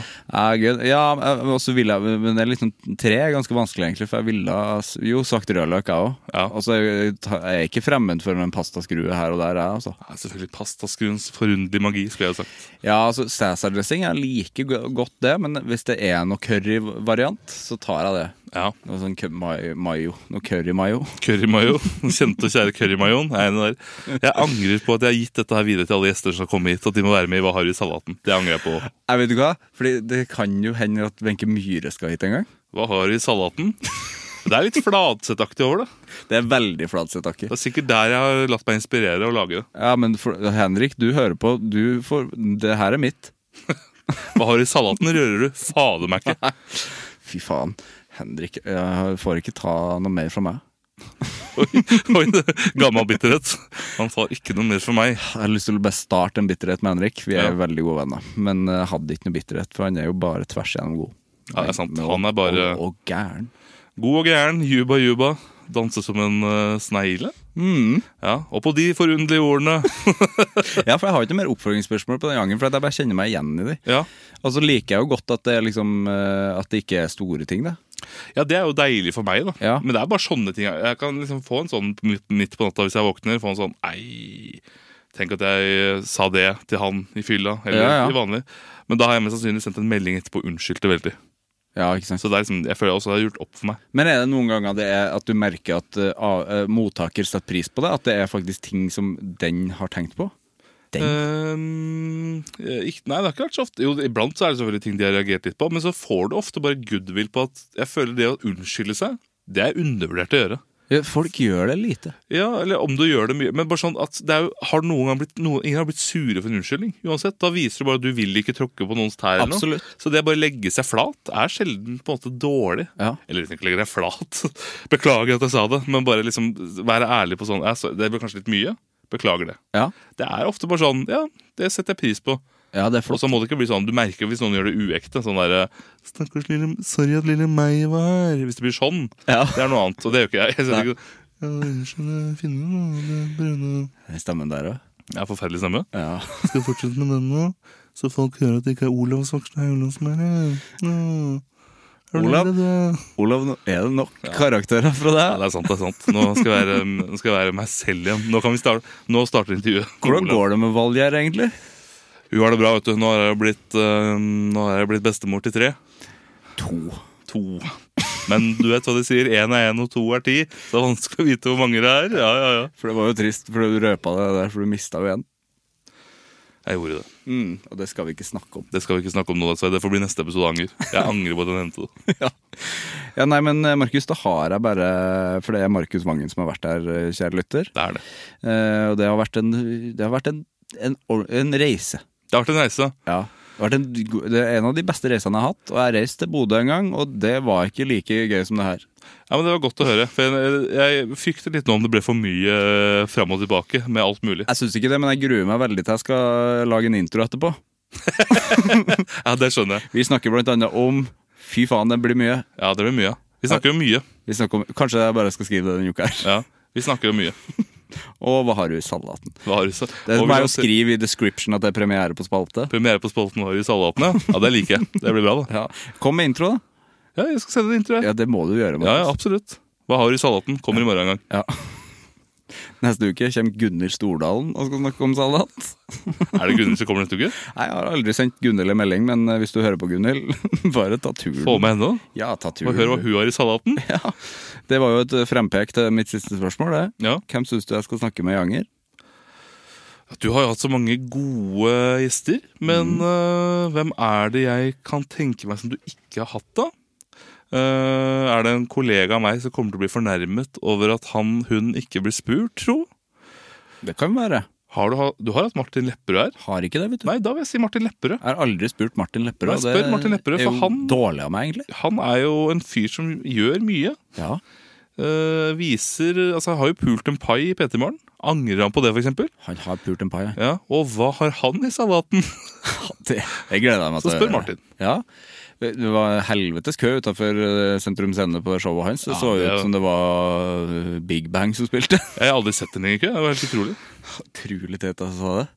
A: gud. ja men- og så ville jeg Men det er liksom tre er ganske vanskelig, egentlig. For jeg ville ha s- jo sagt rødløk, jeg òg.
B: Ja.
A: Og så er jeg ta- jeg er ikke fremmed for en pastaskrue her og der, jeg, altså.
B: Ja, selvfølgelig pastaskuens forunderlige magi, skulle jeg ha sagt.
A: Ja, altså Cæsar-dressing jeg liker go- godt, det. Men hvis det er noe curryvariant, så tar jeg det.
B: Ja.
A: Noe sånn kø- mayo, mayo. Noe curry-mayo.
B: Currymayo. Den Kjente og kjære currymayoen. er en av der. Jeg angrer på at jeg har gitt dette her videre til alle gjester som har kommet hit, at de må være med i Hva har du i salaten? Det angrer jeg på.
A: Jeg vet du hva? Fordi det kan jo hende at Wenche Myhre skal hit en gang.
B: Hva har du i salaten? Det er litt flatsettaktig over det.
A: Det er veldig flatsettaktig.
B: Det er sikkert der jeg har latt meg inspirere og lage det.
A: Ja, men for, Henrik, du hører på. Du får, det her er mitt.
B: Hva har du i salaten? Rører du? Fader meg ikke.
A: Fy faen. Henrik, jeg får ikke ta noe mer fra meg.
B: Oi, oi det- gammel bitterhet. Han sa ikke noe mer for meg.
A: Jeg har lyst til å bare starte en bitterhet med Henrik. Vi er
B: Ja.
A: jo veldig gode venner. Men jeg hadde ikke noe bitterhet, for han er jo bare tvers igjennom god.
B: Ja, det er sant.
A: Men-
B: Han er bare
A: Og, og gæren.
B: god og gæren, juba juba, danser som en eh, snegle. Ja, og på de forunderlige ordene.
A: Mm. Ja, for jeg har ikke noe mer oppfølgingsspørsmål på den gangen, for at jeg bare kjenner meg igjen i de.
B: Ja.
A: Og så liker jeg jo godt at det, er liksom, eh, at det ikke er store ting, da.
B: ja, det er jo deilig for meg, da.
A: Ja.
B: Men det er bare sånne ting. Jeg- Jeg kan liksom få en sånn midt, midt på natta hvis jeg våkner. Få en sånn Ei, tenk at jeg sa det til han i fylla, eller
A: Ja, ja.
B: i vanlig. Men da har jeg mest sannsynlig sendt en melding etterpå og unnskyldt det veldig.
A: Ja, ikke sant?
B: Så det er liksom, jeg føler også det har gjort opp for meg.
A: Men er det noen ganger det er at du merker at eh, av- eh, mottaker setter pris på det? At det er faktisk ting som den har tenkt på? den?
B: Ehm, eh, ikke, nei, det har ikke vært så ofte. Jo, Iblant så er det selvfølgelig ting de har reagert litt på, men så får du ofte bare goodwill på at jeg føler det å unnskylde seg, det er undervurdert å gjøre.
A: Folk gjør det lite.
B: Ja, eller om du gjør det mye Men bare sånn at det er jo, har noen gang blitt noen, Ingen har blitt sure for en unnskyldning uansett. Da viser du bare at du vil ikke tråkke på noens tær. eller noe.
A: Absolutt.
B: Så det å bare legge seg flat er sjelden på en måte dårlig.
A: Ja.
B: Eller liksom ikke legge deg flat. [LAUGHS] Beklager at jeg sa det, men bare liksom være ærlig på sånn «Ja, sorry, Det ble kanskje litt mye. Beklager det.
A: Ja,
B: Det er ofte bare sånn Ja, det setter jeg pris på.
A: ja det er
B: Og
A: flott.
B: så må det ikke bli sånn Du merker hvis noen gjør det uekte. Sånn derre Stakkars lille Sorry at lille meg var her. Hvis det blir sånn.
A: Ja.
B: Det er noe annet, og det gjør ikke jeg.
A: Nei.
B: jeg sier ikke, ja, unnskyld, jeg finner noe, det brune.
A: Stemmen der òg.
B: Jeg har forferdelig stemme.
A: Ja.
B: Skal jeg fortsette med den nå, så folk hører at det ikke er Olav Svartstad Haugland som er her. Nå. Er du
A: Olav?
B: redd, da?
A: Olav, nå er det nok karakterer fra
B: Ja,
A: deg?
B: det er sant, det er sant. Nå skal jeg være, nå skal jeg være meg selv igjen. Nå, kan vi starte, nå starter intervjuet.
A: Hvordan
B: Olav.
A: går det med Valgjerd, egentlig?
B: Hun har det bra, vet du. Nå har jeg blitt, eh, nå har jeg blitt bestemor til tre.
A: To.
B: To. Men du vet hva de sier, én er én og to er ti. Så det er vanskelig å vite hvor mange det er. Ja, ja, ja.
A: For det var jo trist, for du røpa det der, for du mista jo en.
B: Jeg gjorde det.
A: Mm, og det skal vi ikke snakke om.
B: Det skal vi ikke snakke om nå, altså. det får bli neste episode av anger. Jeg angrer på at jeg nevnte det.
A: Ja, Nei, men eh, Markus, da har jeg bare For det er Markus Vangen som har vært her, eh, kjære lytter.
B: Det er det.
A: Eh, og det har vært en, det har vært en, en, or- en reise.
B: Det har vært en reise.
A: Ja. Det har vært en, go- det er en av de beste reisene jeg har hatt. Og jeg reiste til Bodø en gang, og det var ikke like gøy som det her.
B: Ja, men Det var godt å høre. for Jeg, jeg frykter litt nå om det ble for mye eh, fram og tilbake med alt mulig.
A: Jeg syns ikke det, men jeg gruer meg veldig til jeg skal lage en intro etterpå.
B: Ja, Det skjønner jeg.
A: Vi snakker blant annet om Fy faen, det blir mye.
B: Ja, det blir mye. ja. Vi snakker jo mye.
A: Vi snakker om, kanskje jeg bare skal skrive det denne uka her.
B: Ja, vi snakker jo mye.
A: Og hva har du i salaten?
B: Hva har du så?
A: Det
B: Og
A: må
B: vi
A: jeg jo
B: har
A: skrive i description at det er premiere på spalte.
B: Premiere på spalten vår i salaten, ja. Ja, Det liker jeg. Det blir bra, da.
A: Ja. Kom med intro, da.
B: Ja, Jeg skal sende en intro. jeg.
A: Ja, det må du gjøre.
B: Ja, ja,
A: Markus.
B: absolutt. Hva har du i salaten? Kommer i
A: [LAUGHS]
B: morgen en gang.
A: Neste uke kommer Gunnhild Stordalen og skal snakke om salat.
B: Er det Gunnhild som kommer neste uke?
A: Nei, Jeg har aldri sendt Gunnhild en melding, men eh, hvis du hører på Gunnhild, [LAUGHS] bare ta turen.
B: Få med henne, da.
A: Ja, ta
B: Og
A: turen.
B: hør hva hun har i salaten.
A: Ja. Det var jo et eh, frempek til mitt siste spørsmål. Det.
B: Ja.
A: Hvem syns du jeg skal snakke med i Anger?
B: Du har jo hatt så mange gode gjester, men
A: Mm.
B: øh, hvem er det jeg kan tenke meg som du ikke har hatt, da? Øh, er det en kollega av meg som kommer til å bli fornærmet over at han, hun ikke blir spurt, tro?
A: Det kan være.
B: Har du, ha- du har hatt Martin Lepperød her?
A: Har ikke det, vet du.
B: Nei, da vil jeg si Martin Lepperød.
A: Jeg har aldri spurt Martin Lepperød.
B: Nei, spør
A: det
B: Martin Lepperød,
A: er
B: for
A: jo
B: han-
A: dårlig av meg, egentlig.
B: Han er jo en fyr som gjør mye.
A: Ja.
B: Øh, viser Altså, har jo pult en pai i PT Morgen. Angrer han på det, f.eks.?
A: Han har pult en pai. han.
B: Ja. Og hva har han i salaten?
A: [LAUGHS]
B: [LAUGHS]
A: Det, jeg gleder meg
B: Så
A: til å
B: spør
A: høre
B: Martin.
A: det. Ja. Det var helvetes kø utafor Sentrum Scene på showet hans. Det
B: Ja,
A: så
B: det
A: ut
B: er-
A: som det var eh, Big Bang som spilte. [LAUGHS]
B: Jeg har aldri sett henne i kø. Det var helt utrolig.
A: Utrolig teit at jeg sa det.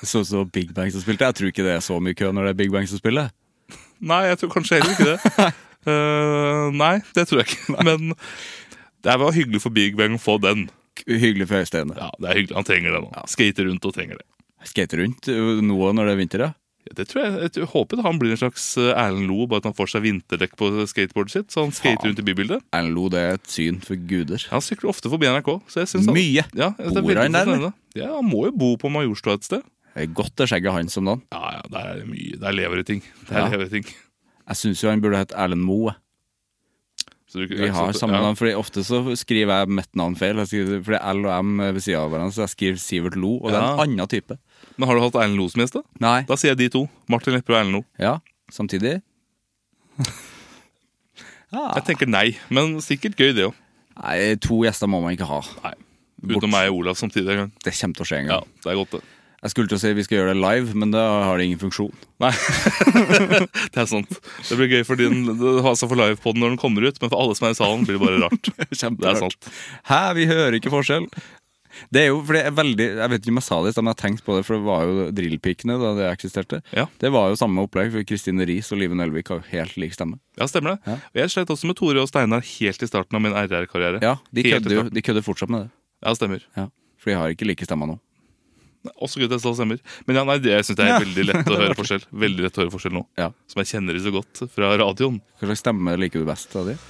A: Det så ut som det var Big Bang som spilte. Jeg tror ikke det er så mye kø når det er Big Bang som spiller.
B: Nei, jeg tror kanskje heller ikke [LAUGHS] det. Eh, nei, det tror jeg ikke. Men det var hyggelig for Big Bang å få den.
A: K- Hyggelig for Øystein.
B: Ja, det er hyggelig, Han trenger det nå. Skater rundt og trenger det.
A: Skate rundt eh, nå når det er vinter, ja.
B: Ja, Det tror Jeg jeg håper han blir en slags eh, Erlend Loe, bare at han får seg vinterdekk på skateboardet sitt. Så han skater rundt i bybildet.
A: Erlend Lo, det er et syn for guder.
B: Han sykler ofte forbi NRK. Så jeg synes han,
A: Mye.
B: Ja, jeg synes det er
A: Bor
B: veldig
A: han der,
B: spennende. Ja, han må jo bo på Majorstua et sted.
A: Det er godt det skjegget hans om dagen.
B: Ja, ja, der er det mye. Der lever det ting. Der
A: Ja.
B: lever det ting.
A: Jeg syns jo han burde hett Erlend Moe.
B: Så du- sånn-
A: Vi har samme
B: ja.
A: navn, fordi ofte så skriver jeg mitt navn feil. Jeg skriver, fordi L og M er ved siden av hverandre, så jeg skriver Sivert Lo, og det er en
B: Ja.
A: annen type.
B: Men har du hatt Erlend Loe som gjest, da?
A: Nei.
B: Da sier jeg de to. Martin Lepperød og Erlend Loe.
A: Ja, samtidig. Ah.
B: Jeg tenker nei, men sikkert gøy, det òg.
A: Nei, to gjester må man ikke ha.
B: Nei. Utenom meg og Olav samtidig en gang.
A: Det kommer til å skje en
B: Ja,
A: gang.
B: det er godt, det.
A: Jeg skulle til å si vi skal gjøre det live, men da har det ingen funksjon.
B: Nei, det er sant. Det blir gøy for din altså for livepoden når den kommer ut, men for alle som er i salen, blir det bare
A: [LAUGHS]
B: rart. Det er sant.
A: Hæ, vi hører ikke forskjell. Det er jo fordi jeg er veldig Jeg vet ikke om jeg sa det i stad, men jeg har tenkt på det, for det var jo drillpikene da det eksisterte.
B: Ja.
A: Det var jo samme opplegg, for Kristine Riis og Live Nelvik har jo helt lik stemme.
B: Ja, stemmer det. Og Jeg slet også med Tore og Steinar helt i starten av min RR-karriere.
A: Ja, De
B: Helt i
A: kødder jo
B: starten.
A: de kødder fortsatt med det.
B: Ja, stemmer.
A: Ja. For de har ikke like stemmer nå.
B: Også Gud, jeg sa stemmer. Men ja, nei, det, jeg syns det er veldig lett å
A: [LAUGHS]
B: høre forskjell. Veldig lett å høre forskjell nå.
A: Ja.
B: Som jeg kjenner så godt fra radioen.
A: Hva slags stemme liker du best av de?
B: liksom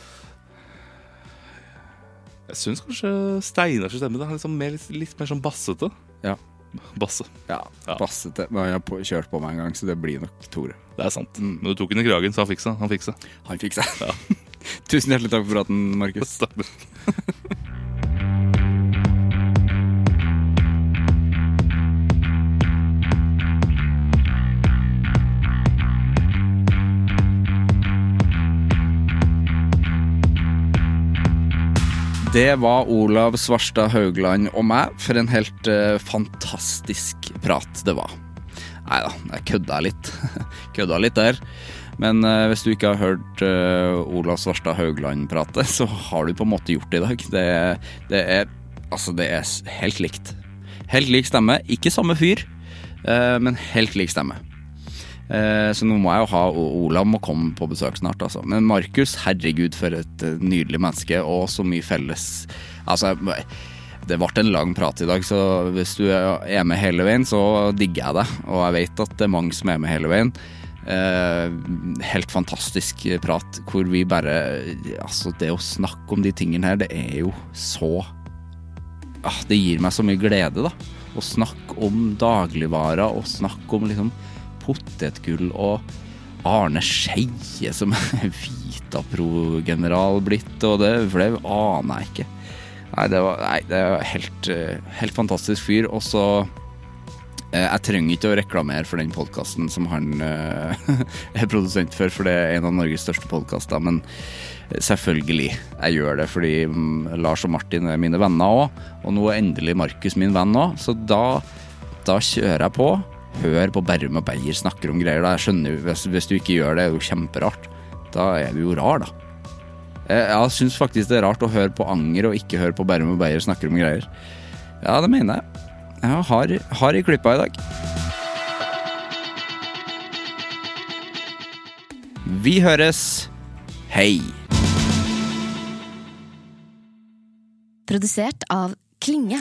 B: Jeg syns kanskje Steinars stemme da, er litt sånn mer, litt, litt mer sånn bassete.
A: Ja.
B: Basse.
A: Ja,
B: Ja.
A: bassete. Men han har på, kjørt på meg en gang, så det blir nok Tore.
B: Det er sant.
A: Mm.
B: Men du tok den i kragen, så han fiksa. Han fiksa.
A: Han fikk seg. [LAUGHS] Tusen hjertelig takk for praten, Markus.
B: Stemmer.
A: Det var Olav Svarstad Haugland og meg for en helt eh, fantastisk prat det var. Nei da, jeg kødda litt. [LAUGHS] kødda litt der. Men eh, hvis du ikke har hørt eh, Olav Svarstad Haugland prate, [LAUGHS] så har du på en måte gjort det i dag. Det, det er Altså, det er s- helt likt. Helt lik stemme. Ikke samme fyr, eh, men helt lik stemme. Eh, Så nå må jeg jo ha O- Olav må komme på besøk snart, altså. Men Markus, herregud, for et eh, nydelig menneske, og så mye felles Altså, jeg må- det ble en lang prat i dag, så hvis du er med hele veien, så digger jeg deg. Og jeg vet at det er mange som er med hele veien. Eh, helt fantastisk prat hvor vi bare Altså, det å snakke om de tingene her, det er jo så ah, Det gir meg så mye glede, da. Å snakke om dagligvarer og snakke om liksom potetgull og Arne Skeie som [LAUGHS] er Vitapro-general blitt, og det for det aner jeg ikke. Nei, det var, nei, det var helt, eh, helt fantastisk fyr. Og så eh, Jeg trenger ikke å reklamere for den podkasten som han eh, [LAUGHS] er produsent for, for det er en av Norges største podkaster, men selvfølgelig. Jeg gjør det fordi mm, Lars og Martin er mine venner òg, og nå er endelig Markus min venn òg, så da, da kjører jeg på. Hør på Berrum og Beyer snakker om greier. Da. Jeg skjønner jo, hvis, hvis du ikke gjør det, er det jo kjemperart. Da er du jo rar, da. Jeg, jeg syns faktisk det er rart å høre på Anger og ikke høre på Berrum og Beyer snakker om greier. Ja, det mener jeg. Jeg har, har i klippa i dag. Vi høres. Hei.
D: Produsert av Klinge.